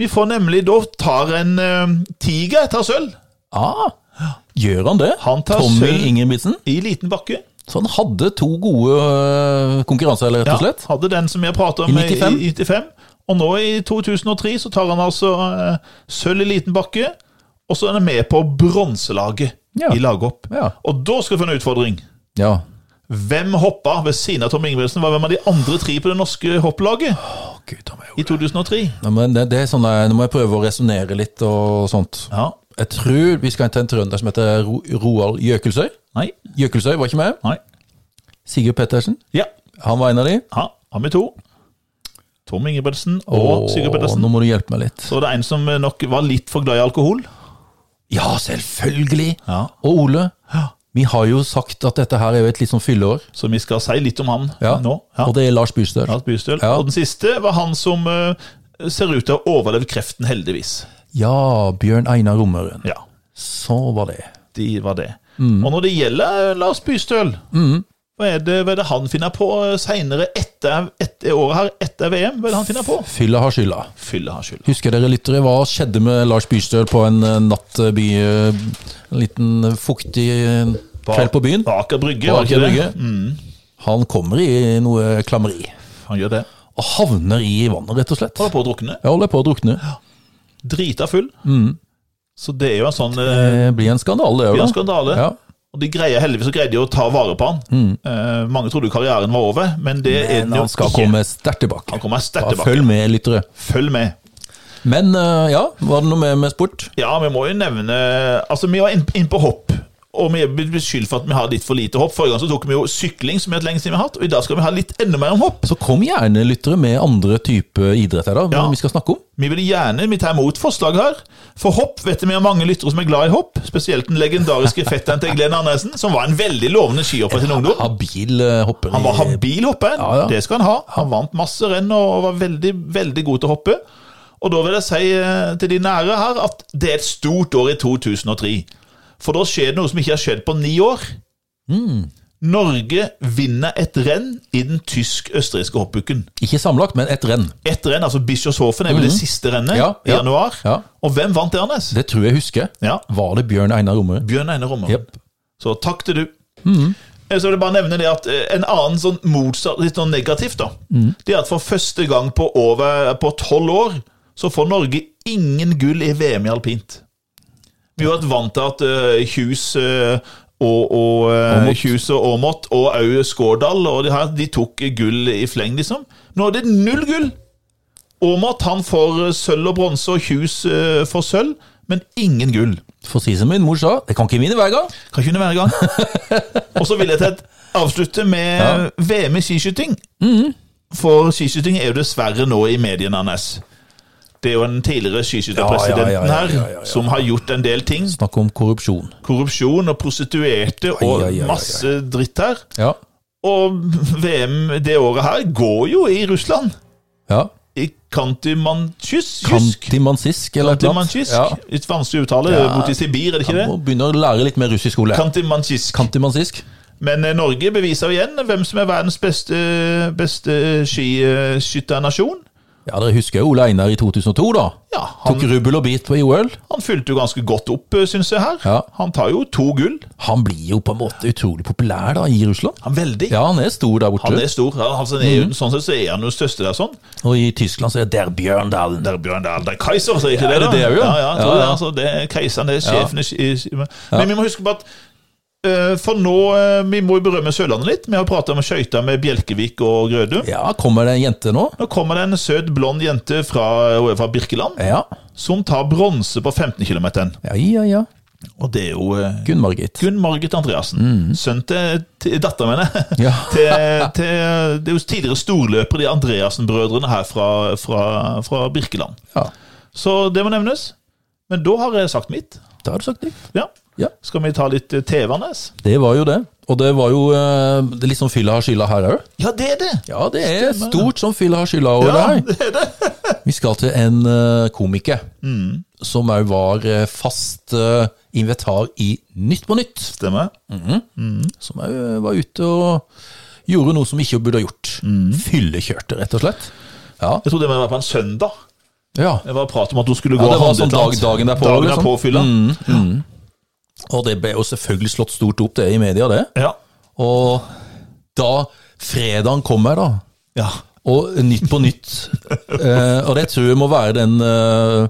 Vi får nemlig da tar en eh, Tiger tar sølv
Ah, gjør han det?
Han tar
Tommy
sølv.
Ingebrigtsen.
i liten bakke.
Så han hadde to gode øh, konkurranser, rett og slett.
hadde den som vi har pratet om
I
i
95.
95. i 95. Og nå i 2003 så tar han altså eh, sølv i liten bakke, og så er han med på bronselaget
Ja.
i laghopp.
Ja.
Og da skal vi få en utfordring.
Ja.
Hvem hoppa ved siden av Tom Ingebrigtsen? Var hvem av de andre tre på det norske hopplaget
Å, Gud, da må jeg jo-
i 2003?
Nei, men det, det er sånn der, Nå må jeg prøve å resonnere litt og sånt.
Ja.
Jeg tror vi skal til en trønder som heter Ro Roald Jøkelsøy.
Nei.
Jøkelsøy var ikke med.
Nei.
Sigurd Pettersen.
Ja.
Han var en av de.
Ha, har vi to? Tom Ingebrigtsen og Sigurd Pedersen.
Nå må du hjelpe meg litt.
Så det er en som nok var litt for glad i alkohol.
Ja, selvfølgelig!
Ja.
Og Ole,
Ja.
vi har jo sagt at dette her er jo et litt sånn fylleår.
Så vi skal si litt om han
Ja.
nå. Ja.
Og det er Lars Bystøl.
Lars Bystøl.
Ja.
Og den siste var han som eh, ser ut til å ha overlevd kreften, heldigvis.
Ja, Bjørn Einar Romøren.
Ja,
Så var det.
de var det.
Mm.
Og når det gjelder eh, Lars Bystøl, hva, er det, hva er det han finner på seinere etter, etter året her, etter VM? Hva er det han finner på?
Fylla har skylda.
Fylle har skyld.
Husker dere lyttere hva skjedde med Lars Bystøl på en eh, natt eh, by, eh, en liten eh, fuktig eh, kveld på byen?
På Aker Brygge,
På
var det
Aker
ikke
Brygge.
det? Mm.
Han kommer i noe klammeri.
Han gjør det.
Og havner i vannet, rett og slett.
Holder på å drukne.
Jeg holder på å drukne.
Drita full. Så det er jo en sånn eh,
Det blir en skandale,
Det
det
blir en
òg.
skandale.
Mm. Ja. Mm.
Og de greier heldigvis så greide de å ta vare på han. Eh, mange trodde karrieren var over, men det er den
Men
jo
han skal
ikke.
komme sterkt tilbake.
Han kommer sterkt
Ja,
tilbake.
Følg med, lyttere.
Følg med.
Men eh, ja, var det noe mer med sport?
Ja, vi må jo nevne Altså, vi var inne inn på hopp. Og vi er blitt beskyldt for at vi har litt for lite hopp. Forrige gang så tok vi jo sykling, som er et lenge siden vi har hatt, og i dag skal vi ha litt enda mer om hopp.
Så kom gjerne, lyttere, med andre typer idretter da,
Ja.
vi skal snakke om.
Vi vil gjerne vi tar imot forslag her. For hopp vet vi har mange lyttere som er glad i hopp. Spesielt den legendariske fetteren til Glenn Andersen, som var en veldig lovende skihopper i sin ungdom.
Habil eh, hopper.
Han var habil hopper,
Ja, ja.
det skal han ha. Han vant masse renn og var veldig, veldig god til å hoppe. Og da vil jeg si eh, til de nære her at det er et stort år i 2003. For da skjer det noe som ikke har skjedd på ni år.
Mm.
Norge vinner et renn i den tysk-østerrikske hoppuken.
Ikke sammenlagt, men et renn.
Et renn, altså Bischofshofen, er vel det siste rennet
Mhm. Ja,
i
ja,
januar.
ja.
Og hvem vant det, Anders?
Det tror jeg husker.
Ja,
Var det Bjørn Einar Romøren?
Bjørn Einar Rommer.
Jep. Mm.
Så takk til du. Eh, Så vil jeg bare nevne det at eh, En annen sånn motsatt, litt sånn negativt, da,
Mm.
det er at for første gang på over på tolv år så får Norge ingen gull i VM i alpint. Vi har vært vant til at eh, Hus eh, og, og, eh,
Aamodt.
Hus og Aamodt og òg Skårdal og de, her, de tok gull i fleng, liksom. Nå er det null gull! Aamodt han får eh, sølv og bronse, og Hus eh, får sølv, men ingen gull.
For å si som min mor sa, jeg kan ikke vinne hver gang.
Kan ikke være i gang. Og så vil jeg til et avslutte med VM i skiskyting.
Mhm.
For skiskyting er jo dessverre nå i mediene hans. Det er jo den tidligere skiskytterpresidenten
Ja, ja, ja, ja, ja, ja, ja.
her som har gjort en del ting.
Snakk om korrupsjon.
Korrupsjon og prostituerte og
Ai, ai, ai, ai, ai.
masse dritt her.
Ja.
Og VM det året her går jo i Russland.
ja.
I Kantimantysk.
Kantimansisk eller et eller annet.
Kantimantysk. Litt vanskelig å uttale.
Ja.
Borti Sibir, er det
Ja.
ikke det?
Jeg må begynne å lære litt mer russisk skole.
Kantimantysk.
Kantimansisk.
Men eh, Norge beviser jo igjen hvem som er verdens beste, eh, beste eh, skiskytternasjon.
Ja, dere husker jo Ole Einar i 2002, da.
Ja,
Tok
han,
rubbel og bit på OL.
han fulgte jo ganske godt opp, eh, synes jeg her.
Ja.
Han tar jo to gull.
Han blir jo på en måte utrolig populær da i Russland.
Han er veldig.
Ja, Mhm. han er stor der borte.
Han er stor. Han- Altså, han er, jo- Sånn sett så er han jo største der sånn.
Og i Tyskland så er Der Bjørndalen.
Der Bjørn Dahl, der Keiser, så er ikke
Ja,
det
er det det
da?
jo?
Ja, ja, jeg tror
Ja,
det,
ja.
altså, det er keiseren, det er sjefen i ski- i ski- Men men vi må huske på at eh, for nå, eh, Vi må jo berømme Sørlandet litt. Vi har prata med skøyta med Bjelkevik og Grødum.
Ja, kommer det en jente nå?
Nå kommer det en søt, blond jente fra, fra Birkeland.
Ja.
som tar bronse på 15 km.
Ja, ja, ja.
Og det er jo eh,
Gunn Margit.
Gunn Margit Andreassen. Sønn til, til datter, mener jeg.
Mm. Ja.
til, til, det er jo tidligere storløpere, de Andreassen-brødrene her fra, fra, fra Birkeland.
ja.
Så det må nevnes. Men da har jeg sagt mitt.
Da har du sagt det.
Ja.
Ja.
Skal vi ta litt eh, TV-Anders?
Det var jo det. Og det var jo eh, det er litt sånn fylla har skylda her òg.
Ja, det er det!
Ja, det er stort som fylla har skylda over
Ja,
det her. Vi skal til en eh, komiker som òg var eh, fast eh, invitar i Nytt på Nytt.
Stemmer.
Som òg var ute og gjorde noe som ikke burde ha gjort. Fyllekjørte, rett og slett. Ja.
Jeg trodde det var på en søndag.
ja.
Det var prat om at hun skulle gå
Ja, det var
og handle
sånn
et eller annet.
dag- dagen derpå,
Dagen
liksom.
derpå fylla.
Og det ble jo selvfølgelig slått stort opp, det i media, det.
Ja.
Og da fredagen kommer, da,
ja.
og Nytt på Nytt eh, Og det tror jeg må være den eh,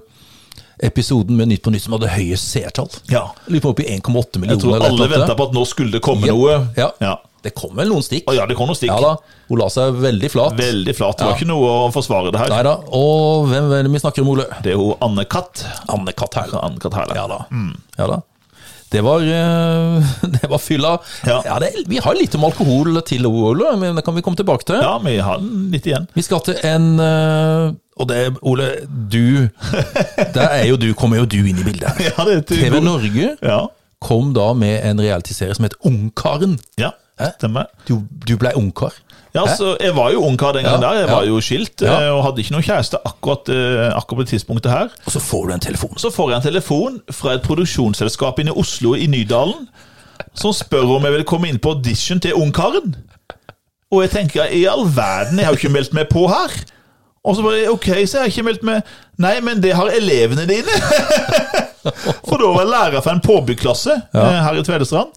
episoden med Nytt på Nytt som hadde høyest seertall.
ja.
Lurer på oppi 1,8 millioner.
Jeg tror
eller et
alle
eller annet.
venta på at nå skulle det komme
Ja.
noe.
Ja.
Ja.
Det kom vel noen stikk.
Å ja, det kom noe stikk.
Ja da. Hun la seg veldig flat.
Veldig flat. Det var
Ja.
ikke noe å forsvare det her.
Nei da. Og hvem er det vi snakker om, Ole?
Det er jo Anne Katt.
Anne-Kat. Herland.
Anne Katt her,
Ja da. Ja da. Det var, eh, det var fylla.
Ja.
Ja, det, vi har litt om alkohol til Ole, men det kan vi komme tilbake til.
Ja, vi har den litt igjen.
Vi skal til en eh, Og det, Ole, du Der er jo du, kommer jo du inn i bildet.
Ja, det er til-
TV Norge
Ja,
kom da med en realityserie som het Ungkaren.
ja
Hæ?
stemmer.
Du, du blei ungkar.
Ja, altså, jeg var jo ungkar den gangen
Ja,
der. Jeg
ja.
var jo skilt
Ja.
eh, og hadde ikke noen kjæreste akkurat, eh, akkurat på det tidspunktet her.
Og så får du en telefon.
Så får jeg en telefon fra et produksjonsselskap inne i Oslo i Nydalen som spør om jeg vil komme inn på audition til Ungkaren. Og jeg tenker i all verden, jeg har jo ikke meldt meg på her. Og så bare OK, så jeg har ikke meldt meg Nei, men det har elevene dine! For da var jeg lærer for en påbyggklasse eh, her i Tvedestrand.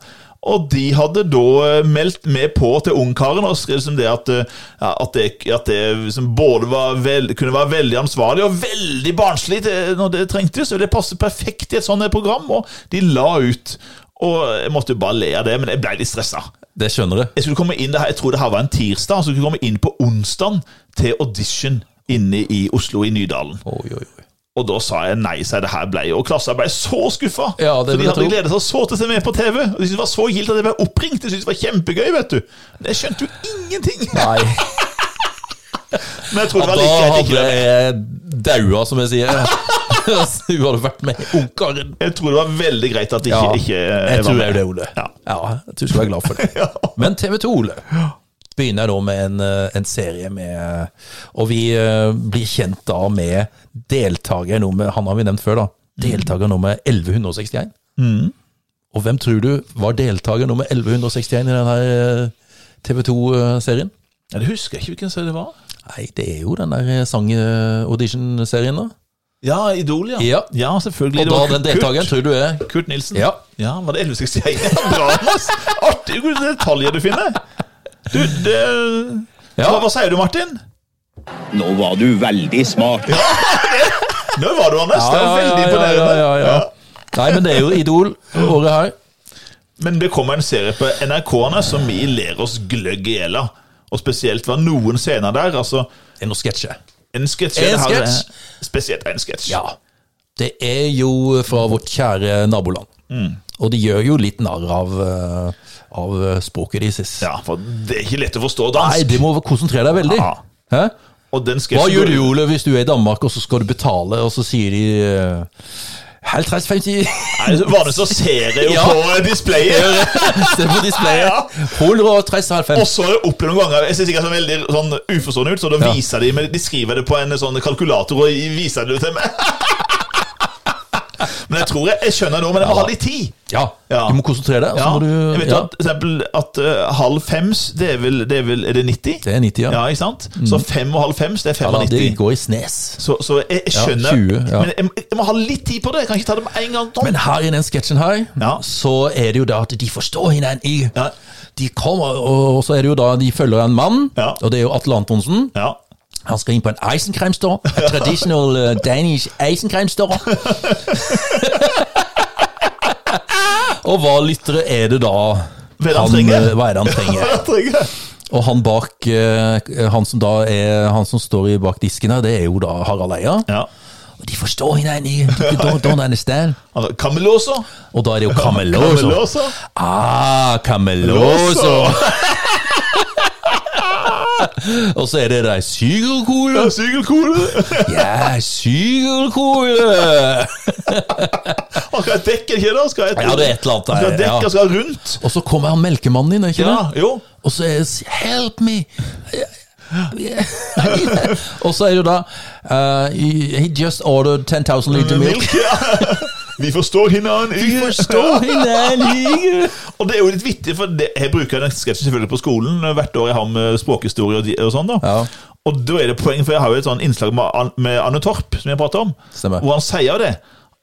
Og de hadde da eh, meldt med på til Ungkaren og skrev liksom det at, eh, ja, at det, at det liksom både var vel, kunne være veldig ansvarlig og veldig barnslig til, når det trengtes. Og det passet perfekt i et sånt program, og de la ut. Og jeg måtte jo bare le av det, men jeg ble litt stressa.
Det skjønner du.
Jeg skulle komme inn det her, jeg tror det her var en tirsdag, så jeg skulle komme inn på onsdag til audition inne i Oslo, i Nydalen.
Oi, oi, oi.
Og da sa jeg nei, sa jeg det her ble jo. Og klassa ble så skuffa.
Ja, det
for
vil
de
jeg
hadde
tro.
gledet seg så til å se meg på TV. Og de syntes det var så gildt at jeg ble oppringt. De syntes det var kjempegøy, vet du. Men jeg skjønte jo ingenting.
Nei,
Men jeg tror
da
det var like greit ikke
hadde
det.
jeg daua, som jeg sier. Altså, Du hadde vært med i Ungkaren.
Jeg tror det var veldig greit at ikke, ikke eh,
jeg
var
tror
med.
jeg det, Ole.
Ja.
jeg tror du skal være glad for det. Men TV 2, Ole, begynner da med en, eh, en serie med Og vi eh, blir kjent da med deltaker nummer Han har vi nevnt før, da.
Mm.
Deltaker nummer 1161. Og hvem tror du var deltaker nummer 1161 i eh, denne TV 2-serien?
Ja, det husker jeg ikke hvilken serie det var.
eh, Nei, det er jo den der eh, sang-audition-serien, da.
Ja, Idol, ja.
Ja.
selvfølgelig.
Og
Det
da
var
den
Kurt-
deltakeren tror du er
Kurt Nilsen?
Ja.
ja var det 1161? Bra, Anders! Artig hvor detaljer du finner. Du, det
Ja.
hva, hva sier du, Martin?
Nå var du veldig smart.
Nå var du, Anders. det var veldig
Ah, ja,
imponerende.
ja, ja, ja. Nei, men det er jo Idol året her.
Men det kommer en serie på NRK-ene som vi ler oss gløgg i hjel av. Og spesielt var noen scener der. Altså,
Det er noe sketsjer.
en sketsj
En
det her-
sketsj?
Spesielt en sketsj.
Ja. Det er jo fra vårt kjære naboland.
Mm.
Og de gjør jo litt narr av, eh, av språket deres.
Ja, for det er ikke lett å forstå dansk.
Nei, du må konsentrere deg veldig.
Ja.
Hæ?
Og den
Hva
sketsjen
gjør du, Ole, hvis du er i Danmark og så skal du betale, og så sier de uh, Helt 30-50
Nei, Vanligvis så ser jeg jo
Ja.
på displayet.
Se på
Ja.
displayet. 130-50.
Og så har jeg opplevd noen ganger Jeg ser sikkert sånn veldig sånn uforstående ut, så da
Ja.
viser de meg De skriver det på en sånn kalkulator og viser det til meg. Men jeg tror jeg, jeg skjønner nå, men jeg må ha litt tid.
Ja.
Ja.
Du må konsentrere deg. og
Ja,
Så må
jeg
du,
vet
ja.
at, for eksempel, at eh, halv fems, det er vel, det er, vel er det 90?
Det er 90, ja. Mm.
Ja, ikke sant? Så fem og halv fems, det er
ja da, det
95.
går i snes.
så, så jeg, jeg
Ja,
skjønner
20, ja.
Men jeg, jeg må ha litt tid på det. Jeg kan ikke ta det med en gang. Tom.
Men her i den sketsjen her,
Ja.
så er det jo da at de forstår hinanden i
Ja.
De kommer, og så er det jo da de følger en mann,
Ja.
og det er jo Atle Antonsen.
Ja.
Han skal inn på en eisenkrem store. A traditional eh, Danish eisenkrem store. og hva lyttere er det da
Hva er det han trenger?
eh, hva er det han trenger?
Jeg trenger-
Og han bak eh, Han som da er Han som står i bak disken her, det er jo da Harald Eia.
ja.
Og de forstår hinanden i don't, don't understand.
Altså, Kamelåsa.
Og da er det jo Kamelås. Ah, Cameloso! Og så er det der
Ja,
sygelkule.
Sykelkole.
Ja, sygelkole!
Han skal ha dekke, ikke det? Skal ha et,
Ja, det er et eller annet der,
Han Skal ha
ja.
dekke, skal ha rundt.
Og så kommer han melkemannen inn, er ikke
Ja,
det?
jo.
Og så er det 'help me'. Og så er det jo da eh, He just ordered 10.000 liter milk.
Milk, ja. Vi forstår hinanden. Vi
Forstår hinanden!
Og det er jo litt vittig, for det, jeg bruker den sketsjen selvfølgelig på skolen eh, hvert år jeg har med språkhistorie og, de- og sånn. da.
Ja.
Og da er det poeng, for jeg har jo et sånn innslag med, An- med Anne Torp, som jeg prater om,
Stemmer.
hvor han sier jo det.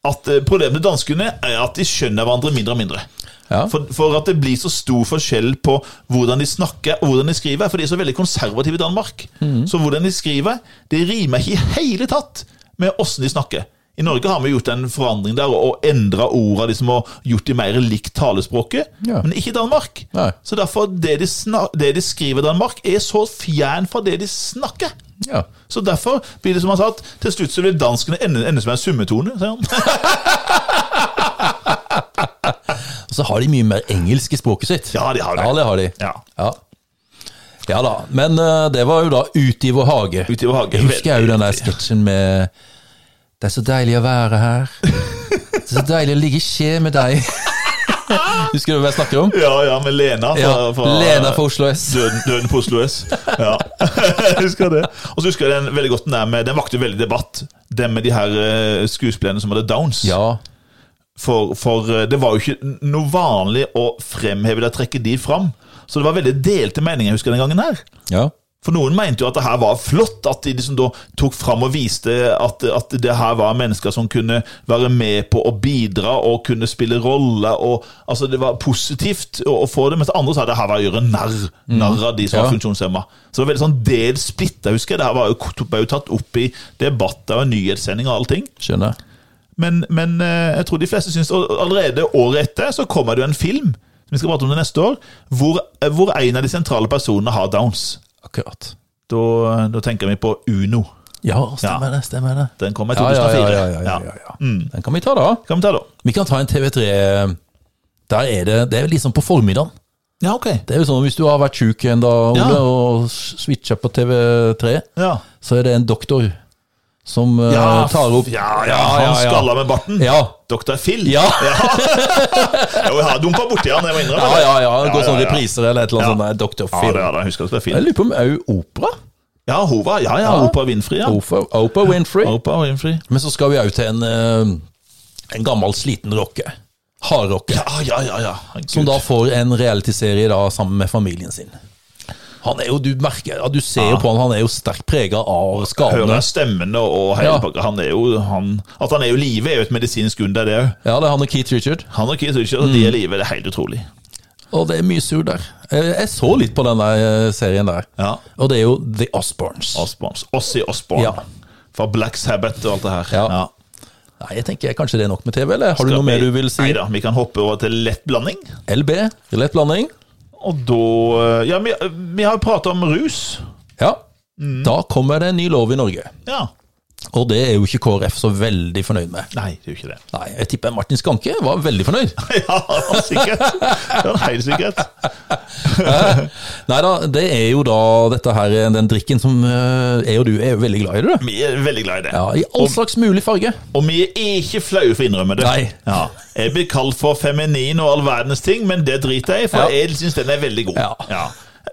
At eh, Problemet med danskene er at de skjønner hverandre mindre og mindre.
Ja.
For, for at det blir så stor forskjell på hvordan de snakker og hvordan de skriver. For de er så veldig konservative i Danmark.
Mhm.
Så hvordan de skriver, det rimer ikke i hele tatt med åssen de snakker. I Norge har vi gjort en forandring der og endra orda liksom, og gjort de mer likt talespråket.
Ja.
Men ikke i Danmark.
Nei.
Så derfor, det de, sna det de skriver i Danmark, er så fjern fra det de snakker.
Ja.
Så derfor blir det som han sa, at til slutt så blir danskene ende, ende som en summetone. sier han.
Og så har de mye mer engelsk i språket sitt.
Ja, de har det.
Ja, det har de.
Ja.
Ja. Ja da, men eh, det var jo da ute i vår hage.
Ute i vår hage.
Jeg husker jeg jo den der sketsjen med Det er så deilig å være her. Det er så deilig å ligge i skje med deg. Husker du hva jeg snakker om?
Ja, ja, med Lena fra,
Ja,
fra
Lena fra Oslo S.
Døden, døden på Oslo S. Ja, jeg husker det. Og så husker jeg den veldig godt den der med Den vakte jo veldig debatt, den med de her eh, skuespillerne som hadde downs.
Ja,
For, for eh, det var jo ikke noe vanlig å fremheve eller trekke de fram. Så det var veldig delte meninger, jeg husker den gangen her.
ja.
For noen mente jo at det her var flott, at de liksom da tok fram og viste at, at det her var mennesker som kunne være med på å bidra og kunne spille rolle. og altså Det var positivt å, å få det, mens andre sa det her var å gjøre narr, narr av de som
ja.
var funksjonshemma. Så det var veldig sånn delt splitta, husker jeg. Det her var jo, ble jo tatt opp i debatter og nyhetssendinger og allting.
Skjønner.
Men, men eh, jeg tror de fleste syns Og allerede året etter så kommer det jo en film, som vi skal prate om det neste år, hvor, hvor en av de sentrale personene har downs.
Akkurat.
Da, da tenker vi på Uno.
Ja, stemmer det. stemmer det
Den kom i
ja,
2004.
ja, ja, ja, ja, ja, ja.
Mm.
Den kan vi ta, da.
Kan vi ta, da?
Vi kan ta en TV3 Der er det Det er liksom på formiddagen.
Ja, ok.
Det er jo sånn Hvis du har vært sjuk en dag Ole,
Ja.
og switcha på TV3,
Ja,
så er det en doktor som eh,
ja,
tar opp
ja, ja, han skalla med barten.
Ja.
Dr. Phil.
Ja.
Jo, jeg har dumpa borti han, jeg må innrømme
Ja, ja, ja, det går sånn
ja, ja.
repriser eller et eller annet sånt. Dr.
Ja,
Phil.
det er det. Jeg husker Dr.
Jeg
Phil.
lurer på om òg opera.
Ja, Hova. Ja, ja.
Ja.
Oprah Winfrey. Ja.
Oprah- Oprah Winfrey.
Oprah Winfrey.
Men så skal vi òg til en, eh, en gammel, sliten rocke. Hardrocker.
Ja, ja, ja. ja. Herregud.
Som da får en realityserie da, sammen med familien sin. Han er jo, Du merker, ja, du ser jo på han, han er jo sterkt prega av skadene.
Hører stemmen og, og hele
Ja.
pakka. Han er jo han, At han er jo i live, er jo et medisinsk under, det òg.
Ja, det er han og Keith Richard.
Han og Keith Richards, de er i
Mm.
live. Det er helt utrolig.
Og det er mye sur der. Eh, Jeg så litt på den der eh, serien der.
Ja.
Og det er jo The Osbournes.
Osborns. Ossie Osborn.
Ja.
Fra Black Sabbath og alt det her.
Ja. Nei, jeg tenker kanskje det er nok med TV, eller har du noe mer du vil si?
Nei da, vi kan hoppe over til lett blanding.
LB, lett blanding.
Og da eh, Ja, vi, vi har jo prata om rus.
Ja. Da kommer det en ny lov i Norge.
Ja.
Og det er jo ikke KrF så veldig fornøyd med.
Nei, det er jo ikke det.
Nei, jeg tipper Martin Skanke var veldig fornøyd.
Ja, sikkert. Det var helt sikkert.
Eh, Nei da, det er jo da dette her, den drikken som eh, jeg og du er jo veldig glad i, det, du.
Vi er veldig glad i det.
Ja, I all slags mulig farge.
Og vi er ikke flaue for å innrømme det.
Nei.
Ja. Jeg blir kalt for feminin og all verdens ting, men det driter jeg i, for
Ja.
jeg syns den er veldig god.
Ja.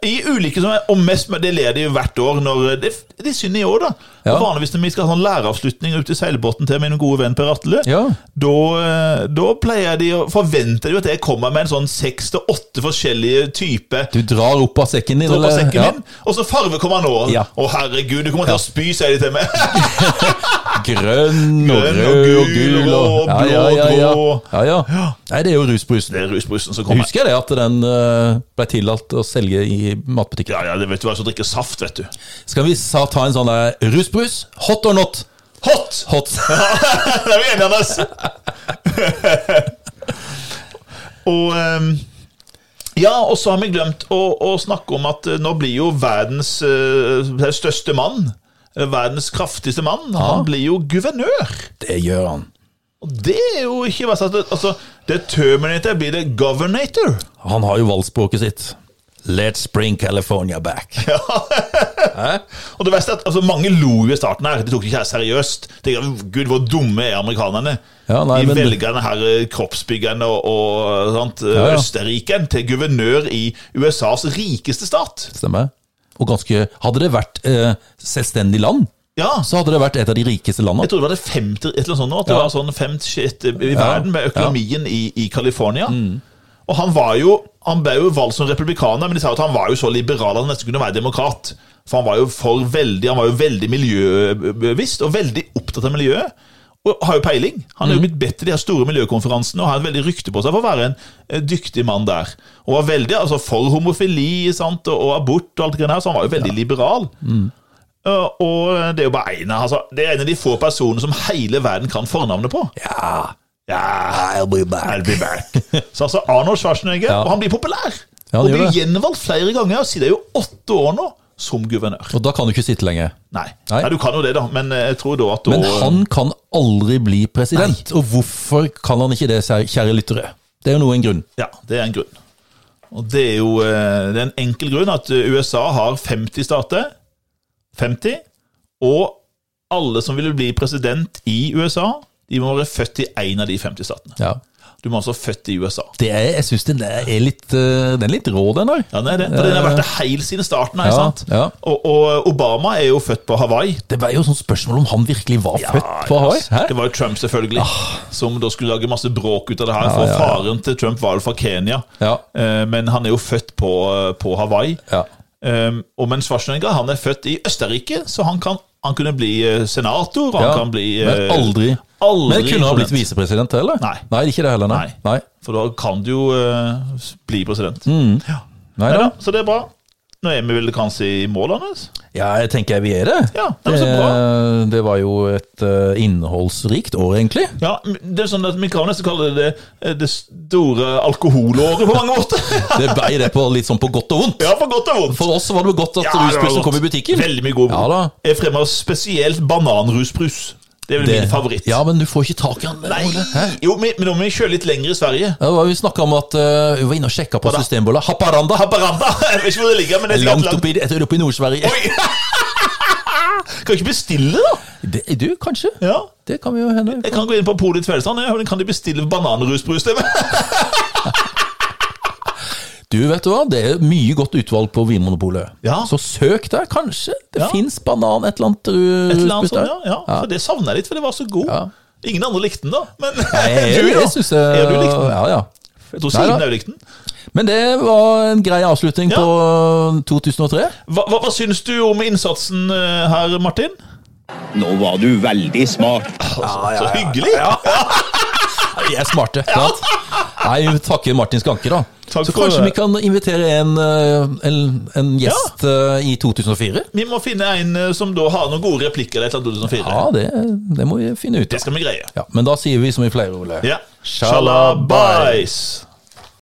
I ulike som er, og mest med det ler de jo hvert år når eh, Det, det er synd i år, da.
Ja.
Og Vanligvis når vi skal ha sånn læreravslutning ute i seilbåten til min gode venn Per Atle,
Ja.
da, eh, da pleier de å forventer de at jeg kommer med en sånn seks til åtte forskjellige typer
Du drar opp av sekken din.
på
eller-
sekken
ja.
min, og så farve kommer han nå. Å,
Ja.
herregud, du kommer til å spy, sier de til meg.
Grønn og
Grønn og
rød og
gul
gul og
og
ja, ja,
blå
ja,
og
ja.
grå.
ja, ja. Nei, det er jo rusbrusen.
Det er rusbrusen som
Jeg
kommer.
husker jeg det at den eh, ble tillatt å selge i matbutikker.
Ja, ja, det vet du hva som drikker saft, vet du.
Skal vi sa, ta en sånn der rusbrus? Hot or not?
Hot!
Hot.
Det er vi enige, Anders. og ehm, Ja, og så har vi glemt å, å snakke om at eh, nå blir jo verdens eh, største mann, eh, verdens kraftigste mann, han blir jo guvernør.
Det gjør han.
Og det er jo ikke hva sagt, altså, Det er Terminator, blir det Governator?
Han har jo valgspråket sitt. Let's bring California back.
Og det verste er at altså, Mange lo jo i starten her. De tok det ikke her seriøst. Tenker, Gud, hvor dumme er amerikanerne?
Ja, nei,
de
men-
velger denne her eh, kroppsbyggeren og, og sant, eh,
Ja, ja.
Østerriken til guvernør i USAs rikeste stat.
Stemmer. Og ganske Hadde det vært eh, selvstendig land,
Ja,
så hadde det vært et av de rikeste landene.
jeg tror det var det femte et eller annet sånt nå, at det
Ja.
var sånn femte shit i verden med økonomien i, i California. Og han var jo Han ble jo valgt som republikaner, men de sa jo at han var jo så liberal at han nesten kunne være demokrat. For han var jo for veldig Han var jo veldig miljøbevisst og veldig opptatt av miljøet. Og har jo peiling. Han er jo blitt bedt til de her store miljøkonferansene og har et veldig rykte på seg for å være en eh, dyktig mann der. Og var veldig altså for homofili sant, og, og abort og alt det greiene her, så han var jo veldig liberal. Uh, Og det er jo bare en av altså, Det er en av de få personene som hele verden kan fornavnet på.
Ja,
Ja,
I'll be back.
I'll be back. Så altså Arnold Schwarzenegger, og han blir populær.
Ja, han
og
gjør
blir
det.
gjenvalgt flere ganger, og sitter jo åtte år nå som guvernør.
Og da kan du ikke sitte lenger.
Nei.
Nei.
Nei. du kan jo det, da, men eh, jeg tror da at da
Men han kan aldri bli president. Og hvorfor kan han ikke det, kjære lyttere? Det er jo noe en grunn.
Ja, det er en grunn. Og det er jo eh, det er en enkel grunn at eh, USA har 50 stater. 50. Og alle som ville bli president i USA, de må være født i en av de 50 statene.
Ja.
Du må altså være født i USA.
Det er, jeg syns den er litt, eh, den er litt rå, den der.
Ja, det er det. For den har vært det helt siden starten. her,
Ja,
sant?
ja.
Og, og Obama er jo født på Hawaii. Ah,
Det var jo sånn spørsmål om han virkelig var født på Hawaii. Hæ? Ah.
Det var jo Trump, selvfølgelig, som da skulle lage masse bråk ut av det her. for
ja, ja.
faren til Trump var jo fra Kenya,
Ja.
Eh, men han er jo født på, eh, på Hawaii.
Ja.
Um, og men Schwarzenegger han er født i Østerrike, så han, kan, han kunne bli eh, senator. Han
Ja,
kan bli
men
eh,
aldri,
aldri
Men kunne han blitt
president.
visepresident heller?
Nei.
Nei, ikke det heller, nei.
Nei.
Nei,
For da kan du jo eh, bli president.
Mm.
Ja.
nei,
Neida,
da.
så det er bra. Nå er vi vel kanskje i mål, Anders?
Ja, jeg tenker jeg vi er det. Eh,
Ja, det er så bra.
Det var jo et eh, innholdsrikt år, egentlig.
Ja, det er sånn at Vi kan nesten kalle det eh, det, det store alkoholåret på mange måter.
Det ble det på litt sånn på godt og vondt.
ja, for godt og vondt.
For oss var det godt at
Ja, det var
ruspølsen
godt.
kom i butikken.
Veldig mye god.
Ja da.
Jeg fremmer spesielt bananrusbrus. Det er vel min favoritt.
Ja, men du får ikke tak i den.
Nei,
Ole. Hæ?
jo, men, men nå må vi kjøre litt lenger i Sverige.
Ja, det var vi snakka om at eh, vi var inne og sjekka på
da?
systembolla. Haparanda!
Haparanda! Jeg vet ikke hvor det ligger, men det er
Langt
sikkert
oppi, jeg tror det er oppi Nord-Sverige.
Kan ikke bestille, da?
Det- Du, kanskje?
Ja.
Det kan vi jo hende.
Jeg kan gå inn på Polet i Tvedestrand. jeg, men Kan de bestille bananrusbrus til meg?
Du, vet du hva? Det er mye godt utvalg på Vinmonopolet.
Ja.
Så søk der, kanskje. Det
Ja.
fins banan, et eller annet
Et eller annet
rusbrus
sånt,
der.
ja, ja. For det savner jeg litt, for det var så god.
Ja.
Ingen andre likte den, da. Men
Jeg,
du,
jeg,
da?
jeg synes jeg,
Ja, du liksom? likte den.
Ja, ja.
Jeg tror
Nei da.
Signe òg likte den.
Men det var en grei avslutning
Ja.
på uh, 2003.
Hva, hva, hva syns du om innsatsen eh, her, Martin?
Nå var du veldig smart.
Så hyggelig!
Vi er smarte. Sant? Nei, vi takker Martin Skanke, da.
Takk
Så
for
kanskje
det.
vi kan invitere en, eh, en, en gjest eh, i 2004?
Vi må finne en eh, som da har noen gode replikker eller et eller annet 2004.
Ja, det, det må vi finne ut
Det
av.
skal vi greie.
Ja, men da sier vi som vi pleier, Ole.
Ja.
Shalabais.
Shalabais.